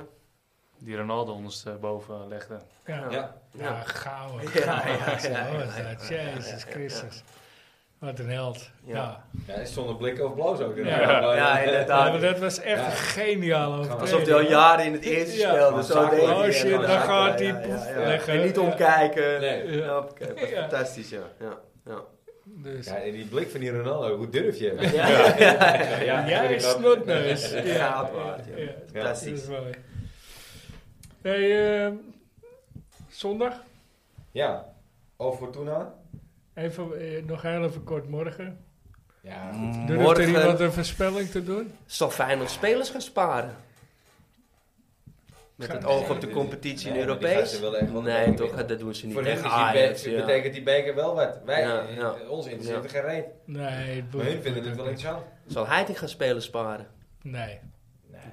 Speaker 3: Die Ronaldo ondersteboven legde.
Speaker 2: eh, Ja, ja.
Speaker 1: Ja.
Speaker 5: Ja.
Speaker 2: gauw.
Speaker 5: Ja,
Speaker 2: gauw,
Speaker 5: ja, ja,
Speaker 2: zo
Speaker 5: ja,
Speaker 2: was
Speaker 5: ja,
Speaker 2: dat.
Speaker 5: ja, ja,
Speaker 2: Jezus
Speaker 5: ja, ja.
Speaker 2: Christus. Wat een held. Nou, Ja.
Speaker 5: Ja.
Speaker 1: Ja, is zonder blikken of bloos ook.
Speaker 2: Ja.
Speaker 1: Maar,
Speaker 5: Ja,
Speaker 1: eh,
Speaker 5: inderdaad.
Speaker 2: maar nou, dat was echt
Speaker 1: Ja.
Speaker 2: een geniaal overtreding.
Speaker 5: Alsof hij al jaren in het eerste
Speaker 2: Ja.
Speaker 5: speelde. Zo
Speaker 1: Zakelijk.
Speaker 5: deed hij
Speaker 1: Oh
Speaker 5: het.
Speaker 1: shit,
Speaker 5: Ja,
Speaker 1: daar
Speaker 5: zakelijk,
Speaker 2: gaat
Speaker 5: ja,
Speaker 2: hij.
Speaker 5: ja, ja, ja.
Speaker 2: Leggen.
Speaker 5: En niet
Speaker 2: Ja.
Speaker 5: omkijken.
Speaker 1: Nee.
Speaker 5: Ja, oké, dat was
Speaker 2: Ja.
Speaker 5: fantastisch, ja. Ja, ja.
Speaker 2: Dus.
Speaker 1: Ja, en die blik van die Ronaldo, hoe durf je? hem?
Speaker 5: Ja, ja, ja.
Speaker 1: ja,
Speaker 2: Jij
Speaker 1: vind ik ook.
Speaker 2: snotneus. Ja,
Speaker 5: Gaat waard, ja.
Speaker 2: dat is
Speaker 5: Fantastisch.
Speaker 2: mooi. Hey, ehm, zondag.
Speaker 1: Ja. Over Fortuna?
Speaker 2: Even, eh, nog heel even kort morgen.
Speaker 1: Ja.
Speaker 5: Mm,
Speaker 2: Durft er iemand
Speaker 5: Morgen
Speaker 2: een voorspelling te doen?
Speaker 5: zal Feyenoord spelers gaan sparen. Met het oog op de competitie in
Speaker 1: Nee, maar die
Speaker 5: Europees.
Speaker 1: gasten willen echt wel de
Speaker 5: Nee,
Speaker 1: beker
Speaker 5: toch,
Speaker 1: winnen.
Speaker 5: dat doen ze niet.
Speaker 1: Voor hen is
Speaker 5: tegen
Speaker 1: die
Speaker 5: Ajax,
Speaker 1: be-
Speaker 5: ja.
Speaker 1: betekent die beker wel wat. Wij,
Speaker 5: Ja,
Speaker 1: eh,
Speaker 5: ja.
Speaker 1: ons interesseert
Speaker 5: Ja.
Speaker 1: er geen reet.
Speaker 2: Nee, het
Speaker 1: Maar hun
Speaker 2: boeit
Speaker 1: vinden
Speaker 2: me
Speaker 1: het wel
Speaker 2: ook niet.
Speaker 1: interessant.
Speaker 5: Zal Heiting gaan spelers sparen?
Speaker 2: Nee.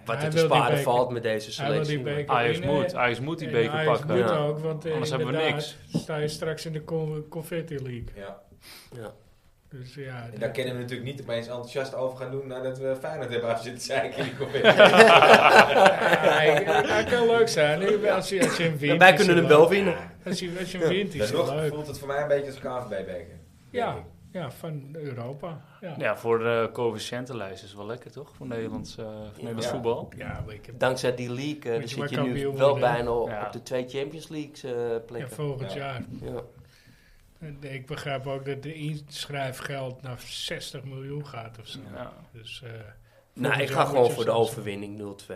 Speaker 5: Wat
Speaker 2: Hij
Speaker 5: er te
Speaker 2: wil die
Speaker 5: sparen
Speaker 2: beker.
Speaker 5: valt met deze
Speaker 2: Hij wil die
Speaker 5: selectie. maar-
Speaker 2: beker
Speaker 3: Ajax
Speaker 2: winnen.
Speaker 3: moet, Ajax moet die
Speaker 2: En
Speaker 3: beker
Speaker 2: Ajax
Speaker 3: pakken.
Speaker 2: moet
Speaker 5: Ja.
Speaker 2: ook, want eh,
Speaker 3: Anders hebben we
Speaker 2: inderdaad, sta je straks in de con- confetti league.
Speaker 1: Ja.
Speaker 2: Dus ja,
Speaker 1: En daar
Speaker 2: dat-
Speaker 1: kunnen we natuurlijk niet opeens enthousiast over gaan doen nadat we Feyenoord hebben af zitten zeiken in die kopie.
Speaker 2: Ja, hij- hij kan leuk zijn. hè, Als je, als je hem wint,
Speaker 5: Wij
Speaker 2: is
Speaker 5: kunnen
Speaker 2: hij
Speaker 5: hem
Speaker 2: leuk.
Speaker 5: wel winnen.
Speaker 2: Als je, als je hem wint, is hij
Speaker 1: Nog
Speaker 2: leuk.
Speaker 1: voelt het voor mij een beetje als een KNVB-beker.
Speaker 2: Ja, ja, van Europa. Ja.
Speaker 3: Ja, voor de coëfficiëntenlijst is wel lekker, toch? Voor Nederlands, eh, voor Nederlands
Speaker 1: Ja.
Speaker 3: voetbal.
Speaker 2: Ja, maar ik heb,
Speaker 5: Dankzij die league eh,
Speaker 2: Moet je
Speaker 5: zit
Speaker 2: maar
Speaker 5: je nu
Speaker 2: kampioen
Speaker 5: wel
Speaker 2: worden, hè?
Speaker 5: bijna op
Speaker 3: Ja.
Speaker 5: op de twee Champions League's eh,
Speaker 2: ja,
Speaker 5: plekken.
Speaker 2: volgend
Speaker 1: Ja.
Speaker 2: jaar.
Speaker 5: Ja.
Speaker 2: En Ik begrijp ook dat de inschrijfgeld naar 60 miljoen gaat of zo.
Speaker 3: Ja.
Speaker 2: Dus eh,
Speaker 5: Nou, ik
Speaker 2: jaar
Speaker 5: ga
Speaker 2: moet
Speaker 5: gewoon
Speaker 2: je
Speaker 5: voor de
Speaker 2: zelfs-
Speaker 5: overwinning 0-2.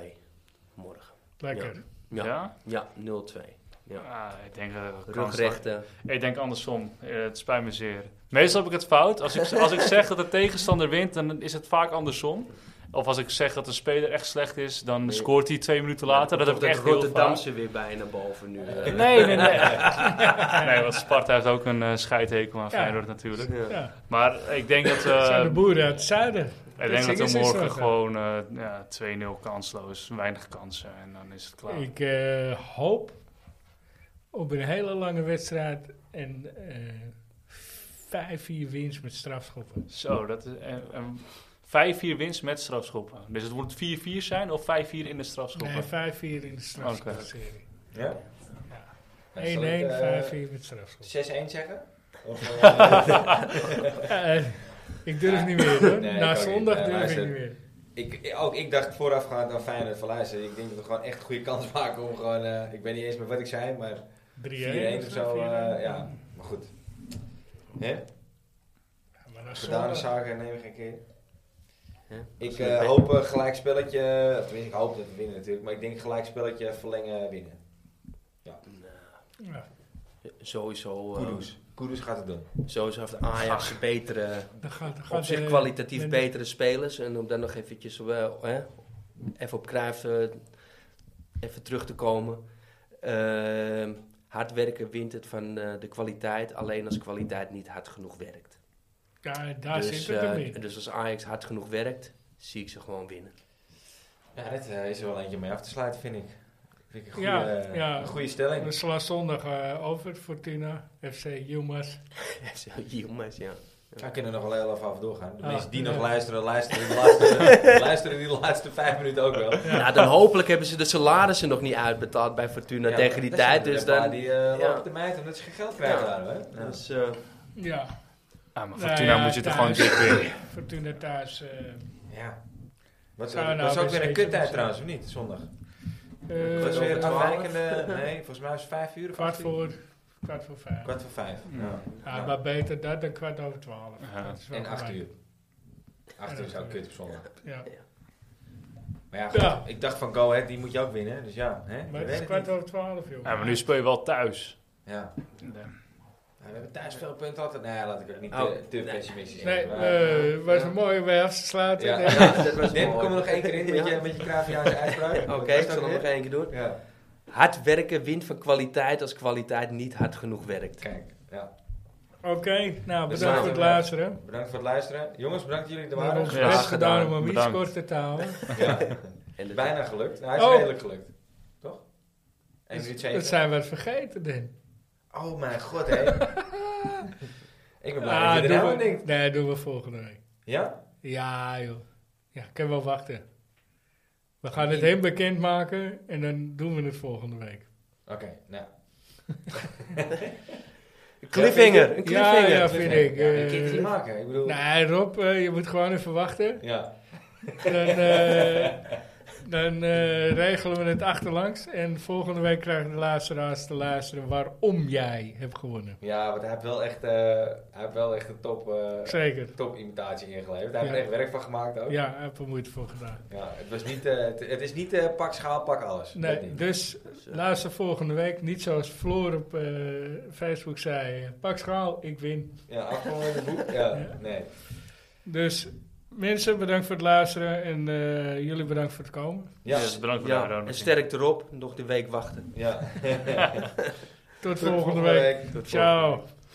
Speaker 5: Morgen.
Speaker 2: lekker.
Speaker 5: Ja.
Speaker 3: Ja?
Speaker 5: Ja, 0-2.
Speaker 3: Ah, ik denk dat het kans lag.
Speaker 5: Rugrechten.
Speaker 3: Ik denk andersom. Eh, het spijt me zeer. Meestal heb ik het fout. Als ik, als ik zeg dat de tegenstander wint, dan is het vaak andersom. Of als ik zeg dat een speler echt slecht is, dan scoort hij twee minuten later. dat heb ik
Speaker 5: dat
Speaker 3: echt heel vaak.
Speaker 5: Rotterdamse weer bijna boven nu. eh.
Speaker 3: Nee, nee, nee. nee, want Sparta heeft ook een eh scheidhekel aan Feyenoord natuurlijk.
Speaker 2: Ja.
Speaker 3: Maar ik denk dat,
Speaker 2: Het
Speaker 3: eh,
Speaker 2: zijn de boeren uit het zuiden.
Speaker 3: ik denk dat
Speaker 2: zingen
Speaker 3: we
Speaker 2: ze
Speaker 3: morgen
Speaker 2: zo.
Speaker 3: gewoon eh, ja, 2-0 kansloos, weinig kansen en dan is het klaar.
Speaker 2: Ik eh, hoop op een hele lange wedstrijd en eh 5-4 winst met strafschoppen.
Speaker 3: Zo, dat is... en- en 5-4 winst met strafschoppen. Dus het moet 4-4 zijn of 5-4 in de strafschoppen?
Speaker 2: Nee, 5-4 in de strafschopserie.
Speaker 1: Ja? Ja,
Speaker 2: 1-1,
Speaker 1: zal ik, eh,
Speaker 2: 5-4 met strafschoppen.
Speaker 1: 6-1 zeggen? Of, eh,
Speaker 2: Ja, eh, ik durf niet meer hoor.
Speaker 1: Nee, ik
Speaker 2: Na
Speaker 1: ook
Speaker 2: zondag
Speaker 1: niet. Nee,
Speaker 2: durf ik
Speaker 1: luister.
Speaker 2: niet meer.
Speaker 1: ik, ik- ook ik dacht voorafgaand aan Feyenoord van luister, ik denk dat we gewoon echt een goede kans maken om gewoon, eh, ik weet niet eens meer wat ik zei, maar 4-1 of zo,
Speaker 2: 4-1.
Speaker 1: eh, ja, maar goed. Hè?
Speaker 2: Ja, maar na
Speaker 1: Gedane
Speaker 2: zondag-
Speaker 1: zaken nemen we geen keer.
Speaker 5: Ja.
Speaker 1: Ik eh, hoop eh, gelijk spelletje, of tenminste ik hoop dat we winnen natuurlijk, maar ik denk gelijk spelletje verlengen winnen.
Speaker 5: Nou.
Speaker 2: Ja,
Speaker 5: Sowieso, eh,
Speaker 1: Kudus. Kudus gaat het doen.
Speaker 5: sowieso heeft Ajax betere,
Speaker 2: dan gaat, dan gaat
Speaker 5: op zich
Speaker 2: eh,
Speaker 5: kwalitatief
Speaker 2: men-
Speaker 5: betere spelers. En om dan nog eventjes wel, hè, even op Cruijff eh, even terug te komen. Ehm, hard werken wint het van eh, de kwaliteit, alleen als kwaliteit niet hard genoeg werkt.
Speaker 2: Ja, daar
Speaker 5: dus,
Speaker 2: zit het hem
Speaker 5: eh,
Speaker 2: in.
Speaker 5: dus als Ajax hard genoeg werkt, zie ik ze gewoon winnen.
Speaker 1: Ja, dit eh, is er wel eentje mee af te sluiten, vind ik. Vind ik een goede,
Speaker 2: Ja,
Speaker 1: eh,
Speaker 2: ja. Dus-
Speaker 1: Een goede stelling.
Speaker 2: We slaan zondag eh, over Fortuna, FC Jumas.
Speaker 5: Jongens, ja.
Speaker 1: Ja, we kunnen nog wel heel even af doorgaan. De
Speaker 2: Ah,
Speaker 1: mensen die
Speaker 2: ja.
Speaker 1: nog luisteren, luisteren die, laatste, luisteren die laatste vijf minuten ook wel.
Speaker 5: Nou, dan hopelijk hebben ze de salarissen nog niet uitbetaald bij Fortuna
Speaker 1: Ja,
Speaker 5: tegen die
Speaker 1: dat
Speaker 5: tijd.
Speaker 1: zijn er
Speaker 5: Dus
Speaker 1: een paar
Speaker 5: dan...
Speaker 1: Die eh
Speaker 5: ja.
Speaker 1: lopen te mijten omdat ze geen geld krijgen
Speaker 5: Ja.
Speaker 1: daar, hè?
Speaker 5: Dus, eh,
Speaker 2: Ja,
Speaker 3: Ah, maar
Speaker 2: Nou
Speaker 3: Fortuna
Speaker 2: ja,
Speaker 3: moet je er
Speaker 2: thuis.
Speaker 3: gewoon dik winnen.
Speaker 2: Fortuna thuis. eh
Speaker 1: Ja. Wat,
Speaker 2: Zou nou
Speaker 1: was ook
Speaker 2: best
Speaker 1: weer een
Speaker 2: weten,
Speaker 1: kuttijd
Speaker 2: dus-
Speaker 1: trouwens, of niet? Zondag.
Speaker 2: eh,
Speaker 1: Het was weer een
Speaker 5: twaalf?
Speaker 1: afwijkende... Nee, volgens mij was het vijf uur of
Speaker 2: kwart
Speaker 1: acht uur?
Speaker 2: voor, kwart voor vijf.
Speaker 1: Kwart voor vijf. Ja.
Speaker 2: Ja,
Speaker 1: Ja.
Speaker 2: Maar beter dat dan kwart over twaalf.
Speaker 3: Ja.
Speaker 2: Dat is wel
Speaker 1: En acht
Speaker 2: gelijk.
Speaker 1: uur. Acht
Speaker 2: En
Speaker 1: uur is ook
Speaker 2: acht
Speaker 1: kut op zondag.
Speaker 2: Ja.
Speaker 1: Maar ja,
Speaker 2: Ja.
Speaker 1: goed, ik dacht van Go Ahead, die moet je ook winnen. Dus ja, hè?
Speaker 2: Maar
Speaker 1: je
Speaker 2: het
Speaker 1: weet
Speaker 2: is
Speaker 1: het
Speaker 2: kwart
Speaker 1: niet.
Speaker 2: over twaalf, joh.
Speaker 3: Ja, maar nu speel je wel thuis.
Speaker 1: Ja. Ja, we hebben thuis veel punten altijd. Nee, laat ik ook niet
Speaker 5: Oh,
Speaker 1: te, te
Speaker 5: nee.
Speaker 1: pessimistisch zijn.
Speaker 2: Nee,
Speaker 1: Maar-
Speaker 2: eh, het was
Speaker 5: Ja.
Speaker 2: een mooie bij af te sluiten.
Speaker 1: Ja.
Speaker 2: Eh,
Speaker 5: dat was
Speaker 1: Dim,
Speaker 5: mooi.
Speaker 1: kom er nog één keer in met
Speaker 5: Ja.
Speaker 1: je, met je Kraviaanse uitspraak.
Speaker 5: Oké,
Speaker 1: Wat
Speaker 5: ik
Speaker 1: was dat
Speaker 5: zal hem
Speaker 1: weer?
Speaker 5: nog één keer doen.
Speaker 1: Ja,
Speaker 5: Hard werken wint van kwaliteit als kwaliteit niet hard genoeg werkt.
Speaker 1: kijk. Ja.
Speaker 2: Oké, nou
Speaker 1: Dus
Speaker 2: bedankt
Speaker 1: laten
Speaker 2: voor het
Speaker 1: we-
Speaker 2: luisteren.
Speaker 1: Bedankt voor het luisteren. Jongens, bedankt dat jullie er
Speaker 2: We hebben
Speaker 1: waren.
Speaker 2: ons
Speaker 3: Ja,
Speaker 2: best
Speaker 5: graag
Speaker 2: gedaan om
Speaker 5: gedaan.
Speaker 2: hem iets
Speaker 3: Bedankt.
Speaker 2: korter te houden.
Speaker 1: Ja.
Speaker 5: En dat-
Speaker 1: Bijna gelukt. Nou, hij is
Speaker 2: Oh.
Speaker 1: redelijk gelukt. Toch? En
Speaker 2: Dus
Speaker 1: minuut
Speaker 2: Dat
Speaker 1: 7.
Speaker 2: zijn we vergeten, Den.
Speaker 1: Oh mijn god, hé. ik ben blij
Speaker 2: Ah,
Speaker 1: dat je er
Speaker 2: doen
Speaker 1: helemaal
Speaker 2: we-
Speaker 1: denkt.
Speaker 2: Nee, doen we volgende week.
Speaker 1: Ja?
Speaker 2: Ja, joh. Ja, ik kan wel wachten. We gaan het hem bekendmaken en dan doen we het volgende week.
Speaker 1: Oké, nou.
Speaker 5: Een cliffhanger, een
Speaker 2: Ja,
Speaker 5: cliffhanger.
Speaker 2: ja, vind
Speaker 1: Ja,
Speaker 2: ik.
Speaker 1: ik kan
Speaker 2: eh,
Speaker 1: het niet maken. Ik bedoel...
Speaker 2: nee, Rob, eh, je moet gewoon even wachten.
Speaker 1: Ja.
Speaker 2: Dan, eh, dan eh, regelen we het achterlangs. En volgende week krijgen de luisteraars te luisteren waarom jij hebt gewonnen.
Speaker 1: ja, want hij heeft wel echt, eh, hij heeft wel echt een top, eh,
Speaker 2: Zeker.
Speaker 1: top imitatie ingeleverd. Hij heeft
Speaker 2: Ja.
Speaker 1: er echt werk van gemaakt ook.
Speaker 2: Ja, ik heb er moeite voor gedaan.
Speaker 1: Ja, het, was niet, eh, het, het is niet eh, pak schaal, pak alles. Dat
Speaker 2: Nee,
Speaker 1: niet.
Speaker 2: dus luister volgende week. Niet zoals Floor op eh, Facebook zei. eh, Pak schaal, ik win.
Speaker 1: Ja, afgelopen het boek. Ja,
Speaker 2: Ja.
Speaker 1: nee.
Speaker 2: Dus mensen, bedankt voor het luisteren en eh, jullie bedankt voor het komen.
Speaker 1: Ja,
Speaker 3: Dus bedankt voor de
Speaker 5: Ja, en
Speaker 3: uitnodiging.
Speaker 5: sterk erop, nog de week wachten.
Speaker 1: ja. Tot
Speaker 2: Tot, volgende week.
Speaker 1: Tot volgende
Speaker 2: Ciao.
Speaker 1: week.